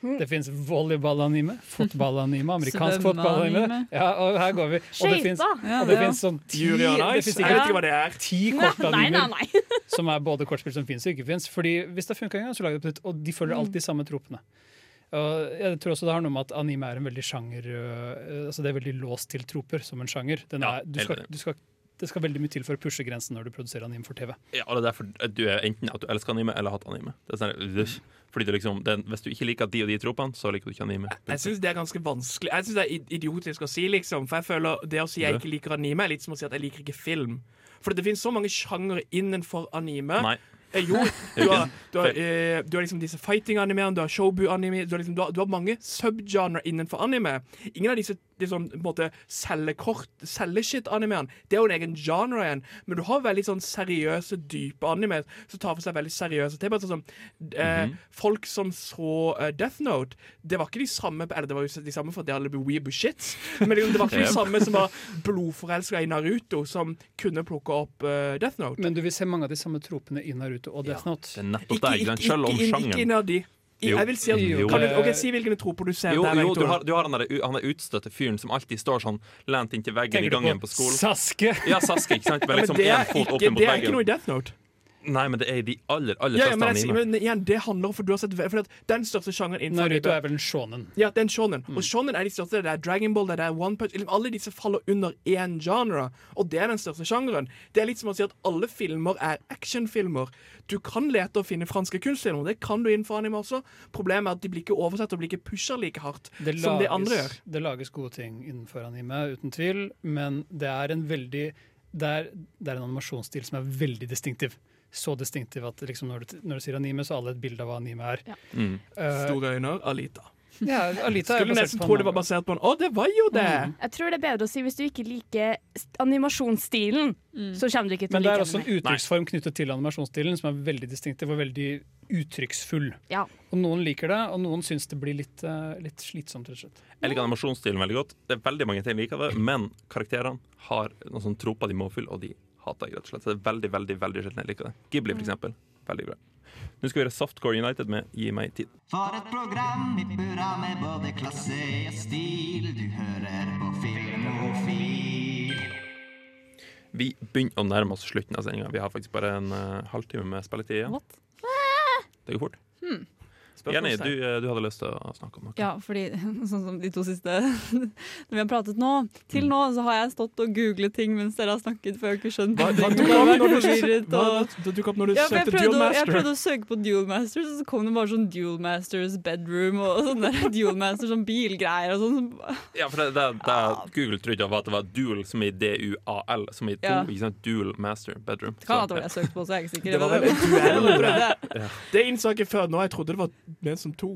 Speaker 7: Det fins volleyball-anime, fotball-anime, amerikansk
Speaker 8: Svømmeanime.
Speaker 7: fotball-anime. Ja, og her går vi. Og det fins
Speaker 5: Skøyter!
Speaker 8: Ja, det, ja.
Speaker 7: sånn ti,
Speaker 4: Jury on Ice?
Speaker 7: det
Speaker 4: Jeg
Speaker 7: finnes
Speaker 4: vet
Speaker 7: sikkert
Speaker 4: ikke hva det er.
Speaker 7: ti
Speaker 5: Nei, nei,
Speaker 7: kortanimer
Speaker 5: nei. Mm.
Speaker 7: som er både kortspill som fins og ikke fins. Fordi hvis det funka en gang, så lager det på nytt. Og de følger alltid samme tropene. Og jeg tror også det har noe med at anime er en veldig sjanger øh, altså Det er veldig låst til troper som en sjanger. Den
Speaker 1: Ja,
Speaker 7: er, du skal,
Speaker 1: helt enig.
Speaker 7: du skal, det skal veldig mye til for å pushe grensen når du produserer anime for TV.
Speaker 1: Ja, og det er derfor at du er enten at du elsker anime eller har hatt anime. Det er sånn, øh, fordi du liksom, det, er- hvis du ikke liker de og de tropene, så liker du ikke anime.
Speaker 4: Jeg syns det er ganske vanskelig Jeg synes det er id- idiotisk å si, liksom. For jeg føler det å si jeg ikke liker anime, er litt som å si at jeg liker ikke film. For det finnes så mange sjangere innenfor anime.
Speaker 1: Nei.
Speaker 4: Eh, jo, du har, du, har,
Speaker 1: Feil.
Speaker 4: eh, du har liksom disse fighting-animeene, du har showbu-anime du, har liksom, du, har- du har mange subgenre innenfor anime. Ingen av disse liksom, på en måte, selge-kort, selge-shit-animeene. Det er jo en egen genre igjen. Men du har veldig sånn seriøse, dype anime som tar for seg veldig seriøse temaer. Sånn, som, eh, Folk som så eh, Death Note, det var ikke de samme Eller det var jo de samme for det alle ble weebu-shits, men liksom, det var ikke de
Speaker 1: Yep.
Speaker 4: samme som var blodforelska i Naruto, som kunne plukke opp eh, Death Note.
Speaker 7: Men du vil se mange av de samme tropene i Naruto og Death
Speaker 1: Det
Speaker 7: Note.
Speaker 1: er nettopp det. ikke sant? Selv om
Speaker 4: ikke, inn- ikke
Speaker 1: sjangeren
Speaker 4: innad i. I-
Speaker 1: Jo.
Speaker 4: Jeg vil si at
Speaker 1: Jo.
Speaker 4: kan du, ok, Si hvilke troper du ser
Speaker 1: Jo,
Speaker 4: der.
Speaker 1: jo
Speaker 4: Victor.
Speaker 1: du, har, du har han der, u- han der utstøtte fyren som alltid står sånn lent inntil veggen i gangen på skolen.
Speaker 7: Saske?
Speaker 1: Ja, Saske, ikke sant? Med
Speaker 4: Men
Speaker 1: liksom
Speaker 4: det, er
Speaker 1: én fot
Speaker 4: ikke,
Speaker 1: opp mot
Speaker 4: det er ikke
Speaker 1: veggen.
Speaker 4: noe i Death Note.
Speaker 1: Nei, men det er i de aller, aller
Speaker 4: Ja, ja,
Speaker 1: fleste
Speaker 4: men, jeg, sier-
Speaker 1: anime.
Speaker 4: men igjen, det handler om for du har sett for at Den største sjangeren innenfor
Speaker 7: Naruto
Speaker 4: anime-
Speaker 7: er vel en shonen.
Speaker 4: Ja, det er en shonen.
Speaker 1: Mm.
Speaker 4: Og shonen er de største. Det er Dragon Ball, det er One Punch liksom Alle disse faller under én genre, og det er den største sjangeren. Det er litt som å si at alle filmer er actionfilmer. Du kan lete og finne franske kunstfilmer, det kan du innenfor anime også. Problemet er at de blir ikke oversett og blir ikke pusha like hardt
Speaker 7: Det
Speaker 4: som de andre
Speaker 7: lages,
Speaker 4: gjør.
Speaker 7: det lages gode ting innenfor anime, uten tvil, men det er en veldig det er, det er en animasjonsstil som er veldig distinktiv. Så distinktiv at liksom når, du, når du sier anime, så har alle et bilde av hva anime er.
Speaker 1: Mm.
Speaker 7: Eh,
Speaker 4: Store øyne, Alita.
Speaker 7: ja, Alita er
Speaker 4: Skulle
Speaker 7: basert
Speaker 4: nesten
Speaker 7: på
Speaker 4: tro det
Speaker 7: en
Speaker 4: var basert på Mm. en Å, det var jo det!
Speaker 5: Jeg tror det er bedre å si hvis du ikke liker s- animasjonsstilen, så kommer du ikke til å
Speaker 7: Men det
Speaker 5: like
Speaker 7: er også en
Speaker 5: anime.
Speaker 7: uttrykksform knyttet til animasjonsstilen som er veldig distinktiv og veldig uttrykksfull.
Speaker 5: Ja.
Speaker 7: Og noen liker det, og noen syns det blir litt, eh, litt slitsomt, rett og slett.
Speaker 1: Jeg liker animasjonsstilen veldig godt. Det er veldig mange ting jeg liker av det, men karakterene har noen sånne troper de må fylle, og de hater jeg rett og slett. Så det er veldig, veldig veldig sjelden jeg liker det. Ghibli, for eksempel. Veldig bra. Nå skal vi gjøre Softcore United med Gi meg tid.
Speaker 10: For et program i burra med både klasse og stil. Du hører på Filmofil.
Speaker 1: Vi begynner å nærme oss slutten av sendinga. Vi har faktisk bare en eh, halvtime med spilletid igjen.
Speaker 8: What?
Speaker 1: Det går fort. Jenny, du,
Speaker 4: Spørsmålstegn.
Speaker 1: eh, du hadde lyst til å snakke om noe.
Speaker 8: Ja, fordi sånn som de to siste Når vi har pratet nå, til nå, så har jeg stått og googlet ting mens dere har snakket, for jeg har ikke skjønt
Speaker 4: Hva, hva
Speaker 8: ting.
Speaker 4: dukket
Speaker 8: Jeg
Speaker 4: opp
Speaker 8: har vært
Speaker 4: når du,
Speaker 8: forvirret,
Speaker 4: hva,
Speaker 8: og-
Speaker 4: hva dukket opp når du
Speaker 8: ja, for jeg,
Speaker 4: søkte
Speaker 8: prøvde,
Speaker 4: Duel
Speaker 8: å- jeg
Speaker 4: Master?
Speaker 8: prøvde å søke på Duel Masters, og så kom det bare sånn Duel Masters bedroom og sånn der Duel Masters sånn bilgreier og sånn.
Speaker 1: Ja, for det, det, det Google trodde var at det var dual som i D-U-A-L, som i to.
Speaker 8: Ja.
Speaker 1: Ikke sant? Dual master bedroom.
Speaker 8: Det kan hende det
Speaker 1: Så,
Speaker 8: var det jeg søkte på, så jeg er ikke sikker.
Speaker 4: Det var vel
Speaker 8: Men-
Speaker 4: et duell.
Speaker 8: Jeg prøvde.
Speaker 4: Det innså jeg ikke før nå. Jeg trodde det var mer som to.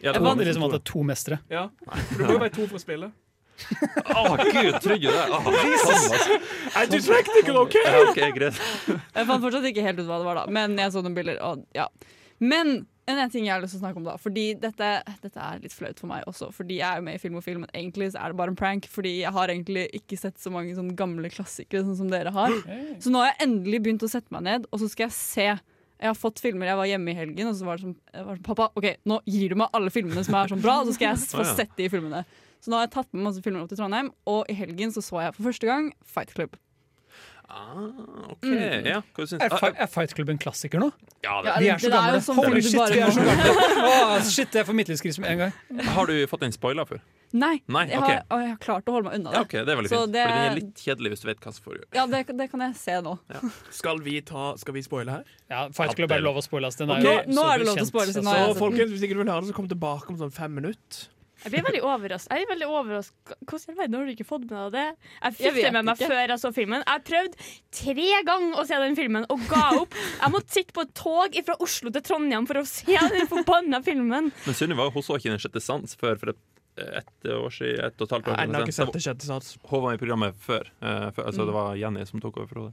Speaker 1: ja,
Speaker 7: Jeg
Speaker 1: to-
Speaker 7: fant liksom at det er to mestere.
Speaker 4: Ja, for Du må jo være to for å spille.
Speaker 1: Å, gud, trodde du det? Åh, sånn, altså.
Speaker 4: Er du slektiker, OK?
Speaker 1: ja, ok, greit.
Speaker 8: Jeg fant fortsatt ikke helt ut hva det var, da. Men jeg så noen bilder. Og, ja. Men en annen ting jeg har lyst til å snakke om, da. Fordi dette, dette er litt flaut for meg også. Fordi jeg er jo med i Film og Film, men egentlig så er det bare en prank. Fordi jeg har egentlig ikke sett så mange sånne gamle klassikere sånn som dere har. Så nå har jeg endelig begynt å sette meg ned, og så skal jeg se. Jeg har fått filmer jeg var hjemme i helgen, og så var det sånn, jeg var sånn Pappa, ok, nå gir du meg alle filmene som er sånn bra, og så skal jeg
Speaker 1: Å,
Speaker 8: få
Speaker 1: ja.
Speaker 8: sett de filmene. Så nå har jeg tatt med masse filmer opp til Trondheim, og i helgen så så jeg for første gang Fight Club.
Speaker 1: Ah, ok, ja, hva du syns
Speaker 7: Er,
Speaker 1: ah,
Speaker 7: fi er Fight Club en klassiker nå?
Speaker 1: ja, det.
Speaker 7: Vi er så
Speaker 8: det er jo
Speaker 7: gamle.
Speaker 8: sånn film
Speaker 7: Holy
Speaker 8: du
Speaker 7: shit,
Speaker 8: bare
Speaker 7: vi er
Speaker 8: må-
Speaker 7: så gamle. Åh, shit, jeg får midtlivskrise med en gang.
Speaker 1: Har du fått den spoila før?
Speaker 8: Nei,
Speaker 1: Nei,
Speaker 8: jeg,
Speaker 1: ok.
Speaker 8: har, og jeg har klart å holde meg unna det.
Speaker 1: Ja, ok, Det er veldig
Speaker 8: Så
Speaker 1: fint.
Speaker 8: det-
Speaker 1: Fordi den er litt kjedelig hvis du vet hva som foregår.
Speaker 8: Ja, det, det kan jeg se nå.
Speaker 4: Skal vi ta, skal vi spoile her?
Speaker 7: Ja, Fight Club er lov å spoile. ass. Den
Speaker 8: Nå,
Speaker 7: er jo
Speaker 8: nå
Speaker 7: så
Speaker 8: er det lov til å
Speaker 7: bekjent,
Speaker 8: spoile siden nå
Speaker 7: altså.
Speaker 4: Så
Speaker 8: har jeg sett den.
Speaker 4: folkens, Hvis ikke du vil høre det, så kom tilbake om sånn fem minutter.
Speaker 5: Jeg blir veldig overrasket. Jeg er veldig overrasket. Hvordan i all verden har du ikke fått med deg det?
Speaker 8: Jeg
Speaker 5: Jeg fikk det
Speaker 8: vet
Speaker 5: med meg
Speaker 8: ikke.
Speaker 5: før jeg så filmen. Jeg prøvde tre ganger å se den filmen og ga opp. Jeg måtte sitte på et tog fra Oslo til Trondheim for å se den forbanna filmen.
Speaker 1: Men Sunniva hun så ikke Den sjette sans før for et, et år siden. Et og et halvt
Speaker 4: Jeg
Speaker 1: år
Speaker 4: har ennå ikke
Speaker 1: siden.
Speaker 4: sett det sjette sats.
Speaker 1: Hun var i programmet før, eh, før altså det var Jenny som tok over for henne.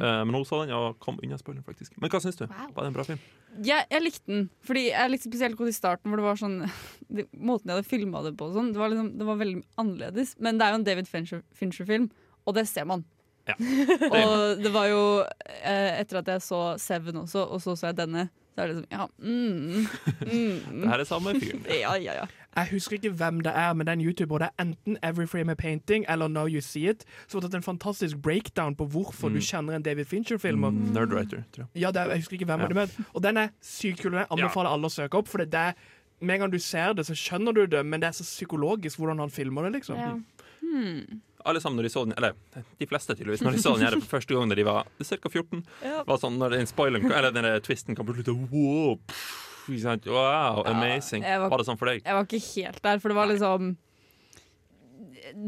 Speaker 1: Eh, men hun så den og kom unna spoileren, faktisk. Men hva syns du? Var det en bra film?
Speaker 8: Jeg, jeg likte den, fordi jeg likte spesielt godt i starten, hvor det var sånn de, Måten jeg hadde filma det på og sånn, det var, liksom, det var veldig annerledes. Men det er jo en David Fincher- Fincher-film, og det ser man.
Speaker 1: Ja.
Speaker 8: og det var jo eh, Etter at jeg så Seven også, og så så jeg denne, så er det liksom Ja, mm,
Speaker 1: Det
Speaker 8: mm,
Speaker 1: her er samme fyren.
Speaker 8: ja, ja, ja.
Speaker 4: Jeg husker ikke hvem det er, men den YouTuber, det er enten Every Frame a Painting eller Now You See It, som har tatt en fantastisk breakdown på hvorfor du kjenner en David Fincher-filmer.
Speaker 1: Nerdwriter, Mm. tror jeg.
Speaker 4: Ja, det er, jeg husker ikke hvem av dem er. Og den er sykt kul, og den anbefaler alle å søke opp, for det er med en gang du ser det, så skjønner du det, men det er så psykologisk hvordan han filmer det, liksom.
Speaker 1: Ja. Alle sammen når de så den, eller de fleste tydeligvis, når de så den her for første gang da de var ca. 14,
Speaker 8: Ja.
Speaker 1: var sånn når den spoileren, eller den der twisten kom på slutten wow, pff, ikke sant? wow, amazing.
Speaker 8: jeg
Speaker 1: Var det sånn for deg?
Speaker 8: Jeg var ikke helt der, for det var liksom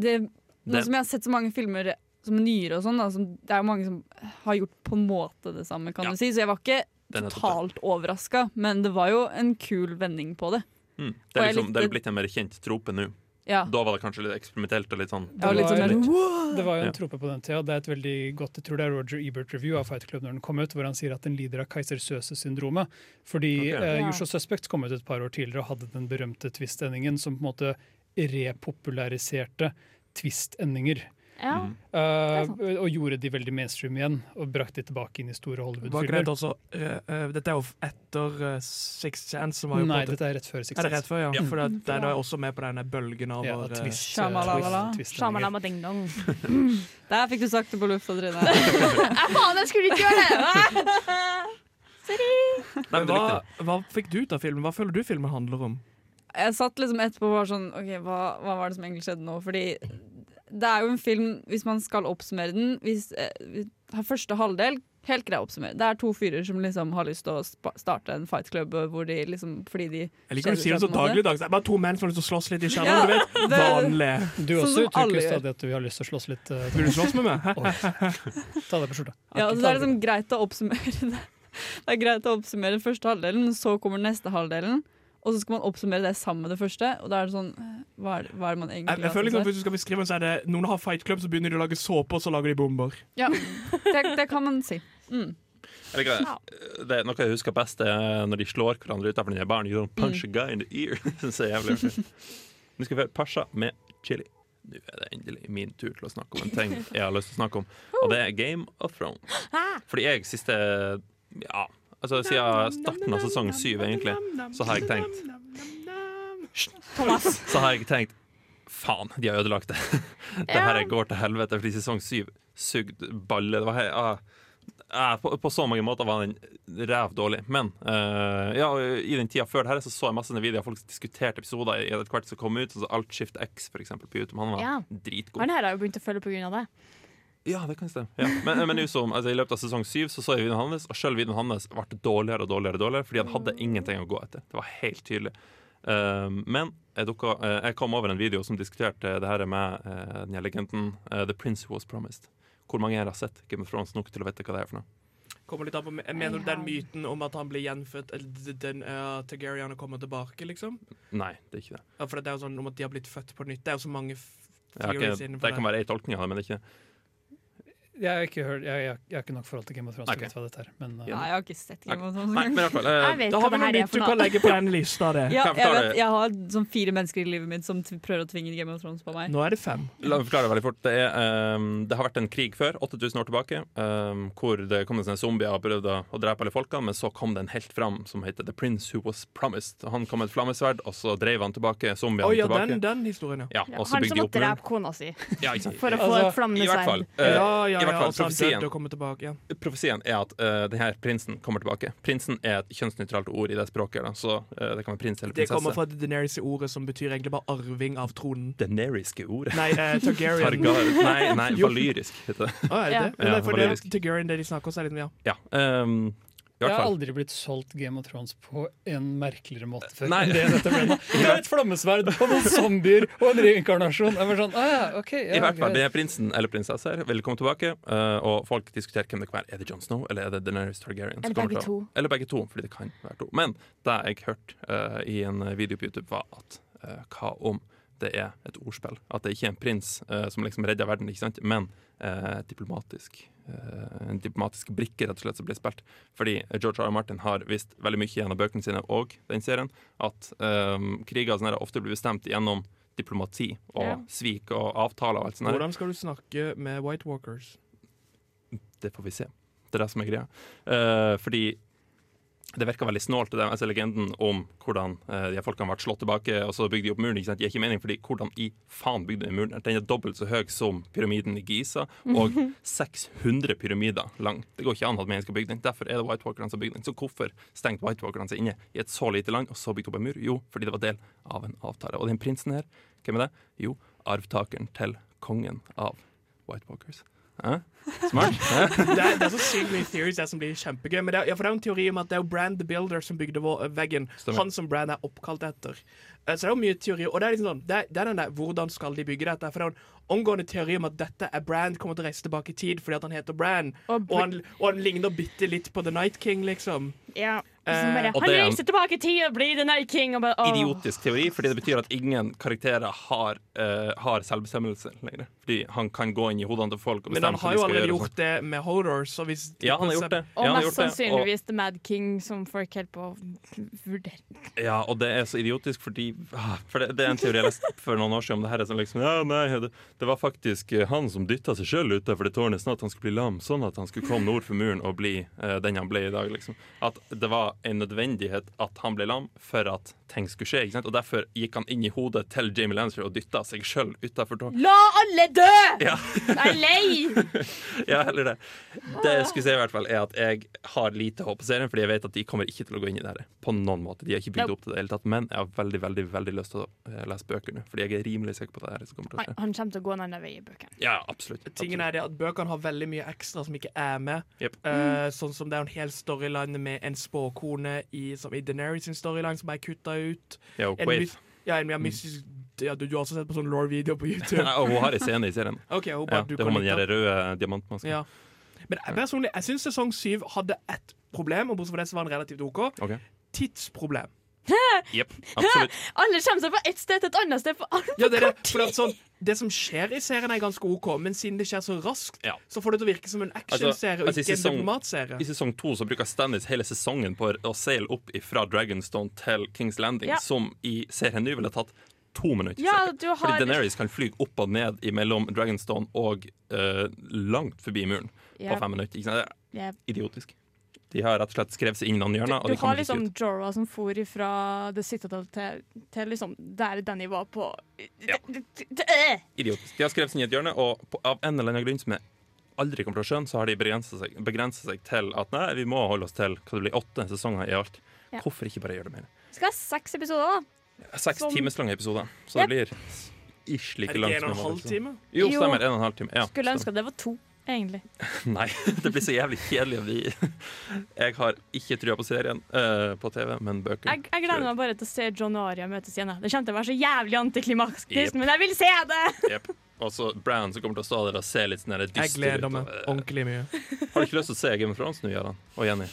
Speaker 8: det, Nå
Speaker 1: Det-
Speaker 8: som jeg har sett så mange filmer som er nyere og sånn, da, som, det er jo mange som har gjort på en måte det samme, kan du si, så jeg var ikke
Speaker 1: Det er nettopp det.
Speaker 8: totalt overraska, men det var jo en kul vending på det.
Speaker 1: Mm.
Speaker 8: Og
Speaker 1: Det er
Speaker 8: jeg
Speaker 1: liksom, det
Speaker 8: likte-
Speaker 1: er blitt en mer kjent trope nå.
Speaker 8: Ja.
Speaker 1: Da var det kanskje litt eksperimentelt og litt sånn
Speaker 8: Ja, litt sånn der,
Speaker 7: Det var jo
Speaker 1: Ja.
Speaker 7: en trope på den tida. Det er et veldig godt, jeg tror det er Roger Ebert Review av Fight Club når den kom ut, hvor han sier at den lider av Keiser-Søse-syndromet. Fordi
Speaker 1: Ok.
Speaker 7: eh,
Speaker 1: Ja.
Speaker 7: Usual Suspects kom ut et par år tidligere og hadde den berømte twist-endingen som på en måte repopulariserte twist-endinger.
Speaker 5: Ja.
Speaker 7: Eh, og gjorde de veldig mainstream igjen, og brakte de tilbake inn i store
Speaker 4: Var ikke det
Speaker 7: Hollywood-filmer.
Speaker 4: også eh, eh, Dette er jo etter eh, Six Chance. Som var jo på en
Speaker 7: Nei,
Speaker 4: måte-
Speaker 7: dette er rett før Six
Speaker 4: Er det rett før, ja?
Speaker 7: Sense. Mm.
Speaker 4: For det, det er da også med på denne bølgen av
Speaker 7: Ja,
Speaker 4: vår, eh,
Speaker 7: twist,
Speaker 8: Shyamalala.
Speaker 7: twist- twist-endinger.
Speaker 5: Shamalama ding dong.
Speaker 8: Der fikk du sagt det på lufta, Trine.
Speaker 5: Nei, faen, jeg skulle ikke gjøre det!
Speaker 4: Men hva, hva fikk du ut av filmen? Hva føler du filmen handler om?
Speaker 8: jeg satt liksom etterpå og var sånn OK, hva, hva var det som egentlig skjedde nå? Fordi det er jo en film, hvis man skal oppsummere den hvis, eh, vi har Første halvdel, helt grei å oppsummere. Det er to fyrer som liksom har lyst til å spa starte en fightklubb hvor de liksom Fordi de
Speaker 4: Jeg liker å
Speaker 8: kjeder
Speaker 4: si det
Speaker 8: seg
Speaker 4: så
Speaker 8: på en måte.
Speaker 4: dagligdags. Det er bare to menn som har lyst til å slåss litt i
Speaker 8: Ja,
Speaker 4: kjelleren. du vet, Vanlig.
Speaker 7: Du
Speaker 8: Sånn
Speaker 7: også
Speaker 8: som alle
Speaker 7: uttrykker
Speaker 8: gjør.
Speaker 7: stadig at du har lyst til å slåss litt. eh,
Speaker 4: Vil du slåss med meg?
Speaker 7: Oi. Ta deg på skjorta.
Speaker 8: Ja, og så det er liksom greit å oppsummere det. Det er greit å oppsummere den første halvdelen, men så kommer den neste halvdelen. Og så skal man oppsummere det sammen med det første, og da er det sånn eh, Hva er det, hva er det man egentlig
Speaker 4: Jeg, jeg
Speaker 8: har
Speaker 4: føler
Speaker 8: til
Speaker 4: liksom,
Speaker 8: seg?
Speaker 4: Hvis du skal beskrive den, så er det noen har fight club, så begynner de å lage såpe, og så lager de bomber.
Speaker 8: Ja, det, det kan man si. Mm.
Speaker 1: Jeg liker det. det, er Noe jeg husker best, er når de slår hverandre utenfor den der baren. You don't punch a guy in the ear. Det synes jeg er jævlig artig. Nå skal vi høre Pasha med chili. Nå er det endelig min tur til å snakke om en ting jeg har lyst til å snakke om, og det er Game of Thrones. Fordi jeg siste Ja, altså siden starten av sesong syv, egentlig, så har jeg tenkt
Speaker 5: Thomas.
Speaker 1: så har jeg tenkt Faen, de har ødelagt det. det her går til helvete fordi sesong syv sugde balle. Det var helt, ah, ah, på, på så mange måter var den ræv dårlig. Men eh, ja, i den tida før det her så, så jeg masse sånne videoer folk diskuterte episoder i et kvart som kom ut. Sånn som Alt Shift X for eksempel, på YouTube. Han var
Speaker 5: Ja.
Speaker 1: dritgod.
Speaker 5: Han her har jo begynt å følge på grunn av det.
Speaker 1: Ja, det kan stemme. Ja. Men, men nå som, altså, i løpet av sesong syv så, så jeg videoen hans, og selv videoen hans ble dårligere og dårligere, og dårligere fordi han
Speaker 4: Mm.
Speaker 1: hadde ingenting å gå etter. Det var helt tydelig. Um, men jeg, dukka, eh, jeg kom over en video som diskuterte det her med eh, den her legenden eh, The Prince Who Was Promised. Hvor mange her har sett Game of Thrones nok til å vite hva det er for noe?
Speaker 4: Kommer litt an på, jeg mener du den myten om at han blir gjenfødt, eller d- den uh, Targaryen kommer tilbake, liksom?
Speaker 1: Nei, det er ikke det.
Speaker 4: Ja, for det er jo sånn om at de har blitt født på nytt. Det er jo så mange f-
Speaker 1: Jeg har
Speaker 4: theories
Speaker 1: ikke,
Speaker 4: innenfor
Speaker 1: det kan være ei tolkning av det, men det er ikke
Speaker 7: Jeg har ikke, hørt, jeg, jeg, jeg har ikke nok forhold til Game of Thrones til å
Speaker 1: Ok.
Speaker 7: vite hva dette er. Men, eh,
Speaker 8: Nei, jeg har ikke sett Game of Thrones
Speaker 1: Nei, men i hvert fall.
Speaker 5: Jeg
Speaker 1: eh,
Speaker 5: vet
Speaker 4: Da
Speaker 5: hva
Speaker 4: har vi
Speaker 5: det
Speaker 4: noe
Speaker 5: her er
Speaker 4: nytt du
Speaker 5: for
Speaker 4: kan
Speaker 5: noe.
Speaker 4: legge på den lista, det.
Speaker 8: Ja,
Speaker 1: Kan jeg
Speaker 8: jeg,
Speaker 1: forklare
Speaker 8: vet,
Speaker 1: det?
Speaker 8: jeg har sånn fire mennesker i livet mitt som t- prøver å tvinge Game of Thrones på meg.
Speaker 4: Nå er det fem.
Speaker 1: La meg forklare veldig fort. Det, er, ehm, det har vært en krig før, 8000 år tilbake, ehm, hvor det kom en sånn zombier og prøvde å drepe alle folkene, men så kom det en helt fram som heter The Prince Who Was Promised. Og Han kom med et flammesverd, og så drev han tilbake zombiene
Speaker 4: Å ja,
Speaker 1: tilbake.
Speaker 4: den, den historien, ja.
Speaker 1: Ja,
Speaker 5: Ja,
Speaker 1: og så
Speaker 5: Han som
Speaker 1: bygde de
Speaker 5: må
Speaker 1: opp muren.
Speaker 5: drepe kona si
Speaker 1: Ja, ikke sant.
Speaker 5: for å få
Speaker 7: Altså,
Speaker 5: et flammende
Speaker 1: I hvert
Speaker 5: sverd.
Speaker 1: fall.
Speaker 4: ja,
Speaker 1: eh,
Speaker 4: ja,
Speaker 1: i hvert
Speaker 4: ja,
Speaker 1: fall
Speaker 4: altså, han
Speaker 1: profesien.
Speaker 4: døde og kommer tilbake. Ja.
Speaker 1: Profesien er at eh, denne prinsen kommer tilbake. Prinsen er et kjønnsnøytralt ord i det språket, da. så eh, det kan være prins eller
Speaker 4: Det kommer fra
Speaker 1: prinsesse.
Speaker 4: Deneris i ordet, som betyr egentlig bare arving av tronen.
Speaker 1: Det neriske ordet.
Speaker 4: Nei, eh, Targaryen.
Speaker 1: Targar. Nei, nei, valyrisk heter det.
Speaker 4: Å, er det
Speaker 5: Ja.
Speaker 4: det? Men
Speaker 1: Ja,
Speaker 4: det er for det,
Speaker 1: valyrisk.
Speaker 4: Targaryen, det de snakker om, så er liksom, ja.
Speaker 1: Ja. ehm, i
Speaker 7: jeg
Speaker 1: hvert
Speaker 7: har
Speaker 1: fall.
Speaker 7: aldri blitt solgt Game of Thrones på en merkeligere måte før.
Speaker 1: Nei.
Speaker 7: enn Det, dette ble nå. det er et flammesverd og noen zombier og en reinkarnasjon. Jeg var sånn, ah, ja, ok, ja,
Speaker 1: I hvert fall,
Speaker 7: greit.
Speaker 1: det er prinsen eller prinsesse her. Velkommen tilbake. Eh, og folk diskuterer hvem det kan være. Er det Jon Snow eller er det Daenerys Targaryen? som
Speaker 5: Eller
Speaker 1: kommer
Speaker 5: begge
Speaker 1: til å-
Speaker 5: to.
Speaker 1: Eller begge to, fordi det kan være to. Men det jeg hørte eh, i en video på YouTube, var at eh, hva om det er et ordspill? At det ikke er en prins eh, som liksom redder verden, ikke sant? men eh, diplomatisk. eh, en diplomatisk brikke rett og slett som blir spilt. Fordi eh, George R. R. Martin har visst veldig mye gjennom bøkene sine og den serien at um, kriger og sånne her ofte blir bestemt gjennom diplomati og
Speaker 5: Ja.
Speaker 1: svik og avtaler og alt sånt. her.
Speaker 4: Hvordan skal du snakke med White Walkers?
Speaker 1: Det får vi se. Det er det som er greia. Eh, fordi det virker veldig snålt, det der, altså legenden om hvordan eh, de her folkene ble slått tilbake, og så bygde de opp muren. ikke sant? Det gir ikke mening, fordi hvordan i faen bygde de muren? Den er dobbelt så høy som pyramiden i Giza, og 600 pyramider lang. Det går ikke an at mennesker bygde den. Derfor er det White Walkerne som bygde den. Så hvorfor stengte White Walkerne seg inne i et så lite land, og så bygde opp en mur? Jo, fordi det var del av en avtale. Og den prinsen her, hvem er det? Jo, arvtakeren til kongen av White Walkers. Hæ? Smart? Hæ?
Speaker 4: det, er, det er så sykt mye theories der som blir kjempegøy. Men det er, ja, for det er jo en teori om at det er jo Brand the Builder som bygde vår, eh, veggen.
Speaker 1: Stemmer.
Speaker 4: Han som Brand er oppkalt etter. Eh, Så det er jo mye teori. Og det er liksom sånn, det er, det er den der hvordan skal de bygge dette? For det er jo en omgående teori om at dette er Brand kommer til å reise tilbake i tid fordi at han heter Brand.
Speaker 5: Og
Speaker 4: Og,
Speaker 5: br-
Speaker 4: han, og han ligner bitte litt på The Night King, liksom.
Speaker 5: Ja.
Speaker 4: Eh,
Speaker 5: Som bare,
Speaker 1: og
Speaker 5: han
Speaker 1: det er en-
Speaker 5: reiser tilbake i tid og blir The Night King. Og bare, åh.
Speaker 1: idiotisk teori, fordi det betyr at ingen karakterer har, eh, har selvbestemmelse lenger. Fordi han kan gå inn i hodene til folk og
Speaker 4: Men han
Speaker 1: bestemme hva
Speaker 4: har
Speaker 1: de
Speaker 4: jo
Speaker 1: skal
Speaker 4: allerede
Speaker 1: gjøre og
Speaker 4: gjort det med Hodor, så hvis
Speaker 1: sånt. Ja, han har gjort det.
Speaker 5: Og
Speaker 1: Ja, han har
Speaker 5: mest
Speaker 1: gjort det. Og-
Speaker 5: sannsynligvis The Mad King, som folk holder på å vurdere.
Speaker 1: Ja, og det er så idiotisk fordi ah, For det, det er en teori jeg leste for noen år siden om det her. er Sånn liksom, ja, nei, det, det var faktisk eh, han som dytta seg sjøl utafor det tårnet sånn at han skulle bli lam, sånn at han skulle komme nord for muren og bli eh, den han ble i dag. Liksom. At det var en nødvendighet at han ble lam for at ting skulle skje. Ikke sant? Og derfor gikk han inn i hodet til Jamie Lancer og dytta seg sjøl utafor tårnet.
Speaker 5: La alle dø!
Speaker 1: Ja.
Speaker 5: Jeg er lei!
Speaker 1: Ja, heller det. Det jeg skulle si i hvert fall er at jeg har lite håp på serien, fordi jeg vet at de kommer ikke til å gå inn i det her på noen måte. De har ikke bygd
Speaker 5: Nope.
Speaker 1: opp til det i det hele tatt. Men jeg har veldig veldig, veldig lyst til å eh, lese bøker nå, fordi jeg er rimelig sikker på at det her som kommer til å
Speaker 5: Han
Speaker 1: skje.
Speaker 5: han kommer til å gå en annen vei i bøkene.
Speaker 1: Ja, absolutt.
Speaker 4: Tingen
Speaker 1: absolutt.
Speaker 4: er det at Bøkene har veldig mye ekstra som ikke er med.
Speaker 1: Jep.
Speaker 4: Eh, sånn som Det er en hel storyline med en spåkone i, som i Daenerys sin storyline som er kutta ut.
Speaker 1: Ja, og
Speaker 4: En
Speaker 1: Quaithe.
Speaker 4: mys- ja, en mer
Speaker 1: Mm.
Speaker 4: mystisk ja, du, du har også sett på sånn lore-video på YouTube.
Speaker 1: Nei, og hun har en scene i serien.
Speaker 4: Ok, hun bare,
Speaker 1: Ja,
Speaker 4: du
Speaker 1: det
Speaker 4: kan
Speaker 1: har man
Speaker 4: like
Speaker 1: gjør
Speaker 4: det.
Speaker 1: røde diamantmasken.
Speaker 4: Ja. Men jeg, personlig, jeg syns sesong syv hadde ett problem, og bortsett fra det så var den relativt OK.
Speaker 1: Ok.
Speaker 4: Tidsproblem.
Speaker 1: Jep, absolutt.
Speaker 5: Alle kommer seg fra ett sted til et annet sted på altfor
Speaker 4: Ja, det, er det,
Speaker 5: kort
Speaker 4: for det,
Speaker 5: tid.
Speaker 4: er sånn, det som skjer i serien, er ganske OK, men siden det skjer så raskt,
Speaker 1: Ja.
Speaker 4: så får det til å virke som en actionserie
Speaker 1: Altså,
Speaker 4: og
Speaker 1: altså, i
Speaker 4: ikke en
Speaker 1: sesong-
Speaker 4: diplomatserie.
Speaker 1: I sesong to så bruker Stannis hele sesongen på å seile opp fra Dragonstone til Kings Landing,
Speaker 5: Ja.
Speaker 1: som i serien nå ville tatt to minutter.
Speaker 5: Ja,
Speaker 1: cirka.
Speaker 5: du har-
Speaker 1: Fordi Daenerys kan fly opp og ned mellom Dragonstone og eh, langt forbi muren
Speaker 5: Ja.
Speaker 1: på fem minutter. Ikke sant? Det
Speaker 5: Ja.
Speaker 1: er idiotisk. De har rett og slett skrevet seg inn i noen hjørner, og
Speaker 5: Du
Speaker 1: de
Speaker 5: har
Speaker 1: kommer ikke
Speaker 5: liksom
Speaker 1: ut.
Speaker 5: Jorah som for fra The Citadel til, til liksom der Danny var på Øh!
Speaker 1: Idiotisk. De har skrevet seg inn i et hjørne, og på, av en eller annen grunn som jeg aldri kommer til å skjønne, så har de begrenset seg, begrenset seg til at nei, vi må holde oss til hva det blir, åtte sesonger i alt.
Speaker 5: Ja.
Speaker 1: Hvorfor ikke bare gjøre det mer?
Speaker 5: Skal ha seks episoder, da.
Speaker 1: Seks
Speaker 5: Som-
Speaker 1: timers lange episoder, så
Speaker 5: Yep.
Speaker 1: det blir ish
Speaker 4: Er
Speaker 1: like
Speaker 4: det
Speaker 1: langt
Speaker 4: ikke en og en
Speaker 1: som en
Speaker 4: halv
Speaker 1: episode.
Speaker 4: time?
Speaker 1: Jo,
Speaker 5: Jo.
Speaker 1: stemmer. En og en halv time. Ja,
Speaker 5: Skulle
Speaker 1: stemmer.
Speaker 5: ønske at det var to, egentlig.
Speaker 1: Nei, det blir så jævlig kjedelig. å bli- Jeg har ikke trua på serien eh, på TV, men bøker.
Speaker 5: Jeg, jeg gleder meg bare til å se John og Arya møtes igjen. jeg. Det kommer til å være så jævlig antiklimaktisk,
Speaker 1: Jep.
Speaker 5: men jeg vil se det!
Speaker 1: Jep. Og så Brann Altså, som kommer til å stå der og se litt sånn der dyster
Speaker 4: Jeg gleder meg
Speaker 1: ut. og,
Speaker 4: ordentlig mye.
Speaker 1: eh, Har du ikke lyst til å se Game of Thrones nå, Jarand? Og Jenny?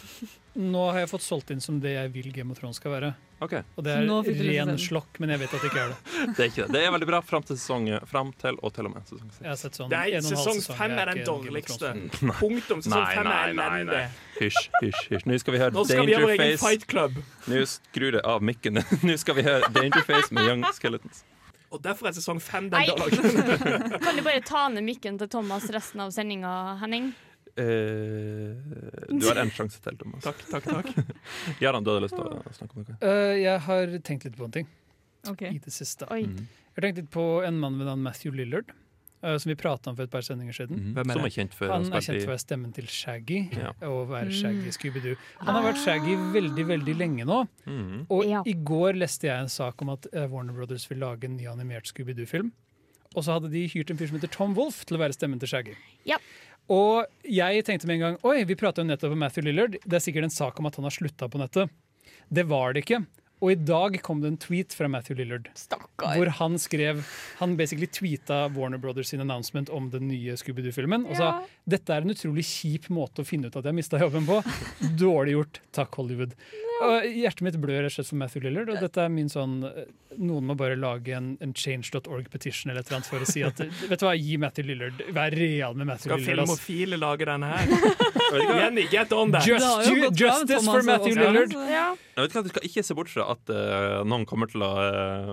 Speaker 7: Nå har jeg fått solgt inn som det jeg vil Game of Thrones skal være.
Speaker 1: OK.
Speaker 7: Og det
Speaker 8: Nå fikk du lyst til
Speaker 7: er
Speaker 8: å
Speaker 7: ren
Speaker 8: se den.
Speaker 7: slokk, men jeg vet at det ikke er det.
Speaker 1: Det er ikke det. Det er veldig bra fram til sesong Fram til og til og med sesong
Speaker 7: Jeg
Speaker 1: seks.
Speaker 7: har sett sånn
Speaker 4: Nei,
Speaker 7: en og en halv
Speaker 4: sesong
Speaker 7: sesong,
Speaker 4: fem
Speaker 7: jeg
Speaker 4: er den
Speaker 7: ikke en Game of
Speaker 4: dårligste.
Speaker 7: Thrones-fan.
Speaker 4: Punktum. Sesong
Speaker 1: Nei,
Speaker 4: fem er
Speaker 1: nei, nei,
Speaker 4: elendig.
Speaker 1: nei. Hysj, hysj, hysj. Nå skal vi høre
Speaker 4: Nå skal vi ha vår egen
Speaker 1: Dangerface.
Speaker 4: fight club.
Speaker 1: Nå skrur jeg av mikken. Nå skal vi høre Dangerface med Young Skeletons.
Speaker 4: Og derfor er sesong fem
Speaker 5: Nei.
Speaker 4: den dårligste.
Speaker 5: Kan du bare ta ned mikken til Thomas resten av sendinga, Henning?
Speaker 1: Eh, du har en sjanse til, Thomas.
Speaker 4: Takk, takk, takk.
Speaker 1: Jarand, du hadde lyst til å snakke om noe?
Speaker 7: Øh, jeg har tenkt litt på en ting
Speaker 8: Ok.
Speaker 7: i det siste.
Speaker 5: Oi.
Speaker 1: Mm.
Speaker 7: Jeg har tenkt litt på en mann ved navn Matthew Lillard, øh, som vi prata om for et par sendinger siden.
Speaker 1: Hvem er Som er kjent for
Speaker 7: Han
Speaker 1: spilt i-
Speaker 7: er kjent for å være stemmen til Shaggy
Speaker 1: Ja.
Speaker 7: og være Shaggy i Scooby-Doo. Han har vært Shaggy veldig veldig lenge nå.
Speaker 1: Mhm.
Speaker 7: Og
Speaker 5: Ja.
Speaker 7: i går leste jeg en sak om at eh, Warner Brothers vil lage en ny animert Scooby-Doo-film. Og så hadde de hyrt en fyr som heter Tom Wolff til å være stemmen til Shaggy.
Speaker 5: Ja.
Speaker 7: Og jeg tenkte med en gang Oi, vi prata jo nettopp om Matthew Lillard. Det er sikkert en sak om at han har slutta på nettet. Det var det ikke. Og i dag kom det en tweet fra Matthew Lillard.
Speaker 5: Stakkar.
Speaker 7: Hvor han skrev Han basically tweeta Warner Brothers sin announcement om den nye Scooby-Doo-filmen. Og sa
Speaker 5: Ja.
Speaker 7: dette er en utrolig kjip måte å finne ut at jeg mista jobben på. Dårlig gjort. Takk, Hollywood. Og hjertet mitt blør rett og slett for Matthew Lillard. Og dette er min sånn eh, Noen må bare lage en, en change.org-petition eller et eller annet for å si at vet du hva, gi Matthew Lillard Vær real med Matthew
Speaker 4: Skal
Speaker 7: Lillard. ass.
Speaker 4: filmofile lage denne her? Jenny, get on that!
Speaker 7: Just,
Speaker 8: Det har jo
Speaker 7: ju-
Speaker 8: gått bra med
Speaker 7: justice
Speaker 8: Thomas
Speaker 7: for
Speaker 8: og
Speaker 7: Matthew
Speaker 8: Oscar,
Speaker 7: Lillard.
Speaker 8: så-
Speaker 5: Ja.
Speaker 1: Jeg vet ikke, at Du skal ikke se bort fra at eh, noen kommer til å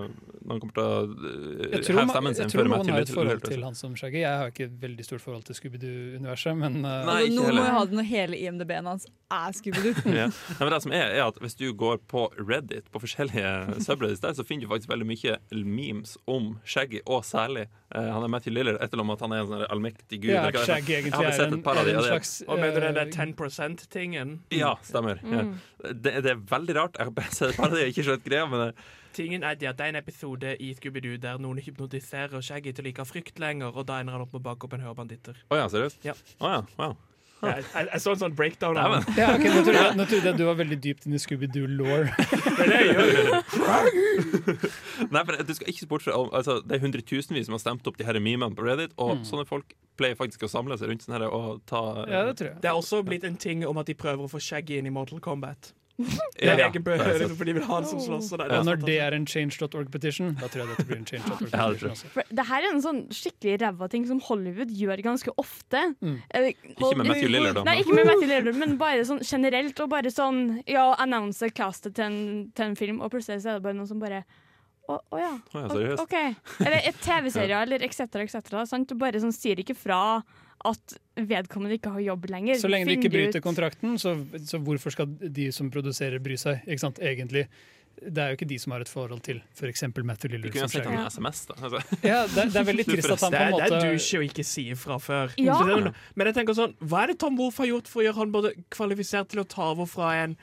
Speaker 1: eh, han kommer til å
Speaker 7: Jeg
Speaker 1: eh,
Speaker 7: tror,
Speaker 1: heve
Speaker 7: man,
Speaker 1: stemmen
Speaker 7: jeg
Speaker 1: sin. før
Speaker 7: tror
Speaker 1: meg
Speaker 7: noen har et
Speaker 1: til-
Speaker 7: forhold
Speaker 1: til-
Speaker 7: til han som Shaggy. Jeg har ikke et veldig stort forhold til Scooby-Doo-universet, men eh,
Speaker 1: Nei, ikke
Speaker 8: Altså, Nå må
Speaker 1: heller.
Speaker 8: jo ha det når hele IMDb-en hans er Scooby-Doo.
Speaker 1: ja. Nei, men det som er, er at Hvis du går på Reddit, på forskjellige subreddits der, så finner du faktisk veldig mye memes om Shaggy, og særlig eh, han er Matthew Lillard, et eller annet at han er en sånn allmektig gud.
Speaker 7: Ja,
Speaker 1: eller hva det
Speaker 7: Shaggy
Speaker 1: heter.
Speaker 7: egentlig
Speaker 1: Jeg har
Speaker 7: er
Speaker 1: vel sett
Speaker 7: en-
Speaker 1: et par av de,
Speaker 7: er en
Speaker 1: og det-
Speaker 7: slags, eh,
Speaker 4: Og mener du den 10 %-tingen?
Speaker 1: Ja, stemmer.
Speaker 4: Mm.
Speaker 1: Ja. Det, det er veldig rart. Jeg har bare sett et par av de, jeg har ikke skjønt greia eh, med det.
Speaker 4: Tingen er det at det er en episode i Scooby-Doo der noen hypnotiserer Shaggy til å ikke ha frykt lenger, og da ender han opp med å bake opp en hørbanditter.
Speaker 1: Å ja, seriøst?
Speaker 4: Ja.
Speaker 1: Å ja, wow.
Speaker 4: Ja, Jeg, jeg, jeg så en sånn breakdown av
Speaker 1: Nei,
Speaker 4: den.
Speaker 7: ja, ok, nå, trodde jeg, nå trodde jeg du var veldig dypt inne i Scooby-Doo-law.
Speaker 1: Nei, for du skal ikke se bort fra altså, Det er hundretusenvis som har stemt opp de her memene på Reddit, og sånne folk pleier faktisk å samle seg rundt sånne her og ta
Speaker 7: tror jeg.
Speaker 4: Det er også blitt en ting om at de prøver å få Shaggy inn i Mortal Kombat. Det
Speaker 1: Ja,
Speaker 4: er egen
Speaker 1: det har jeg sett.
Speaker 4: for de vil ha han som slåss. Og det,
Speaker 7: Og når det er en change.org-petition, da tror jeg dette blir en
Speaker 1: Ja, det tror
Speaker 7: change.org-petition.
Speaker 1: jeg.
Speaker 7: også.
Speaker 5: For det her er en sånn skikkelig ræva ting som Hollywood gjør ganske ofte.
Speaker 7: Mm.
Speaker 5: Eh, og-
Speaker 1: med Matthew Lillard, da,
Speaker 5: Nei,
Speaker 1: men-
Speaker 5: ikke med Matthew Lillard, men bare sånn generelt. Og bare sånn ja, annonse castet til en, til en film, og plutselig så er det bare noen som bare å, å ja.
Speaker 1: Å ja, seriøst?
Speaker 5: OK. Eller et TV-serie eller etc. etc. Sant? Du bare sånn sier ikke fra at vedkommende ikke har jobb lenger.
Speaker 7: Så lenge de
Speaker 5: Finn det
Speaker 7: ikke
Speaker 5: ut.
Speaker 7: bryter kontrakten, så, så hvorfor skal de som produserer bry seg, ikke sant, egentlig? Det er jo ikke de som har et forhold til f.eks. Matthew
Speaker 1: Vi
Speaker 7: Lillard.
Speaker 1: kunne ha
Speaker 7: som
Speaker 1: sendt han
Speaker 7: skjer.
Speaker 1: en SMS, da. Altså.
Speaker 7: Ja, det, er- det er veldig trist at han
Speaker 4: det,
Speaker 7: på en
Speaker 4: er, det
Speaker 7: måte
Speaker 4: er douche å ikke si ifra før.
Speaker 5: Ja.
Speaker 4: Så det er- Men jeg tenker sånn, hva er det Tom Wolff har gjort for å gjøre han både kvalifisert til å ta over fra en,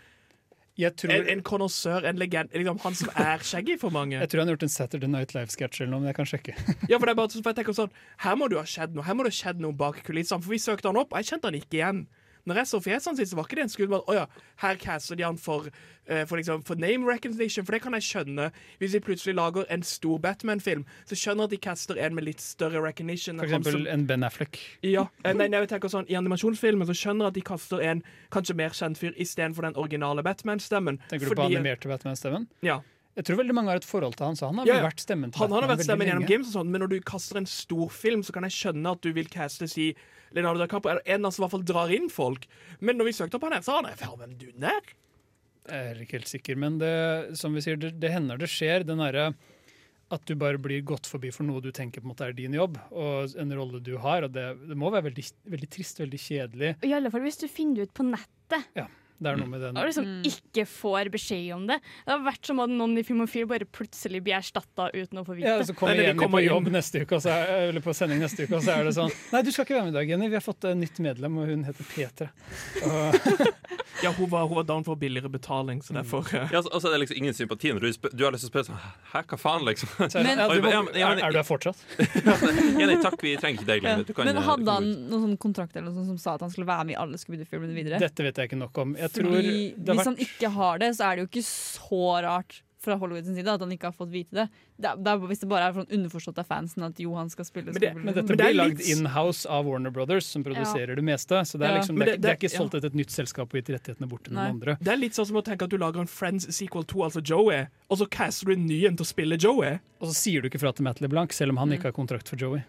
Speaker 7: jeg
Speaker 4: en,
Speaker 7: tror,
Speaker 4: en konnoisseur, en legend, liksom han som er Shaggy for mange?
Speaker 7: jeg tror han har gjort en Saturday Night Live-sketsj eller noe, men jeg kan sjekke.
Speaker 4: Ja, for det er bare sånn, for jeg tenker sånn Her må det jo ha skjedd noe, her må det ha skjedd noe bak kulissene. For vi søkte han opp, og jeg kjente han ikke igjen. Når jeg så fjesene sine, så var ikke det en skudd. men, Å ja, her caster de han for, eh, for, liksom, for name recognition, for det kan jeg skjønne. Hvis de plutselig lager en stor Batman-film, så skjønner jeg at de caster en med litt større recognition.
Speaker 7: For
Speaker 4: enn han som-
Speaker 7: eksempel en Ben Affleck.
Speaker 4: Ja, eh, nei, nei, jeg tenker sånn, I animasjonsfilmen så skjønner jeg at de kaster en kanskje mer kjent fyr istedenfor den originale Batman-stemmen.
Speaker 7: Tenker du på animerte Batman-stemmen?
Speaker 4: Ja.
Speaker 7: Jeg tror veldig mange har et forhold til han, så han har
Speaker 4: Ja,
Speaker 7: vel
Speaker 4: ja.
Speaker 7: vært stemmen til
Speaker 4: Han, han har vært
Speaker 7: veldig
Speaker 4: stemmen gjennom
Speaker 7: lenge.
Speaker 4: games, og sånn, men når du kaster en stor film, så kan jeg skjønne at du vil caste si Leonardo DiCaprio, eller en av oss i hvert fall drar inn folk. Men når vi søkte opp han her, så han er faen hvem du er.
Speaker 7: Jeg er ikke helt sikker, men det, som vi sier, det, det hender det skjer. Den derre at du bare blir gått forbi for noe du tenker på en måte er din jobb, og en rolle du har. og Det, det må være veldig, veldig trist, veldig kjedelig.
Speaker 5: I alle fall hvis du finner det ut på nettet.
Speaker 7: Det er noe med den
Speaker 5: Og liksom
Speaker 8: Mm.
Speaker 5: ikke får beskjed om det. Det har vært som at noen i Filmofil bare plutselig blir erstatta uten å få vite
Speaker 7: Ja,
Speaker 5: det.
Speaker 7: så kommer
Speaker 4: Nei, nei, de
Speaker 7: Jenny
Speaker 4: kommer
Speaker 7: på jobb
Speaker 4: inn.
Speaker 7: neste uke, og så er, eller på sending neste uke, og så er det sånn Nei, du skal ikke være med i dag, Jenny. Vi har fått et nytt medlem, og hun heter Petra. Og,
Speaker 4: Ja, hun var, hun var down for billigere betaling, så derfor eh,
Speaker 1: Ja, altså, altså, det er liksom ingen sympati når du, spør, du har lyst til å spørre sånn Hæ, hva faen, liksom?
Speaker 7: så er, det sånn, ja,
Speaker 1: Men-
Speaker 7: du
Speaker 1: Ja,
Speaker 7: må,
Speaker 1: men- ja, men-
Speaker 7: er, er du her fortsatt?
Speaker 1: Ja, nei, takk, vi trenger ikke deg
Speaker 8: Ja.
Speaker 1: lenger. Du kan,
Speaker 8: Men
Speaker 1: eh,
Speaker 8: hadde
Speaker 1: gå
Speaker 8: han
Speaker 1: ut.
Speaker 8: noen sånn kontrakt eller noe sånt som sa at han skulle være med i alle Scooby-Doo-filmene videre?
Speaker 7: Dette vet jeg ikke nok om. Jeg tror
Speaker 8: Fordi
Speaker 7: det har
Speaker 8: Hvis han
Speaker 7: vært
Speaker 8: ikke har det, så er det jo ikke så rart fra Hollywoods side at han ikke har fått vite det. det, er, det er, hvis det bare er sånn underforstått av fansen at jo, han skal spille
Speaker 4: Men det-
Speaker 8: Scooby-Doo.
Speaker 7: men dette
Speaker 4: Men det er
Speaker 7: blir lagd
Speaker 4: litt-
Speaker 7: in-house av Warner Brothers, som produserer det meste. Så det er,
Speaker 8: Ja.
Speaker 7: liksom,
Speaker 4: Men
Speaker 7: det, er
Speaker 4: det-
Speaker 7: ikke- det er ikke
Speaker 4: det-
Speaker 7: solgt til et nytt selskap og gitt rettighetene bort til noen
Speaker 8: Nei.
Speaker 7: andre.
Speaker 4: Det er litt sånn som å tenke at du lager en Friends sequel 2, altså Joey, og så caster du en ny en til å spille Joey.
Speaker 7: Og så sier du ikke fra til Matt LeBlanc, selv om han ikke har kontrakt for Joey.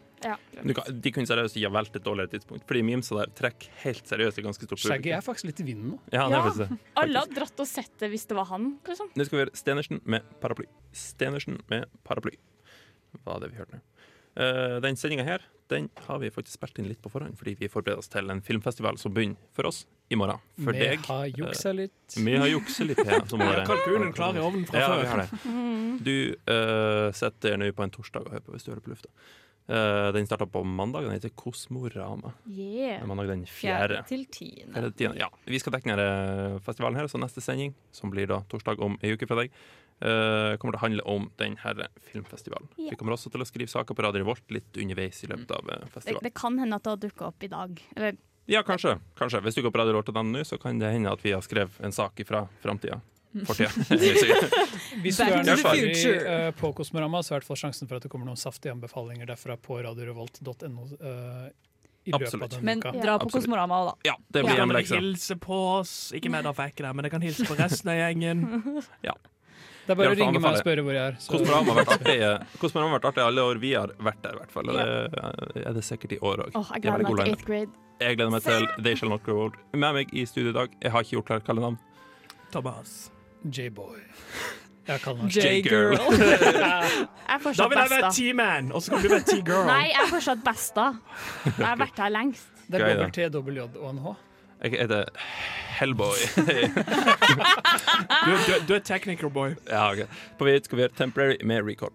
Speaker 1: Du kan, de kunne seriøst ha valgt et dårligere tidspunkt, fordi memesa der trekker helt seriøst et ganske stort
Speaker 7: Shaggy
Speaker 1: publikum.
Speaker 7: er faktisk litt i vinden nå.
Speaker 1: Ja, det er
Speaker 5: Ja.
Speaker 1: faktisk det.
Speaker 5: Alle hadde dratt og sett det hvis det var han. Liksom.
Speaker 1: Nå skal vi høre Stenersen med paraply. Stenersen med paraply. Hva er det vi hørte nå? Eh, den sendinga her den har vi faktisk spilt inn litt på forhånd, fordi vi forbereder oss til en filmfestival som begynner for oss i morgen. For
Speaker 7: Vi
Speaker 1: deg. Mm.
Speaker 7: har juksa litt.
Speaker 1: Vi har jukset litt her. som
Speaker 4: Ja,
Speaker 1: bare-
Speaker 4: kalkunen klar i ovnen fra
Speaker 1: Ja, vi
Speaker 4: før.
Speaker 1: har det. Du eh, setter nå på en torsdag og hører på hvis du hører på lufta. Eh, den starta på mandag. Den heter Kosmorama. Det er
Speaker 5: Yeah.
Speaker 1: Mandag den
Speaker 8: Fjerde
Speaker 1: fjerde.
Speaker 8: til tiende.
Speaker 1: Eller tiende, Ja. Vi skal dekke denne festivalen her, så neste sending, som blir da torsdag om ei uke fra deg, eh, kommer til å handle om denne filmfestivalen. Vi kommer også til å skrive saker på Radio Revolt litt underveis i løpet av eh,
Speaker 5: Det,
Speaker 1: festivalen.
Speaker 5: det kan hende at det har dukka opp i dag. Eller
Speaker 1: Ja, kanskje. kanskje. Hvis du går på Radio Revolt nå, så kan det hende at vi har skrevet en sak fra framtida. Fortida.
Speaker 7: Hvis du
Speaker 8: Back
Speaker 1: to
Speaker 7: er
Speaker 1: the
Speaker 7: nysgjerrig
Speaker 8: future.
Speaker 7: eh, på Kosmorama, så er det i hvert fall sjansen for at det kommer noen saftige anbefalinger derfra på radiorevolt.no eh, i løpet
Speaker 1: Absolutt.
Speaker 7: av denne
Speaker 8: Men
Speaker 7: uka.
Speaker 8: dra på
Speaker 1: Absolutt.
Speaker 8: Kosmorama òg, da.
Speaker 1: ja, det
Speaker 4: Så
Speaker 1: blir liksom.
Speaker 4: kan
Speaker 1: en
Speaker 4: dere
Speaker 1: lekse.
Speaker 4: hilse på oss. Ikke meg, da, for jeg er ikke der, men dere kan hilse på resten av gjengen.
Speaker 7: Det er
Speaker 1: Jeg
Speaker 7: bare å
Speaker 1: vil
Speaker 7: ringe meg og
Speaker 1: anbefale-
Speaker 7: spørre hvor jeg er. så-
Speaker 1: Kosmorama har vært artig eh, Kosmorama har vært artig alle år vi har vært der, i hvert fall. Og det er det sikkert i år òg.
Speaker 5: Åh, jeg gleder meg til 8th grade.
Speaker 1: Jeg gleder meg til They Shall Not Grow Old. Med meg i studio i dag, jeg har ikke gjort klart kallenavn,
Speaker 4: Thomas.
Speaker 7: J-boy. Jeg kaller meg
Speaker 4: J-girl.
Speaker 5: Jeg
Speaker 4: Da
Speaker 5: fortsatt
Speaker 4: vil jeg
Speaker 5: best,
Speaker 4: være
Speaker 5: da.
Speaker 4: T-man, og så kan du være T-girl.
Speaker 5: Nei, jeg er fortsatt best, da. Jeg har vært her lengst.
Speaker 7: Det er
Speaker 1: Gøy, da.
Speaker 7: dobbelt T, dobbelt J og en H.
Speaker 1: Jeg heter Hellboy.
Speaker 4: Du, du, du er technical boy.
Speaker 1: ja, ok. På vidt skal vi gjøre Temporary med Record.